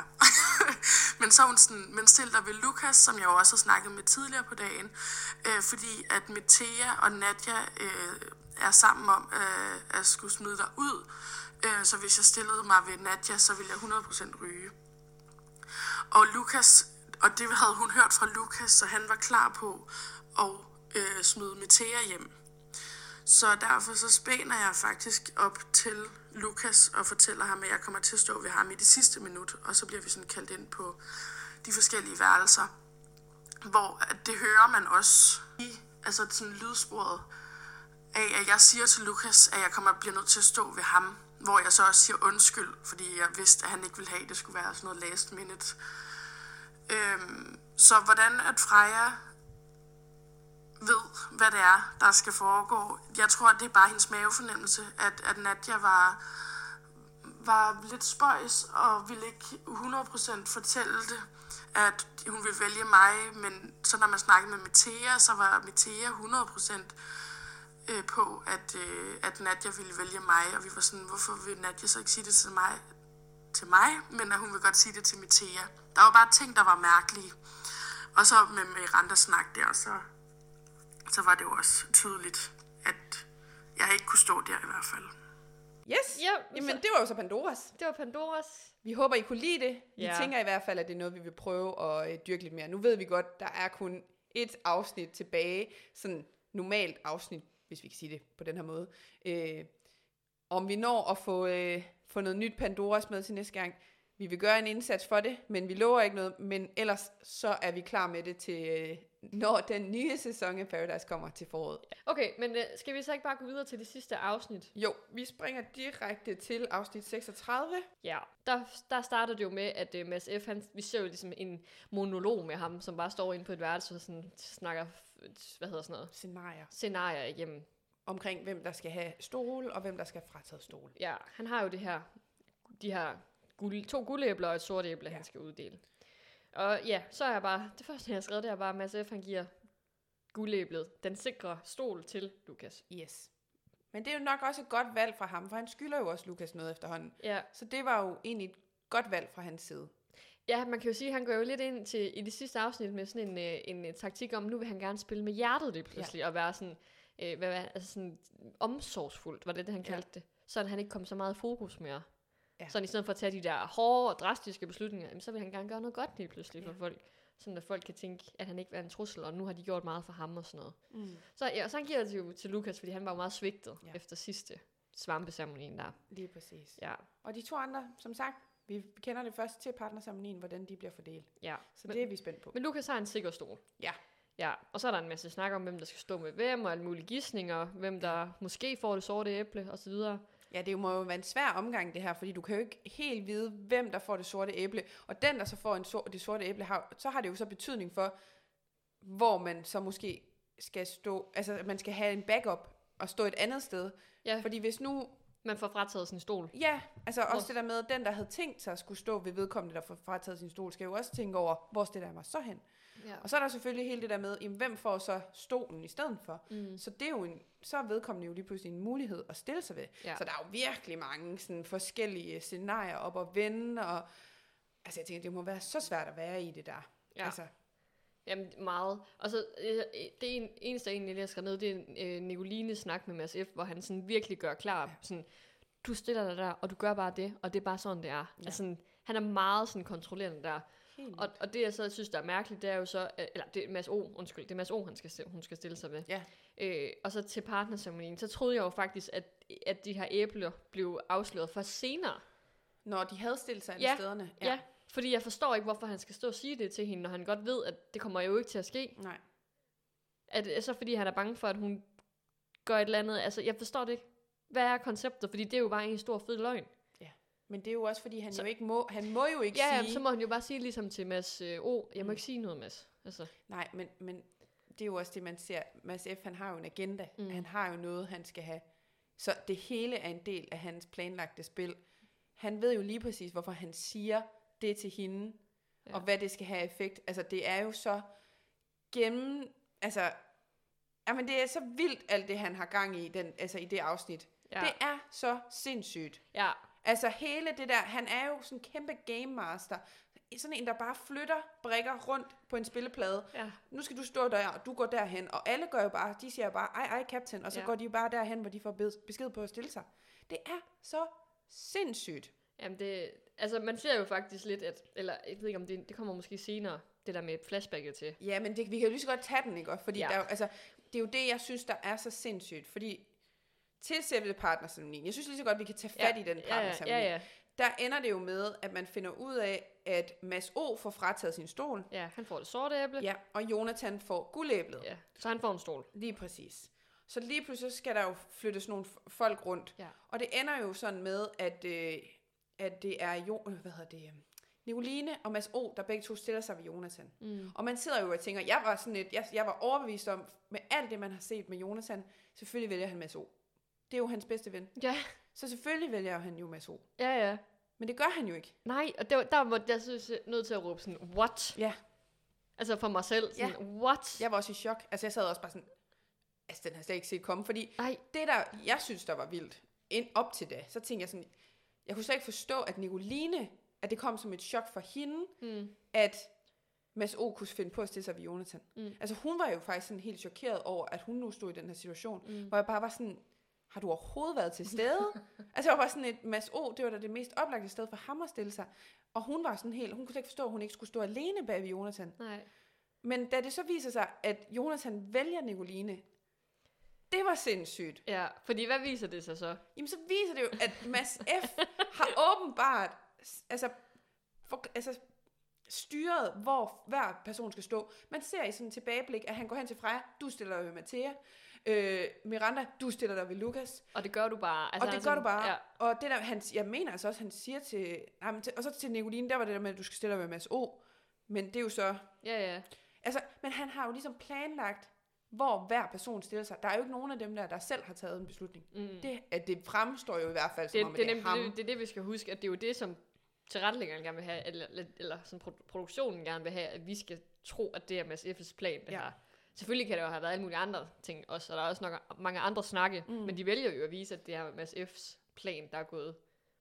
[SPEAKER 4] *laughs* men så er hun sådan, men stil dig ved Lukas, som jeg jo også har snakket med tidligere på dagen. Øh, fordi at Metea og Nadja øh, er sammen om øh, at skulle smide dig ud. Øh, så hvis jeg stillede mig ved Nadja, så ville jeg 100% ryge. Og Lukas, og det havde hun hørt fra Lukas, så han var klar på at øh, smide Metea hjem. Så derfor så spænder jeg faktisk op til Lukas og fortæller ham, at jeg kommer til at stå ved ham i det sidste minut, og så bliver vi sådan kaldt ind på de forskellige værelser, hvor at det hører man også i altså sådan lydsporet af, at jeg siger til Lukas, at jeg kommer bliver nødt til at stå ved ham, hvor jeg så også siger undskyld, fordi jeg vidste, at han ikke ville have, at det skulle være sådan noget last minute. Øhm, så hvordan at Freja ved, hvad det er, der skal foregå. Jeg tror, det er bare hendes mavefornemmelse, at, at Nadia var, var lidt spøjs og ville ikke 100% fortælle det, at hun ville vælge mig, men så når man snakkede med Metea, så var Metea 100% øh, på, at, øh, at Nadia ville vælge mig, og vi var sådan, hvorfor vil Nadia så ikke sige det til mig, til mig men at hun vil godt sige det til Metea. Der var bare ting, der var mærkelige. Og så med Miranda snak der, så så var det jo også tydeligt, at jeg ikke kunne stå der i hvert fald.
[SPEAKER 1] Yes!
[SPEAKER 2] Ja,
[SPEAKER 1] Jamen,
[SPEAKER 2] så-
[SPEAKER 1] det var jo så Pandoras.
[SPEAKER 2] Det var Pandoras.
[SPEAKER 1] Vi håber, I kunne lide det. Vi
[SPEAKER 2] Ja.
[SPEAKER 1] tænker i hvert fald, at det er noget, vi vil prøve at øh, dyrke lidt mere. Nu ved vi godt, der er kun et afsnit tilbage. Sådan normalt afsnit, hvis vi kan sige det på den her måde. Øh, om vi når at få, øh, få noget nyt Pandoras med til næste gang. Vi vil gøre en indsats for det, men vi lover ikke noget. Men ellers så er vi klar med det til, øh, når den nye sæson af Paradise kommer til foråret.
[SPEAKER 2] Okay, men øh, skal vi så ikke bare gå videre til det sidste afsnit?
[SPEAKER 1] Jo, vi springer direkte til afsnit 36.
[SPEAKER 2] Ja. Der, der starter det jo med, at øh, Mads F., han, vi ser jo ligesom en monolog med ham, som bare står inde på et værelse og sådan, snakker, f- hvad hedder sådan noget,
[SPEAKER 1] Scenarier.
[SPEAKER 2] scenarier igennem.
[SPEAKER 1] omkring, hvem der skal have stol, og hvem der skal have frataget stol.
[SPEAKER 2] Ja, han har jo det her, de her guld, to guldæbler og et sort æble, ja.
[SPEAKER 1] Ja.
[SPEAKER 2] han skal uddele. Og ja, så er jeg bare, det første, jeg har skrevet, det er bare, at Mads F. han giver guldæblet, den sikre stol til Lukas.
[SPEAKER 1] Yes. Men det er jo nok også et godt valg fra ham, for han skylder jo også Lukas noget efterhånden.
[SPEAKER 2] Ja,
[SPEAKER 1] Så det var jo egentlig et godt valg fra hans side.
[SPEAKER 2] ja man kan jo sige, at han går jo lidt ind til, i det sidste afsnit med sådan en, øh, en øh, taktik om, nu vil han gerne spille med hjertet lige pludselig, ja. og være sådan, øh, hvad, var- altså sådan omsorgsfuldt, var det det, han
[SPEAKER 1] Ja.
[SPEAKER 2] kaldte det. Sådan han ikke kom så meget i fokus mere.
[SPEAKER 1] Ja.
[SPEAKER 2] Ja. Sådan i stedet for at tage de der hårde og drastiske beslutninger, jamen, så vil han gerne gøre noget godt lige pludselig ja. for folk. Sådan at folk kan tænke, at han ikke er en trussel, og nu har de gjort meget for ham og sådan noget.
[SPEAKER 1] Mm.
[SPEAKER 2] Så, ja, og så han giver det jo til Lukas, fordi han var jo meget svigtet
[SPEAKER 1] Ja.
[SPEAKER 2] ja. efter sidste svampesamlingen der.
[SPEAKER 1] Lige præcis.
[SPEAKER 2] Ja,
[SPEAKER 1] Og de to andre, som sagt, vi kender det først til partnersammenligningen, hvordan de bliver fordelt.
[SPEAKER 2] ja.
[SPEAKER 1] Så det er vi spændt på.
[SPEAKER 2] Men Lukas har en sikker stol.
[SPEAKER 1] Ja.
[SPEAKER 2] Ja, og så er der en masse snak om, hvem der skal stå med hvem, og alle mulige gissninger, hvem der måske får det sorte æble, og så videre.
[SPEAKER 1] Ja, det må jo være en svær omgang det her, fordi du kan jo ikke helt vide, hvem der får det sorte æble. Og den, der så får en sor- det sorte æble, har, så har det jo så betydning for, hvor man så måske skal stå, altså at man skal have en backup og stå et andet sted.
[SPEAKER 2] Ja.
[SPEAKER 1] Fordi hvis nu,
[SPEAKER 2] Man får frataget sin stol.
[SPEAKER 1] ja, altså
[SPEAKER 2] Hvor-
[SPEAKER 1] også det der med, at den, der havde tænkt sig at skulle stå ved vedkommende, der får frataget sin stol, skal jo også tænke over, hvor stiller jeg mig så hen?
[SPEAKER 2] Ja.
[SPEAKER 1] Og så er der selvfølgelig hele det der med, jamen, hvem får så stolen i stedet for?
[SPEAKER 2] Mm.
[SPEAKER 1] Så det er jo en, så er vedkommende jo lige pludselig en mulighed at stille sig ved.
[SPEAKER 2] Ja.
[SPEAKER 1] Så der er jo virkelig mange sådan, forskellige scenarier op at vende, og altså jeg tænker, det må være så svært at være i det der.
[SPEAKER 2] Ja.
[SPEAKER 1] Altså,
[SPEAKER 2] Jamen, meget. Og så, øh, det en, eneste, jeg egentlig lige har skrevet ned, det er øh, Nicolines snak med Mads F., hvor han sådan virkelig gør klar, ja. sådan, du stiller dig der, og du gør bare det, og det er bare sådan, det er. Ja. Altså, sådan, han er meget sådan kontrollerende der.
[SPEAKER 1] Helt
[SPEAKER 2] Og, og det, jeg så synes, der er mærkeligt, det er jo så, øh, eller det er Mads O, undskyld, det er Mads O, han skal, sti- hun skal stille sig ved.
[SPEAKER 1] ja.
[SPEAKER 2] Øh, og så til partnerceremonien, så troede jeg jo faktisk, at, at de her æbler blev afsløret for senere.
[SPEAKER 1] Når de havde stillet sig alle
[SPEAKER 2] Ja.
[SPEAKER 1] stederne.
[SPEAKER 2] Ja. ja. Fordi jeg forstår ikke, hvorfor han skal stå og sige det til hende, når han godt ved, at det kommer jo ikke til at ske.
[SPEAKER 1] Nej.
[SPEAKER 2] Er det så fordi, han er bange for, at hun gør et eller andet? Altså, jeg forstår det ikke. Hvad er konceptet? Fordi det er jo bare en stor fed løgn.
[SPEAKER 1] Men det er jo også, fordi han
[SPEAKER 2] Så-
[SPEAKER 1] så... jo ikke må, han må jo ikke
[SPEAKER 2] Ja,
[SPEAKER 1] sige...
[SPEAKER 2] jamen, så må han jo bare sige ligesom til Mads øh, O, jeg må
[SPEAKER 1] Mm.
[SPEAKER 2] ikke sige noget, Mads. Altså,
[SPEAKER 1] Nej, men, men det er jo også det, man ser. Mads F., han har jo en agenda.
[SPEAKER 2] Mm.
[SPEAKER 1] Mm. Han har jo noget, han skal have. Så det hele er en del af hans planlagte spil. Han ved jo lige præcis, hvorfor han siger det til hende,
[SPEAKER 2] Ja.
[SPEAKER 1] ja. og hvad det skal have af effekt. Altså, det er jo så gennem... Altså, jamen, det er så vildt, alt det, han har gang i, den, altså, i det afsnit.
[SPEAKER 2] ja.
[SPEAKER 1] Ja. Det er så sindssygt.
[SPEAKER 2] ja.
[SPEAKER 1] Altså hele det der, han er jo sådan en kæmpe game master. Sådan en, der bare flytter brikker rundt på en spilleplade
[SPEAKER 2] ja.
[SPEAKER 1] nu skal du stå der, og du går derhen, og alle gør jo bare, de siger bare, ej, ej, captain, og så
[SPEAKER 2] Ja.
[SPEAKER 1] ja. går de jo bare derhen, hvor de får bed- besked på at stille sig. Det er så sindssygt.
[SPEAKER 2] Jamen, det, altså, man ser jo faktisk lidt, at, eller jeg ved ikke, om det, det kommer måske senere, det der med flashbacket til.
[SPEAKER 1] Ja, men det, vi kan jo lige så godt tage den, ikke? Og Fordi
[SPEAKER 2] Ja.
[SPEAKER 1] ja. der, er jo- altså, det er jo det, jeg synes, der er så sindssygt, fordi til selve partnersamlingen, jeg synes lige så godt, vi kan tage fat ja. i den
[SPEAKER 2] ja,
[SPEAKER 1] partnersamling.
[SPEAKER 2] ja, ja,
[SPEAKER 1] Der ender det jo med, at man finder ud af, at Mads O får frataget sin stol,
[SPEAKER 2] ja. Han får det sorte æble.
[SPEAKER 1] ja, og Jonathan får guldæblet.
[SPEAKER 2] ja. Så han får en stol.
[SPEAKER 1] Lige præcis. Så lige pludselig så skal der jo flyttes nogle f- folk rundt.
[SPEAKER 2] Ja.
[SPEAKER 1] Og det ender jo sådan med, at, øh, at det er jo, øh, hvad hedder det, øh, Nicoline og Mads O, der begge to stiller sig ved Jonathan. Mm. Og man sidder jo og tænker, jeg var sådan et, jeg, jeg var overbevist om, med alt det, man har set med Jonathan, selvfølgelig vælger han Mads O. Det er jo hans bedste ven.
[SPEAKER 2] Ja,
[SPEAKER 1] Så selvfølgelig vælger han jo Mads O.
[SPEAKER 2] ja, ja.
[SPEAKER 1] Men det gør han jo ikke.
[SPEAKER 2] Nej, og der, der måtte jeg synes, jeg er nødt til at råbe sådan, what?
[SPEAKER 1] Ja,
[SPEAKER 2] Altså for mig selv, sådan, what?
[SPEAKER 1] jeg var også i chok. Altså jeg sad også bare sådan, altså den har jeg slet ikke set komme, fordi
[SPEAKER 2] Nej,
[SPEAKER 1] det der, jeg synes, der var vildt, ind op til det, så tænkte jeg sådan, jeg kunne slet ikke forstå, at Nicoline, at det kom som et chok for hende,
[SPEAKER 2] Mm.
[SPEAKER 1] at Mads O. kunne finde på at stille sig ved Jonathan.
[SPEAKER 2] Mm.
[SPEAKER 1] Altså hun var jo faktisk sådan helt chokeret over, at hun nu stod i den her situation, mm. hvor jeg bare var sådan, har du overhovedet været til stede? altså jeg var bare sådan et, Mads O., det var da det mest oplagte sted for ham at stille sig. Og hun var sådan helt, hun kunne slet ikke forstå, at hun ikke skulle stå alene bag ved Jonathan.
[SPEAKER 2] nej.
[SPEAKER 1] Men da det så viser sig, at Jonathan vælger Nicoline, det var sindssygt.
[SPEAKER 2] Ja, fordi hvad viser det sig så?
[SPEAKER 1] Jamen, så viser det jo, at Mads F. har åbenbart altså, for, altså, styret, hvor hver person skal stå. Man ser i sådan et tilbageblik, at han går hen til Freja, du stiller dig ved Mathia, øh, Miranda, du stiller dig ved Lukas,
[SPEAKER 2] Og det gør du bare.
[SPEAKER 1] altså, og
[SPEAKER 2] han
[SPEAKER 1] det
[SPEAKER 2] er
[SPEAKER 1] gør
[SPEAKER 2] sådan-
[SPEAKER 1] du bare.
[SPEAKER 2] Ja,
[SPEAKER 1] Ja. Og det der, han, jeg mener altså også, han siger til, nej, men til, og så til Nicoline, der var det der med, at du skal stille dig ved Mads O. Men det er jo så,
[SPEAKER 2] ja, ja.
[SPEAKER 1] altså, men han har jo ligesom planlagt, hvor hver person stiller sig. Der er jo ikke nogen af dem der, der selv har taget en beslutning.
[SPEAKER 2] Mm.
[SPEAKER 1] Det, at det fremstår jo i hvert fald, som
[SPEAKER 2] Det,
[SPEAKER 1] om, at
[SPEAKER 2] det,
[SPEAKER 1] det,
[SPEAKER 2] er
[SPEAKER 1] det er
[SPEAKER 2] nemlig,
[SPEAKER 1] ham.
[SPEAKER 2] det, det er det, vi skal huske, at det er jo det, som tilrettelæggeren gerne vil have, eller, eller- eller som produ- produktionen gerne vil have, at vi skal tro, at det er Mads F.'s plan, det ja.
[SPEAKER 1] Ja.
[SPEAKER 2] her. Selvfølgelig kan der jo have været alle mulige andre ting også, og der er også nok mange andre snakke, mm. men de vælger jo at vise, at det er Mads F.'s plan, der er gået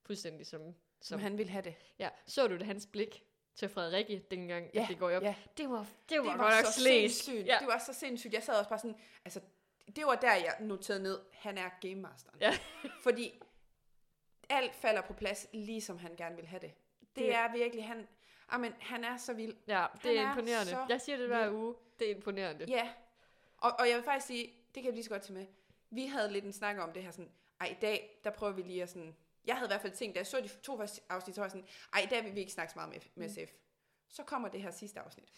[SPEAKER 2] fuldstændig som...
[SPEAKER 1] som
[SPEAKER 2] som
[SPEAKER 1] han ville have det.
[SPEAKER 2] ja. Så du det hans blik til Frederikke dengang, ja.
[SPEAKER 1] Ja,
[SPEAKER 2] at det går op?
[SPEAKER 1] ja.
[SPEAKER 2] Det var, det var,
[SPEAKER 1] Det
[SPEAKER 2] det
[SPEAKER 1] var,
[SPEAKER 2] godt nok
[SPEAKER 1] så
[SPEAKER 2] slæs.
[SPEAKER 1] sindssygt.
[SPEAKER 2] Ja.
[SPEAKER 1] Ja. Det var så sindssygt. Jeg sad også bare sådan, altså, det var der, jeg noterede ned, han er game masteren.
[SPEAKER 2] Ja.
[SPEAKER 1] Fordi alt falder på plads, lige som han gerne vil have det. Det,
[SPEAKER 2] Det-
[SPEAKER 1] det. er virkelig, han, amen, han er så vild.
[SPEAKER 2] Ja, det er
[SPEAKER 1] er
[SPEAKER 2] imponerende.
[SPEAKER 1] så
[SPEAKER 2] Jeg siger det hver uge. Det er imponerende.
[SPEAKER 1] Ja. Og, og jeg vil faktisk sige, det kan jeg lige så godt tage med. Vi havde lidt en snak om det her sådan, ej, i dag, der prøver vi lige at sådan... Jeg havde i hvert fald tænkt, da jeg så de to første afsnit, så var jeg sådan, ej, i dag vil vi ikke snakke så meget med,
[SPEAKER 2] Mm.
[SPEAKER 1] med SF. Så kommer det her sidste afsnit.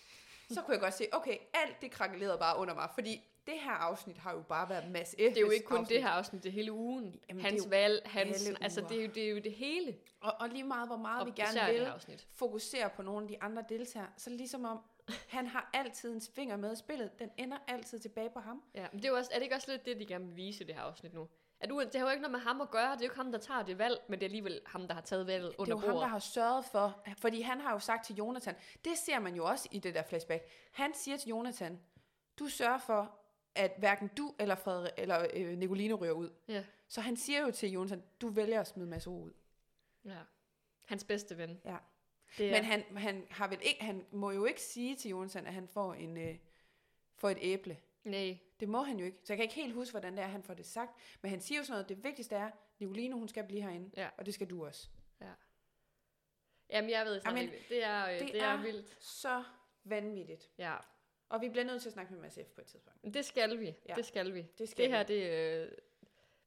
[SPEAKER 1] Så kunne jeg godt se, okay, alt det krakkelerede bare under mig, fordi det her afsnit har jo bare været masse Det
[SPEAKER 2] Det er jo ikke kun det her afsnit, det er hele ugen.
[SPEAKER 1] Jamen,
[SPEAKER 2] Jamen,
[SPEAKER 1] det er
[SPEAKER 2] hans
[SPEAKER 1] jo
[SPEAKER 2] valg, hans...
[SPEAKER 1] alle
[SPEAKER 2] Altså,
[SPEAKER 1] uger.
[SPEAKER 2] det er, jo, det er jo det hele.
[SPEAKER 1] Og, og lige meget, hvor meget
[SPEAKER 2] Og
[SPEAKER 1] vi
[SPEAKER 2] især
[SPEAKER 1] gerne
[SPEAKER 2] det
[SPEAKER 1] vil
[SPEAKER 2] her afsnit.
[SPEAKER 1] fokusere på nogle af de andre deltagere, så ligesom om, han har altid en finger med i spillet. Den ender altid tilbage på ham.
[SPEAKER 2] Ja, men det er, jo også, er det ikke også lidt det, de gerne vil vise i det her afsnit nu? At uen, det har jo ikke noget med ham at gøre, det er jo ikke ham, der tager det valg, men det er alligevel ham, der har taget valget
[SPEAKER 1] Det er
[SPEAKER 2] under
[SPEAKER 1] jo ham, der
[SPEAKER 2] bordet.
[SPEAKER 1] har sørget for, fordi han har jo sagt til Jonathan, det ser man jo også i det der flashback, han siger til Jonathan, du sørger for, at hverken du eller, Frederik, eller øh, Nicoline ryger ud.
[SPEAKER 2] Ja,
[SPEAKER 1] Så han siger jo til Jonathan, du vælger at smide Mads O ud.
[SPEAKER 2] ja. Hans bedste ven.
[SPEAKER 1] Ja.
[SPEAKER 2] Det er,
[SPEAKER 1] Men han, han, har vel ikke, han må jo ikke sige til Jonathan, at han får, en, øh, får et æble.
[SPEAKER 2] Nej,
[SPEAKER 1] Det må han jo ikke. Så jeg kan ikke helt huske, hvordan det er, han får det sagt. Men han siger jo sådan noget, det vigtigste er, Nicoline, hun skal blive herinde.
[SPEAKER 2] Ja.
[SPEAKER 1] Og det skal du også.
[SPEAKER 2] ja. Jamen, jeg ved snart
[SPEAKER 1] Jamen,
[SPEAKER 2] ikke. Det er, øh, det, det er, er vildt.
[SPEAKER 1] så vanvittigt.
[SPEAKER 2] Ja.
[SPEAKER 1] Og vi bliver nødt til at snakke med Mads F. på et tidspunkt.
[SPEAKER 2] Men Det skal vi.
[SPEAKER 1] Ja.
[SPEAKER 2] Ja. Det skal vi.
[SPEAKER 1] Det skal
[SPEAKER 2] det her, det er øh,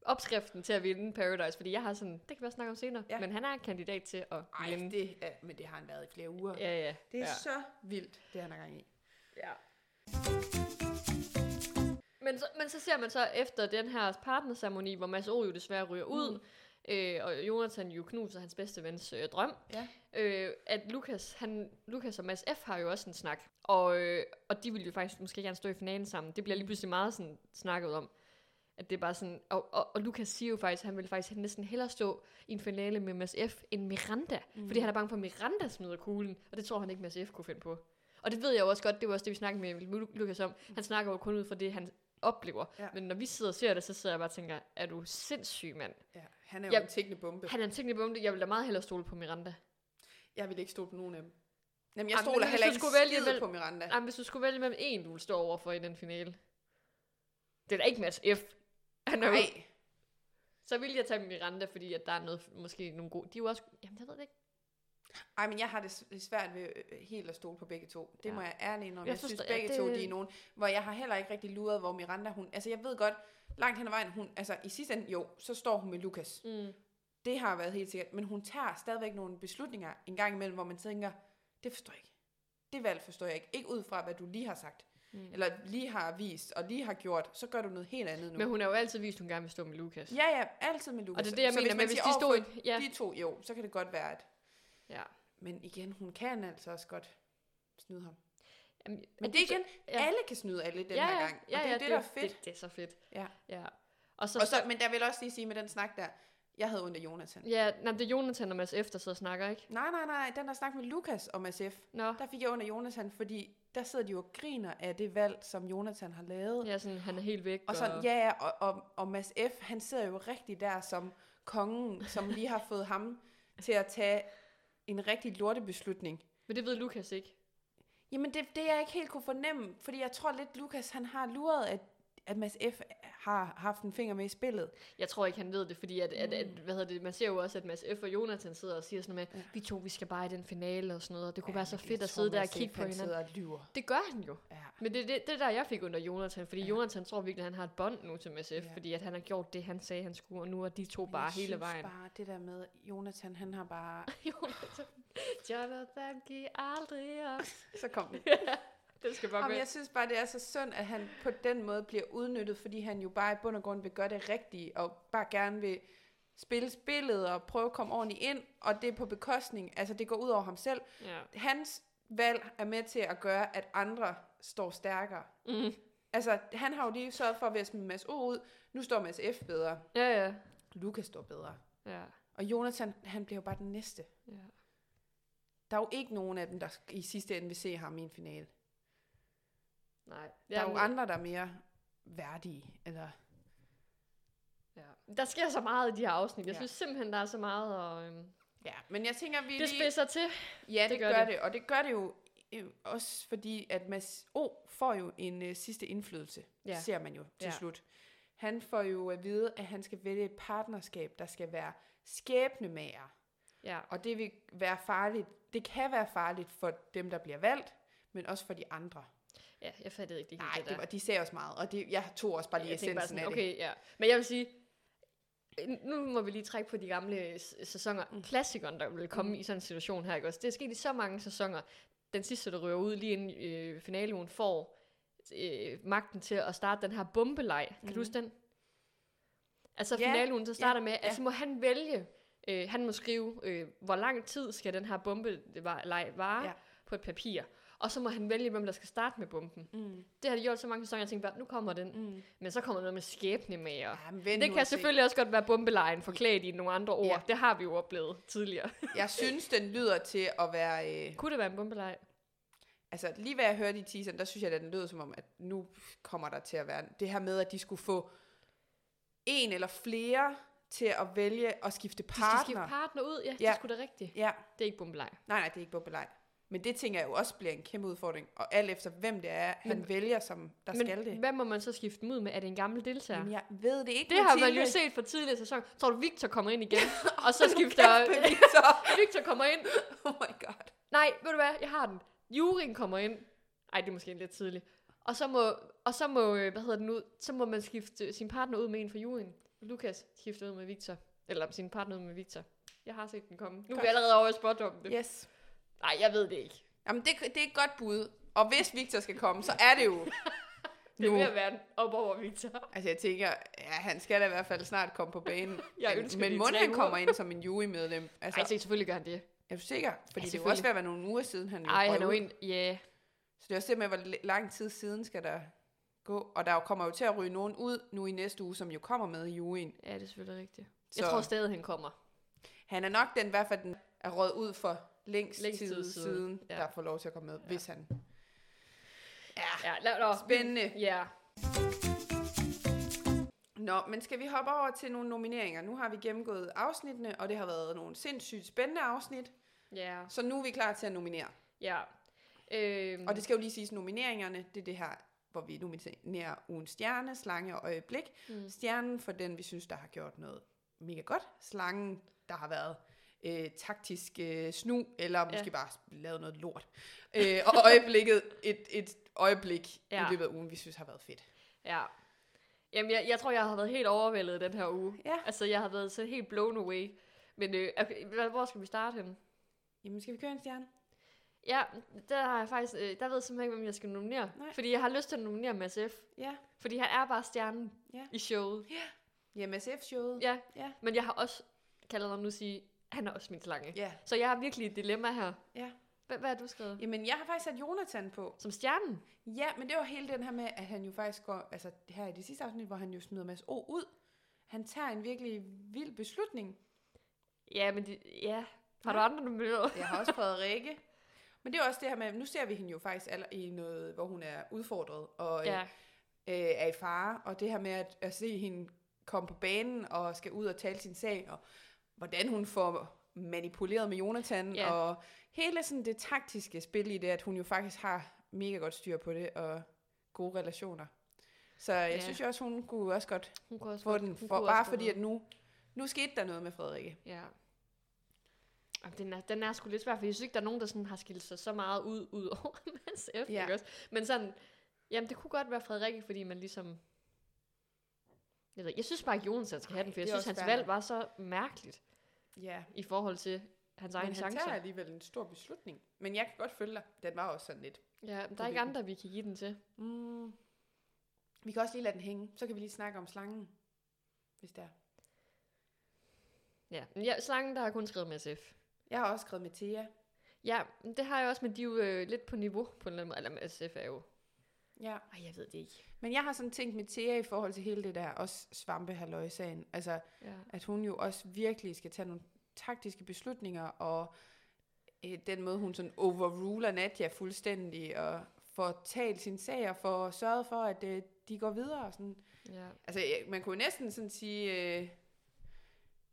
[SPEAKER 2] opskriften til at vinde Paradise, fordi jeg har sådan, det kan vi også snakke om senere,
[SPEAKER 1] Ja.
[SPEAKER 2] ja. men han er kandidat til at
[SPEAKER 1] Ej,
[SPEAKER 2] vinde.
[SPEAKER 1] det er, men det har han været i flere uger.
[SPEAKER 2] Ja, ja.
[SPEAKER 1] Det er
[SPEAKER 2] ja.
[SPEAKER 1] så vildt, det han er gang i.
[SPEAKER 2] Ja. Men så, men så ser man så efter den her partnerceremoni, hvor Mads O jo desværre ryger ud, øh, og Jonathan jo knuser hans bedste vens øh, drøm,
[SPEAKER 1] Ja.
[SPEAKER 2] øh, at Lukas, han, Lukas og Mads F. har jo også en snak, og, øh, og de vil jo faktisk måske gerne stå i finalen sammen. Det bliver lige pludselig meget sådan, snakket om. At det er bare sådan, og, og, og Lukas siger jo faktisk, at han vil faktisk næsten hellere stå i en finale med Mads F. end Miranda. Mm. Fordi han er bange for, at Miranda smider kuglen, og det tror han ikke, Mads F. kunne finde på. Og det ved jeg jo også godt, det var også det, vi snakkede med Lu- Lukas om. Han snakker jo kun ud fra det, han oplever.
[SPEAKER 1] Ja.
[SPEAKER 2] Ja. Men når vi sidder og ser det, så sidder jeg bare og tænker, er du sindssyg, mand?
[SPEAKER 1] ja. Han er jo
[SPEAKER 2] Ja.
[SPEAKER 1] en tækkende bombe.
[SPEAKER 2] Han er en tænkende bombe, jeg vil da meget hellere stole på Miranda.
[SPEAKER 1] Jeg vil ikke stole på nogen af dem. Jamen, jeg
[SPEAKER 2] Ej, men
[SPEAKER 1] stoler
[SPEAKER 2] hvis
[SPEAKER 1] heller
[SPEAKER 2] du
[SPEAKER 1] ikke
[SPEAKER 2] skulle vælge
[SPEAKER 1] skide
[SPEAKER 2] mellem-
[SPEAKER 1] på Miranda.
[SPEAKER 2] Ej, men hvis du skulle vælge mellem en, du ville stå over for i den finale. Det er da ikke Mads F. Han er jo-
[SPEAKER 1] Nej.
[SPEAKER 2] Så ville jeg tage Miranda, fordi at der er noget, måske nogle gode... De er jo også... Jamen, jeg ved det ikke.
[SPEAKER 1] Ej, men jeg har det s- svært ved øh, helt at stole på begge to. Det ja.
[SPEAKER 2] Ja.
[SPEAKER 1] må jeg ærligt indrømme. Jeg,
[SPEAKER 2] Jeg
[SPEAKER 1] jeg synes
[SPEAKER 2] forstår- ja,
[SPEAKER 1] begge det...
[SPEAKER 2] det-
[SPEAKER 1] to, de er nogen, hvor jeg har heller ikke rigtig luret, hvor Miranda, hun... Altså, jeg ved godt, langt hen ad vejen, hun... Altså, i sidste ende, jo, så står hun med Lukas.
[SPEAKER 2] Mm.
[SPEAKER 1] Det har været helt sikkert. Men hun tager stadigvæk nogle beslutninger en gang imellem, hvor man tænker, det forstår jeg ikke. Det valg forstår jeg ikke. Ikke ud fra, hvad du lige har sagt. Mm. Eller lige har vist, og lige har gjort. Så gør du noget helt andet nu.
[SPEAKER 2] Men hun har jo altid vist, at hun gerne vil stå med Lukas.
[SPEAKER 1] Ja, ja, altid med Lukas.
[SPEAKER 2] Og det er det, jeg
[SPEAKER 1] Så
[SPEAKER 2] mener,
[SPEAKER 1] man
[SPEAKER 2] men hvis
[SPEAKER 1] siger,
[SPEAKER 2] de
[SPEAKER 1] "Åh,
[SPEAKER 2] stod...
[SPEAKER 1] for
[SPEAKER 2] i- Ja,
[SPEAKER 1] De to, jo, så kan det godt være, at...
[SPEAKER 2] ja.
[SPEAKER 1] Men igen, hun kan altså også godt snyde ham.
[SPEAKER 2] Jamen,
[SPEAKER 1] Men det er igen, ja.
[SPEAKER 2] ja.
[SPEAKER 1] alle kan snyde alle den
[SPEAKER 2] ja,
[SPEAKER 1] her
[SPEAKER 2] ja,
[SPEAKER 1] gang. Og
[SPEAKER 2] Ja,
[SPEAKER 1] det er
[SPEAKER 2] ja,
[SPEAKER 1] jo det, der er fedt.
[SPEAKER 2] Det, det er så fedt.
[SPEAKER 1] Ja.
[SPEAKER 2] Ja. Og så,
[SPEAKER 1] Og så, men der vil jeg også lige sige med den snak der, jeg havde ondt af Jonathan.
[SPEAKER 2] Ja, nej, det er Jonathan og Mads efter, så snakker, ikke?
[SPEAKER 1] Nej, nej, nej, den der snak med Lukas om SF,
[SPEAKER 2] Nå,
[SPEAKER 1] der fik jeg under Jonathan, fordi der sidder de jo og griner af det valg, som Jonathan har lavet. Ja.
[SPEAKER 2] ja, sådan, han er helt væk.
[SPEAKER 1] Og sådan, ja, ja, og, og, og Mads F., han sidder jo rigtig der som kongen, som lige har fået ham til at tage en rigtig lortebeslutning.
[SPEAKER 2] Men det ved Lukas ikke.
[SPEAKER 1] Jamen, det, det jeg ikke helt kunne fornemme, fordi jeg tror lidt, Lukas han har luret, at, at Mads F. har haft en finger med i spillet.
[SPEAKER 2] Jeg tror ikke, han ved det, fordi at, at, at,
[SPEAKER 1] Mm.
[SPEAKER 2] hvad hedder det, man ser jo også, at Mads F. og Jonathan sidder og siger sådan noget med, vi to, vi skal bare i den finale og sådan noget, og det kunne ja, være så
[SPEAKER 1] Jeg
[SPEAKER 2] fedt at
[SPEAKER 1] tror,
[SPEAKER 2] sidde der og
[SPEAKER 1] Mads F,
[SPEAKER 2] kigge på
[SPEAKER 1] han
[SPEAKER 2] hinanden.
[SPEAKER 1] sidder og lyver.
[SPEAKER 2] Det gør han jo.
[SPEAKER 1] Ja.
[SPEAKER 2] Men det er det, det, er der, jeg fik under Jonathan, fordi ja. Jonathan tror virkelig, at han har et bånd nu til Mads F.,
[SPEAKER 1] Ja.
[SPEAKER 2] ja. fordi at han har gjort det, han sagde, han skulle, og nu er de to
[SPEAKER 1] Men
[SPEAKER 2] bare
[SPEAKER 1] jeg
[SPEAKER 2] hele
[SPEAKER 1] synes
[SPEAKER 2] vejen.
[SPEAKER 1] bare, det der med, Jonathan, han har bare...
[SPEAKER 2] *laughs*
[SPEAKER 1] *laughs*
[SPEAKER 2] Jonathan, Jonathan, giv aldrig op.
[SPEAKER 1] Så kom den.
[SPEAKER 2] Det skal bare
[SPEAKER 1] Jamen,
[SPEAKER 2] med.
[SPEAKER 1] jeg synes bare, det er så synd, at han på den måde bliver udnyttet, fordi han jo bare i bund og grund vil gøre det rigtige, og bare gerne vil spille spillet og prøve at komme ordentligt ind, og det er på bekostning, altså det går ud over ham selv.
[SPEAKER 2] Ja.
[SPEAKER 1] Hans valg er med til at gøre, at andre står stærkere. Mm. Altså, han har jo lige sørget for ved at smide Mads O ud, nu står Mads F bedre,
[SPEAKER 2] Ja, ja,
[SPEAKER 1] Lukas står bedre,
[SPEAKER 2] ja.
[SPEAKER 1] og Jonathan, han bliver jo bare den næste.
[SPEAKER 2] ja.
[SPEAKER 1] Der er jo ikke nogen af dem, der i sidste ende vil se ham i en finale.
[SPEAKER 2] Nej.
[SPEAKER 1] Der er jo
[SPEAKER 2] Jamen, øh,
[SPEAKER 1] andre, der er mere værdige. Eller...
[SPEAKER 2] Ja. Der sker så meget i de her afsnit. Jeg
[SPEAKER 1] Ja.
[SPEAKER 2] ja. synes simpelthen, der er så meget, og øhm,
[SPEAKER 1] Ja, men jeg tænker, vi
[SPEAKER 2] det spidser til.
[SPEAKER 1] Ja, det,
[SPEAKER 2] det
[SPEAKER 1] gør,
[SPEAKER 2] gør
[SPEAKER 1] det.
[SPEAKER 2] det.
[SPEAKER 1] Og det gør det jo øh, også fordi, at Mads O. får jo en øh, sidste indflydelse, ja.
[SPEAKER 2] Ja.
[SPEAKER 1] ser man jo til ja.
[SPEAKER 2] Ja.
[SPEAKER 1] slut. Han får jo at vide, at han skal vælge et partnerskab, der skal være skæbnemager.
[SPEAKER 2] Ja.
[SPEAKER 1] Og det vil være farligt. Det kan være farligt for dem, der bliver valgt, men også for de andre.
[SPEAKER 2] ja, jeg fattede ikke det helt,
[SPEAKER 1] Nej,
[SPEAKER 2] det der.
[SPEAKER 1] det var, de ser også meget, og det, jeg tog også bare lige
[SPEAKER 2] jeg tænkte bare
[SPEAKER 1] essensen
[SPEAKER 2] sådan,
[SPEAKER 1] af det.
[SPEAKER 2] okay, ja. Men jeg vil sige, nu må vi lige trække på de gamle s- sæsoner. Mm. Klassikeren, der ville komme mm. i sådan en situation her, ikke også? Det er sket i så mange sæsoner. Den sidste, der rører ud lige inden øh, finalen, får øh, magten til at starte den her bombeleg. Kan mm. du huske den? Altså
[SPEAKER 1] Ja,
[SPEAKER 2] finalen, der starter
[SPEAKER 1] ja,
[SPEAKER 2] med, at
[SPEAKER 1] ja.
[SPEAKER 2] så må han vælge, øh, han må skrive, øh, hvor lang tid skal den her bombeleg vare
[SPEAKER 1] Ja.
[SPEAKER 2] ja. på et papir. Og så må han vælge, hvem der skal starte med bomben.
[SPEAKER 1] Mm.
[SPEAKER 2] Det har de gjort så mange sæsoner, jeg tænkte bare, nu kommer den.
[SPEAKER 1] Mm.
[SPEAKER 2] Men så kommer noget med skæbne med, og
[SPEAKER 1] Jamen, vent
[SPEAKER 2] det
[SPEAKER 1] nu
[SPEAKER 2] kan
[SPEAKER 1] og se.
[SPEAKER 2] selvfølgelig også godt være bombelejen forklædt i nogle andre ord.
[SPEAKER 1] Ja.
[SPEAKER 2] Ja. Det har vi jo oplevet
[SPEAKER 1] *laughs*
[SPEAKER 2] tidligere.
[SPEAKER 1] Jeg synes, den lyder til at være... Øh,
[SPEAKER 2] Kunne det være en bombelej?
[SPEAKER 1] altså, lige hvad jeg hørte i teaseren, der synes jeg, at den lød som om, at nu kommer der til at være... Det her med, at de skulle få en eller flere til at vælge at skifte
[SPEAKER 2] De skal
[SPEAKER 1] partner.
[SPEAKER 2] skifte partner ud, ja, ja. det
[SPEAKER 1] Ja.
[SPEAKER 2] er sgu da rigtigt.
[SPEAKER 1] ja,
[SPEAKER 2] Det er ikke bombelej.
[SPEAKER 1] nej, nej, det er ikke bubbelej. Men det tænker jeg jo også bliver en kæmpe udfordring. Og alt efter, hvem det er, han
[SPEAKER 2] Men-
[SPEAKER 1] vælger, som der
[SPEAKER 2] Men
[SPEAKER 1] skal det.
[SPEAKER 2] hvad må man så skifte dem ud med? Er det en gammel deltager?
[SPEAKER 1] Jamen, jeg ved det ikke,
[SPEAKER 2] Det har man
[SPEAKER 1] Mathilde.
[SPEAKER 2] jo set fra tidligere sæson. Tror du, Victor kommer ind
[SPEAKER 1] *laughs*
[SPEAKER 2] igen? og så skifter...
[SPEAKER 1] Kæmpe viser.
[SPEAKER 2] *laughs* Victor kommer ind.
[SPEAKER 1] *laughs* Oh my god.
[SPEAKER 2] Nej, ved du hvad? Jeg har den. Jurien kommer ind. Ej, det er måske lidt tidligt. Og så må, og så må øh, hvad hedder den ud, så må man skifte sin partner ud med en fra juryen. Lukas skifter ud med Victor. Eller sin partner ud med Victor. Jeg har set den komme. Nu er vi allerede over i spådommen. Nej,
[SPEAKER 1] Yes.
[SPEAKER 2] jeg ved det ikke.
[SPEAKER 1] Jamen, det, det er et godt bud. Og hvis Victor skal komme, så er det jo
[SPEAKER 2] *laughs* Det er
[SPEAKER 1] nu.
[SPEAKER 2] ved at være en op over Victor.
[SPEAKER 1] Altså, jeg tænker, ja, han skal da i hvert fald snart komme på banen.
[SPEAKER 2] *laughs* Jeg
[SPEAKER 1] men
[SPEAKER 2] ønsker
[SPEAKER 1] men
[SPEAKER 2] de
[SPEAKER 1] må
[SPEAKER 2] tre
[SPEAKER 1] han
[SPEAKER 2] uger.
[SPEAKER 1] kommer ind som en jurymedlem? Altså,
[SPEAKER 2] Nej, selvfølgelig gør han det.
[SPEAKER 1] er du sikker? Fordi det er jo
[SPEAKER 2] selvfølgelig.
[SPEAKER 1] også ved at være nogle uger siden, han
[SPEAKER 2] Nej, han er jo
[SPEAKER 1] røg ud.
[SPEAKER 2] en... Ja, yeah.
[SPEAKER 1] Så det er også det med, hvor l- lang tid siden skal der gå. Og der jo kommer jo til at ryge nogen ud nu i næste uge, som jo kommer med i juryen.
[SPEAKER 2] ja, det er selvfølgelig rigtigt.
[SPEAKER 1] Så-
[SPEAKER 2] Jeg tror stadig, han kommer.
[SPEAKER 1] Han er nok den, i hvert fald den er røget ud for længst,
[SPEAKER 2] Længst
[SPEAKER 1] tid
[SPEAKER 2] tid
[SPEAKER 1] siden,
[SPEAKER 2] siden, ja.
[SPEAKER 1] der får lov til at komme med, ja. hvis han... Ja.
[SPEAKER 2] Ja, lad, lad,
[SPEAKER 1] Spændende.
[SPEAKER 2] Ja.
[SPEAKER 1] Nå, men skal vi hoppe over til nogle nomineringer? Nu har vi gennemgået afsnittene, og det har været nogle sindssygt spændende afsnit.
[SPEAKER 2] Ja.
[SPEAKER 1] Så nu er vi klar til at nominere.
[SPEAKER 2] Ja. Øhm,
[SPEAKER 1] Og det skal jo lige siges, nomineringerne, det er det her, hvor vi nominerer ugen stjerne, slange og øjeblik. Mm. Stjernen for den, vi synes, der har gjort noget mega godt. Slangen, der har været øh, taktisk øh, snu, eller måske ja.
[SPEAKER 2] Ja.
[SPEAKER 1] bare lavet noget lort. Øh, og øjeblikket, et, et øjeblik ja.
[SPEAKER 2] Ja.
[SPEAKER 1] i løbet af ugen, vi synes har været fedt.
[SPEAKER 2] ja. Jamen, jeg, jeg tror, jeg har været helt overvældet den her uge.
[SPEAKER 1] Ja.
[SPEAKER 2] Altså, jeg har været så helt blown away. Men øh, okay, hvad- hvor skal vi starte henne?
[SPEAKER 1] Jamen, skal vi køre en stjerne?
[SPEAKER 2] Ja, der har jeg faktisk... Øh, der ved jeg simpelthen ikke, hvem jeg skal nominere.
[SPEAKER 1] Nej.
[SPEAKER 2] Fordi jeg har lyst til at nominere Mads F.
[SPEAKER 1] Ja.
[SPEAKER 2] Fordi han er bare stjernen
[SPEAKER 1] Ja.
[SPEAKER 2] i showet.
[SPEAKER 1] Ja, MSF-showet.
[SPEAKER 2] Ja.
[SPEAKER 1] Ja.
[SPEAKER 2] Men jeg har også... Kan jeg allerede nu sige, han er også min slange.
[SPEAKER 1] ja.
[SPEAKER 2] Så jeg har virkelig et dilemma her.
[SPEAKER 1] Ja.
[SPEAKER 2] Hvad, hvad har du skrevet?
[SPEAKER 1] Jamen, jeg har faktisk sat Jonathan på.
[SPEAKER 2] Som stjernen?
[SPEAKER 1] Ja, men det var hele den her med, at han jo faktisk går, altså her i det sidste afsnit, hvor han jo smider Mads O ud. Han tager en virkelig vild beslutning.
[SPEAKER 2] Ja, men de, ja. Har du andre nomineret?
[SPEAKER 1] Jeg har også Frederikke. Men det er også det her med, nu ser vi hende jo faktisk aller, i noget, hvor hun er udfordret og ja.
[SPEAKER 2] Ja.
[SPEAKER 1] øh, er i fare. Og det her med at, at se hende komme på banen og skal ud og tale sin sag, og hvordan hun får manipuleret med Jonathan, ja.
[SPEAKER 2] Ja.
[SPEAKER 1] og hele sådan det taktiske spil i det, at hun jo faktisk har mega godt styr på det, og gode relationer. Så jeg
[SPEAKER 2] Ja.
[SPEAKER 1] synes jo også, hun kunne også godt
[SPEAKER 2] Hun kunne også
[SPEAKER 1] få den,
[SPEAKER 2] hun
[SPEAKER 1] for,
[SPEAKER 2] kunne
[SPEAKER 1] bare
[SPEAKER 2] også
[SPEAKER 1] fordi
[SPEAKER 2] godt
[SPEAKER 1] at nu, nu skete der noget med Frederikke.
[SPEAKER 2] Ja. Jamen, den, er, den er sgu lidt svær, for jeg synes ikke, der er nogen, der sådan har skilt sig så meget ud, ud over *laughs* Mads F.
[SPEAKER 1] Ja.
[SPEAKER 2] Ja. Også? Men sådan, jamen det kunne godt være Frederikke, fordi man ligesom... Jeg, ved, ikke, jeg synes bare, at Jonas han skal have den, for jeg
[SPEAKER 1] det er
[SPEAKER 2] synes,
[SPEAKER 1] også
[SPEAKER 2] hans
[SPEAKER 1] fair
[SPEAKER 2] valg
[SPEAKER 1] nok.
[SPEAKER 2] var så mærkeligt
[SPEAKER 1] Ja,
[SPEAKER 2] i forhold til hans
[SPEAKER 1] men
[SPEAKER 2] egen
[SPEAKER 1] han
[SPEAKER 2] chance.
[SPEAKER 1] tager alligevel en stor beslutning. Men jeg kan godt følge dig. Den var også sådan lidt.
[SPEAKER 2] Ja, men der
[SPEAKER 1] er
[SPEAKER 2] er ikke
[SPEAKER 1] vigtigt.
[SPEAKER 2] andre, vi kan give den til.
[SPEAKER 1] Mm. Vi kan også lige lade den hænge. Så kan vi lige snakke om slangen, hvis det er.
[SPEAKER 2] Ja, men ja slangen, der har kun skrevet Mads F.
[SPEAKER 1] Jeg har også skrevet med Thea.
[SPEAKER 2] Ja, men det har jeg også, men de er jo øh, lidt på niveau på en eller anden måde. Eller Mads F er jo...
[SPEAKER 1] Ja.
[SPEAKER 2] Ej, jeg ved det ikke.
[SPEAKER 1] Men jeg har sådan tænkt med Thea i forhold til hele det der, også svampe sagen. Altså,
[SPEAKER 2] Ja.
[SPEAKER 1] at hun jo også virkelig skal tage nogle taktiske beslutninger, og øh, den måde, hun sådan overruler Nadia fuldstændig, og får talt sin sag, og får sørget for, at øh, de går videre. Og sådan.
[SPEAKER 2] ja.
[SPEAKER 1] Altså, øh, man kunne næsten sådan sige øh,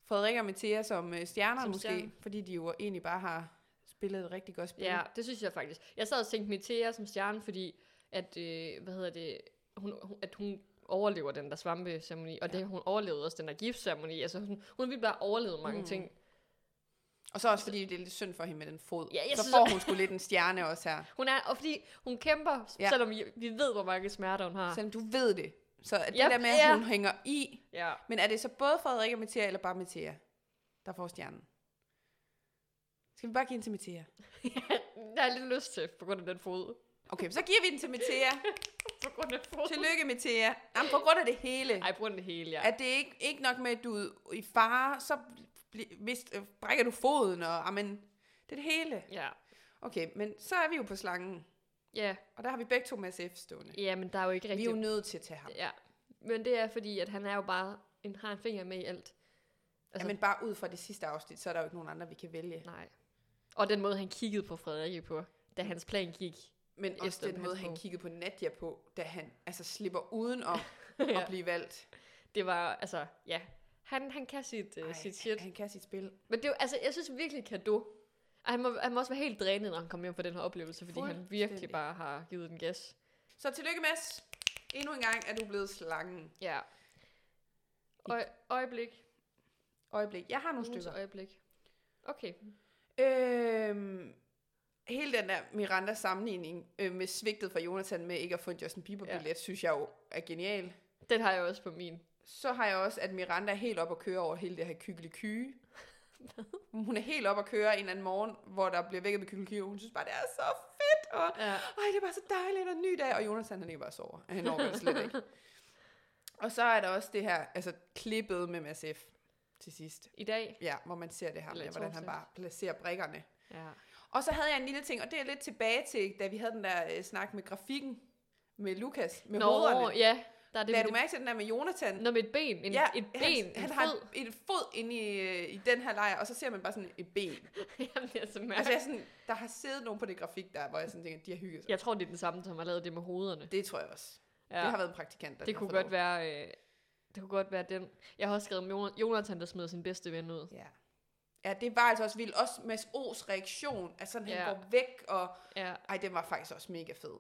[SPEAKER 1] Frederik og Mathia som øh, stjerner som
[SPEAKER 2] Som
[SPEAKER 1] måske,
[SPEAKER 2] stjerner.
[SPEAKER 1] fordi de jo egentlig bare har spillet et rigtig godt spil.
[SPEAKER 2] Ja, det synes jeg faktisk. Jeg sad og tænkte Metea som stjerne, fordi at, øh, hvad hedder det, hun, hun- at hun overlever den der svampeceremoni, og ja. det, hun overlevede også den der giftceremoni. Altså, hun, hun ville bare overleve mange mm. ting.
[SPEAKER 1] Og så også fordi det er lidt synd for hende med den fod.
[SPEAKER 2] Ja, jeg
[SPEAKER 1] så
[SPEAKER 2] synes-
[SPEAKER 1] får hun sgu lidt en stjerne også her.
[SPEAKER 2] Hun er, og fordi hun kæmper,
[SPEAKER 1] Ja.
[SPEAKER 2] ja. selvom vi, vi ved, hvor mange smerter hun har.
[SPEAKER 1] Selvom du ved det. Så at det
[SPEAKER 2] Ja,
[SPEAKER 1] der med, at
[SPEAKER 2] Ah. ja.
[SPEAKER 1] hun hænger i,
[SPEAKER 2] Ja.
[SPEAKER 1] Men er det så både Frederik og Mathia, eller bare Mathia, der får stjernen? Skal vi bare give den til Mathia?
[SPEAKER 2] det har jeg lidt lyst til, på grund af den fod.
[SPEAKER 1] Okay, så giver vi den til Metea.
[SPEAKER 2] på grund af foden.
[SPEAKER 1] Tillykke, Metea. Jamen, på grund af det hele.
[SPEAKER 2] Ej, på grund af det hele, ja.
[SPEAKER 1] At det ikke, ikke nok med, at du er i fare, så bl- hvis, øh, brækker du foden, og amen, det er det hele.
[SPEAKER 2] Ja.
[SPEAKER 1] Okay, men så er vi jo på slangen,
[SPEAKER 2] Ja,
[SPEAKER 1] og der har vi begge to Mads F. stående.
[SPEAKER 2] ja men der er jo ikke
[SPEAKER 1] Vi
[SPEAKER 2] rigtig...
[SPEAKER 1] er jo nødt til at tage ham.
[SPEAKER 2] Ja, men det er fordi, at han er jo bare... En, har en finger med i alt.
[SPEAKER 1] Altså, men bare ud fra det sidste afsnit, så er der jo ikke nogen andre, vi kan vælge.
[SPEAKER 2] Nej. Og den måde, han kiggede på Frederik på, da hans plan gik.
[SPEAKER 1] Men også
[SPEAKER 2] Efter
[SPEAKER 1] den
[SPEAKER 2] den
[SPEAKER 1] måde,
[SPEAKER 2] her
[SPEAKER 1] han
[SPEAKER 2] bog.
[SPEAKER 1] kiggede på Nadia på, da han altså slipper
[SPEAKER 2] *laughs*
[SPEAKER 1] udenom
[SPEAKER 2] Ja.
[SPEAKER 1] at blive valgt.
[SPEAKER 2] Det var, altså, ja. Han, han kan sit,
[SPEAKER 1] Ej,
[SPEAKER 2] øh, sit shit.
[SPEAKER 1] Han kan sit spil.
[SPEAKER 2] Men det er jo, altså, jeg synes virkelig kado. Og han må, han må også være helt drænet, når han kommer hjem fra den her oplevelse, fordi han virkelig
[SPEAKER 1] Fuldstændig.
[SPEAKER 2] bare har givet den gas.
[SPEAKER 1] Så tillykke, Mads. Endnu en gang er du blevet slangen.
[SPEAKER 2] Ja. Øj, øjeblik.
[SPEAKER 1] Øjeblik. Jeg har nogle
[SPEAKER 2] Ugens
[SPEAKER 1] stykker.
[SPEAKER 2] øjeblik. Okay.
[SPEAKER 1] Øhm, hele den der Miranda sammenligning øh, med svigtet fra Jonathan med ikke at få en Justin Bieber billet, ja. synes jeg jo er genial.
[SPEAKER 2] Den har jeg også på min.
[SPEAKER 1] Så har jeg også, at Miranda er helt op at køre over hele det her kykkelikyge. Hun er helt op at køre en eller anden morgen, hvor der bliver vækket med kykkelikyge, og hun synes bare, det er så fedt, og
[SPEAKER 2] Ja.
[SPEAKER 1] ej, det er bare så dejligt, og en ny dag. Og Jonathan, han ikke bare sover. Han når det slet ikke. Og så er der også det her, altså klippet med Mads F. til sidst.
[SPEAKER 2] I dag.
[SPEAKER 1] Ja, hvor man ser det her
[SPEAKER 2] Eller
[SPEAKER 1] med,
[SPEAKER 2] i
[SPEAKER 1] hvordan han
[SPEAKER 2] torsdags.
[SPEAKER 1] bare placerer brikkerne.
[SPEAKER 2] Ja.
[SPEAKER 1] Og så havde jeg en lille ting, og det er lidt tilbage til, da vi havde den der øh, snak med grafikken med Lukas, med Nå, hovederne.
[SPEAKER 2] ja. Der er det
[SPEAKER 1] Lad
[SPEAKER 2] med,
[SPEAKER 1] du
[SPEAKER 2] det,
[SPEAKER 1] mærke til den der med Jonathan?
[SPEAKER 2] noget med et ben. En, et ben.
[SPEAKER 1] han,
[SPEAKER 2] en
[SPEAKER 1] han
[SPEAKER 2] fod.
[SPEAKER 1] har et, et fod inde i, øh, i den her lejr, og så ser man bare sådan et ben.
[SPEAKER 2] *laughs* Jamen, det er så mærkeligt.
[SPEAKER 1] Altså, jeg er sådan, der har siddet nogen på det grafik der, hvor jeg sådan tænker, de har hygget sig.
[SPEAKER 2] Jeg tror, det er den samme, som har lavet det med hovederne.
[SPEAKER 1] Det tror jeg også.
[SPEAKER 2] Ja,
[SPEAKER 1] Det har været en praktikant, der
[SPEAKER 2] det
[SPEAKER 1] har
[SPEAKER 2] kunne
[SPEAKER 1] fået
[SPEAKER 2] godt
[SPEAKER 1] lov.
[SPEAKER 2] være... Øh, det kunne godt være den. Jeg har også skrevet om Jon- Jonathan, der smider sin bedste ven ud.
[SPEAKER 1] Ja. Ja, det var altså også vildt. Også Mads O's reaktion, at sådan, han
[SPEAKER 2] Ja.
[SPEAKER 1] går væk, og
[SPEAKER 2] Ja,
[SPEAKER 1] ej, den var faktisk også mega fed.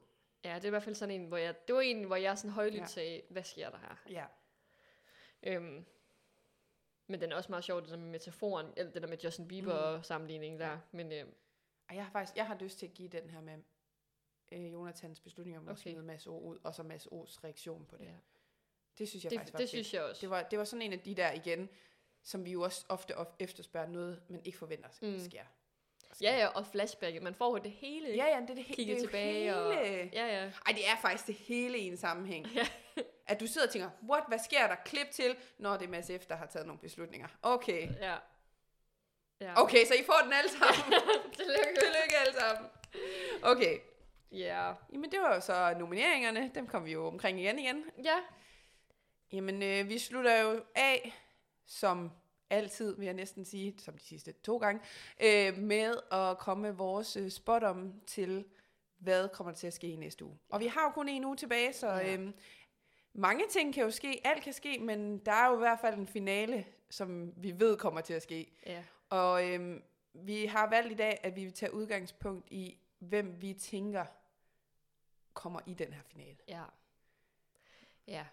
[SPEAKER 2] ja, det er i hvert fald sådan en, hvor jeg... Det var en, hvor jeg sådan højlydt
[SPEAKER 1] Ja.
[SPEAKER 2] ja. sagde, hvad sker der her?
[SPEAKER 1] Ja.
[SPEAKER 2] Øhm, men den er også meget sjov, det der med metaforen, eller det der med Justin Bieber mm. sammenligning der. Men øhm,
[SPEAKER 1] Og jeg har faktisk jeg har lyst til at give den her med øh, Jonathans beslutning om okay. at
[SPEAKER 2] Okay.
[SPEAKER 1] smide Mads O ud, og så Mads O's reaktion på det. Ja.
[SPEAKER 2] ja.
[SPEAKER 1] Det synes jeg
[SPEAKER 2] det,
[SPEAKER 1] faktisk var
[SPEAKER 2] det
[SPEAKER 1] fedt.
[SPEAKER 2] synes jeg også.
[SPEAKER 1] Det var, det var sådan en af de der igen, som vi jo også ofte of- efterspørger noget, man ikke forventer sig mm.
[SPEAKER 2] Mm.
[SPEAKER 1] sker.
[SPEAKER 2] Ja, ja, og flashbacket. Man får jo det hele.
[SPEAKER 1] Ja, ja, det er det, he- det
[SPEAKER 2] Kigge
[SPEAKER 1] er jo
[SPEAKER 2] tilbage
[SPEAKER 1] hele...
[SPEAKER 2] og... Ja, ja.
[SPEAKER 1] Ej, det er faktisk det hele i en sammenhæng.
[SPEAKER 2] Ja.
[SPEAKER 1] At du sidder og tænker, what, hvad sker der? Klip til, når det er Mads F., der har taget nogle beslutninger. Okay.
[SPEAKER 2] Ja. ja. *laughs*
[SPEAKER 1] Okay, så I får den alle sammen. *laughs*
[SPEAKER 2] Tillykke.
[SPEAKER 1] Tillykke alle sammen. Okay.
[SPEAKER 2] Ja.
[SPEAKER 1] Jamen, det var jo så nomineringerne. Dem kom vi jo omkring igen igen.
[SPEAKER 2] Ja.
[SPEAKER 1] Jamen, øh, vi slutter jo af, som altid, vil jeg næsten sige, som de sidste to gange, øh, med at komme med vores øh, spot om til, hvad kommer der til at ske i næste uge. Og vi har jo kun en uge tilbage, så
[SPEAKER 2] Ja.
[SPEAKER 1] øh, mange ting kan jo ske, alt kan ske, men der er jo i hvert fald en finale, som vi ved kommer til at ske.
[SPEAKER 2] Ja.
[SPEAKER 1] Og øh, vi har valgt i dag, at vi vil tage udgangspunkt i, hvem vi tænker kommer i den her finale.
[SPEAKER 2] Ja. Ja.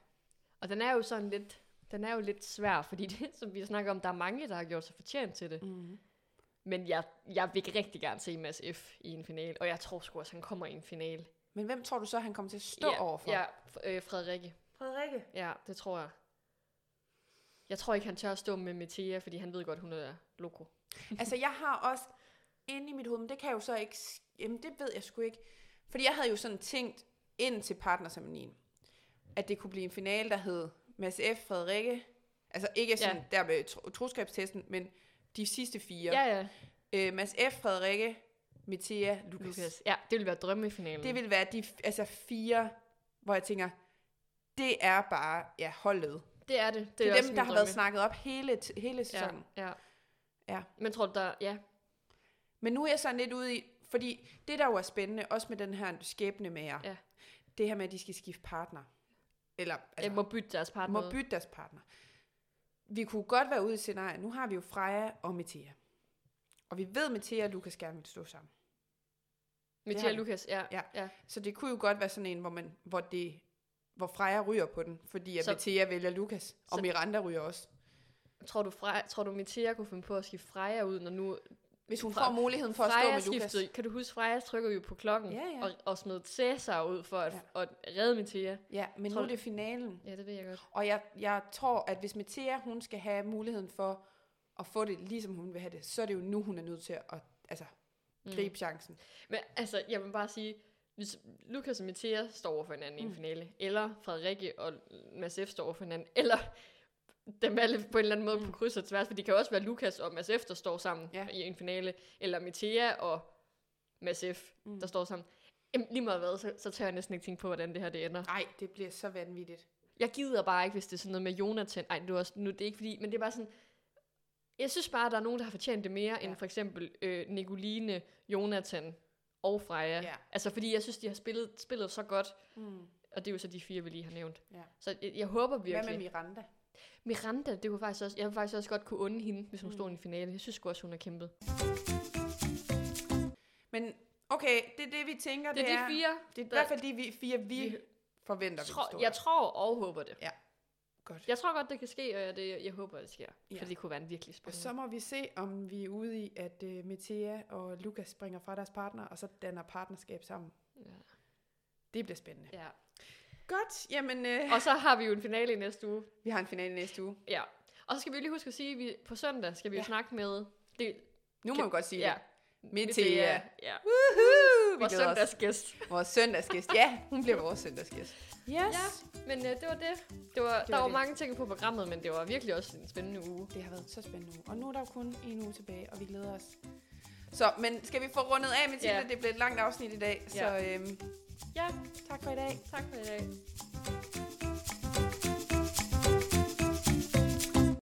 [SPEAKER 2] Og den er jo sådan lidt, den er jo lidt svær, fordi det, *laughs* som vi snakker om, der er mange, der har gjort sig fortjent til det.
[SPEAKER 1] Mm.
[SPEAKER 2] Men jeg, jeg vil rigtig gerne se Mads F. i en finale, og jeg tror sgu også, han kommer i en finale.
[SPEAKER 1] Men hvem tror du så, han kommer til at stå
[SPEAKER 2] ja,
[SPEAKER 1] overfor?
[SPEAKER 2] Ja, f- øh, Frederikke.
[SPEAKER 1] Frederikke.
[SPEAKER 2] Ja, det tror jeg. Jeg tror ikke, han tør at stå med Metea, fordi han ved godt, hun er loko.
[SPEAKER 1] *laughs* Altså, jeg har også inde i mit hoved, men det kan jeg jo så ikke... s- Jamen, det ved jeg sgu ikke. Fordi jeg havde jo sådan tænkt ind til partnersammenligningen, at det kunne blive en finale, der hed Mads F. Frederikke. Altså, ikke sådan ja. der med tro- troskabstesten, men de sidste fire.
[SPEAKER 2] Ja, ja.
[SPEAKER 1] Øh, Mads F. Frederikke, Metea, Lukas. Lukas.
[SPEAKER 2] Lukas. Ja, det ville være drømmefinalen.
[SPEAKER 1] Det ville være de f- altså fire, hvor jeg tænker, det er bare ja, holdet. Det
[SPEAKER 2] det er det. Det,
[SPEAKER 1] er, det
[SPEAKER 2] også
[SPEAKER 1] er dem,
[SPEAKER 2] min
[SPEAKER 1] der har været
[SPEAKER 2] drømme.
[SPEAKER 1] snakket op hele, t- hele
[SPEAKER 2] ja,
[SPEAKER 1] sæsonen.
[SPEAKER 2] ja.
[SPEAKER 1] Ja. Altså,
[SPEAKER 2] Men tror du, der... Ja,
[SPEAKER 1] Men nu er jeg sådan lidt ude i, fordi det der jo er spændende, også med den her skæbne med jer,
[SPEAKER 2] Ja.
[SPEAKER 1] det her med, at de skal skifte partner. Eller
[SPEAKER 2] altså,
[SPEAKER 1] altså,
[SPEAKER 2] må bytte deres partner.
[SPEAKER 1] må bytte deres partner. Vi kunne godt være ude i scenariet. Nu har vi jo Freja og Metea. Og vi ved, at Metea og Lukas gerne vil stå sammen. Det har
[SPEAKER 2] Metea
[SPEAKER 1] vi.
[SPEAKER 2] Lukas, ja.
[SPEAKER 1] Ja.
[SPEAKER 2] ja.
[SPEAKER 1] Så det kunne jo godt være sådan en, hvor, man, hvor, det, hvor Freja ryger på den, fordi at
[SPEAKER 2] Så-
[SPEAKER 1] Metea vælger Lukas, og
[SPEAKER 2] så-
[SPEAKER 1] Miranda ryger også.
[SPEAKER 2] Tror du, Freja, tror du Metea kunne finde på at skifte Freja ud, når nu...
[SPEAKER 1] Hvis hun
[SPEAKER 2] Fra-
[SPEAKER 1] får muligheden for at stå
[SPEAKER 2] Freja
[SPEAKER 1] med Lukas.
[SPEAKER 2] skiftede, kan du huske, Freja trykker jo på klokken
[SPEAKER 1] Ja, ja.
[SPEAKER 2] Og, og smed Cæsar ud for at,
[SPEAKER 1] Ja.
[SPEAKER 2] ja. at redde Metea.
[SPEAKER 1] Ja, men
[SPEAKER 2] Tror
[SPEAKER 1] nu er
[SPEAKER 2] du-
[SPEAKER 1] det finalen.
[SPEAKER 2] Ja, det ved jeg godt.
[SPEAKER 1] Og jeg, jeg tror, at hvis Metea, hun skal have muligheden for at få det, ligesom hun vil have
[SPEAKER 2] Mm.
[SPEAKER 1] det, så er det jo nu, hun er nødt til at altså, gribe chancen.
[SPEAKER 2] Men altså, jeg vil bare sige, hvis Lukas og Mathias står over for hinanden mm. i en finale, eller Frederikke og Mads F. står over for hinanden, eller dem alle på en eller anden måde mm. på kryds og tværs, for det kan også være Lukas og Mads F., der står sammen
[SPEAKER 1] Ja.
[SPEAKER 2] ja. i en finale, eller Mithea og Mads F., mm. der står sammen. Jamen, lige meget hvad, så, så tør jeg næsten ikke tænke på, hvordan det her det ender.
[SPEAKER 1] Nej, det bliver så vanvittigt.
[SPEAKER 2] Jeg gider bare ikke, hvis det er sådan noget med Jonathan. Ej, det er også, nu det er ikke fordi, men det er bare sådan, jeg synes bare, at der er nogen, der har fortjent det mere, ja.
[SPEAKER 1] Ja.
[SPEAKER 2] end for eksempel øh, Nicoline, Jonathan og Freja.
[SPEAKER 1] Ja.
[SPEAKER 2] Altså, fordi jeg synes, de har spillet, spillet så godt, mm. og det er jo så de fire, vi lige har nævnt.
[SPEAKER 1] Ja.
[SPEAKER 2] Så jeg, jeg håber virkelig.
[SPEAKER 1] Hvad med Miranda?
[SPEAKER 2] Miranda, det kunne faktisk også, jeg kunne faktisk også godt kunne unde hende, hvis hun mm. stod i en finale. Jeg synes sgu også, hun har kæmpet.
[SPEAKER 1] Men okay, det er det, vi tænker.
[SPEAKER 2] Det er de fire,
[SPEAKER 1] Det er i
[SPEAKER 2] der-
[SPEAKER 1] hvert fald de vi- fire, vi, vi forventer, vi
[SPEAKER 2] Tror,
[SPEAKER 1] står
[SPEAKER 2] jeg
[SPEAKER 1] der.
[SPEAKER 2] tror og håber det.
[SPEAKER 1] Ja, godt.
[SPEAKER 2] Jeg tror godt, det kan ske, og jeg, det, jeg håber, det sker. Ja.
[SPEAKER 1] Ja.
[SPEAKER 2] For det kunne være en virkelig
[SPEAKER 1] Og
[SPEAKER 2] spændende.
[SPEAKER 1] så må vi se, om vi er ude i, at uh, Metea og Lukas springer fra deres partner, og så danner partnerskab sammen.
[SPEAKER 2] Ja.
[SPEAKER 1] Det bliver spændende.
[SPEAKER 2] Ja.
[SPEAKER 1] Godt, jamen uh,
[SPEAKER 2] Og så har vi jo en finale i næste uge.
[SPEAKER 1] vi har en finale næste uge.
[SPEAKER 2] Ja. Og så skal vi lige huske at sige, at vi, på søndag skal vi ja.
[SPEAKER 1] Ja.
[SPEAKER 2] jo snakke med... Det,
[SPEAKER 1] Nu må
[SPEAKER 2] Kan-
[SPEAKER 1] vi godt sige
[SPEAKER 2] ja.
[SPEAKER 1] det. Metea.
[SPEAKER 2] Ja.
[SPEAKER 1] Woohoo! Vi
[SPEAKER 2] Og
[SPEAKER 1] glæder os.
[SPEAKER 2] søndagsgæst.
[SPEAKER 1] Vores søndagsgæst. Ja, hun bliver vores søndagsgæst. Yes.
[SPEAKER 2] Ja, men øh, det var det. det var,
[SPEAKER 1] var
[SPEAKER 2] det der var, var
[SPEAKER 1] det.
[SPEAKER 2] mange ting på programmet, men det var virkelig også en spændende uge.
[SPEAKER 1] Det har været så spændende uge. Og nu er der jo kun en uge tilbage, og vi glæder os. Så, men skal vi få rundet af, Mathilde?
[SPEAKER 2] Ja.
[SPEAKER 1] Det blev et langt afsnit i dag, så
[SPEAKER 2] Ja.
[SPEAKER 1] øhm,
[SPEAKER 2] Ja,
[SPEAKER 1] tak for i dag.
[SPEAKER 2] tak for i dag.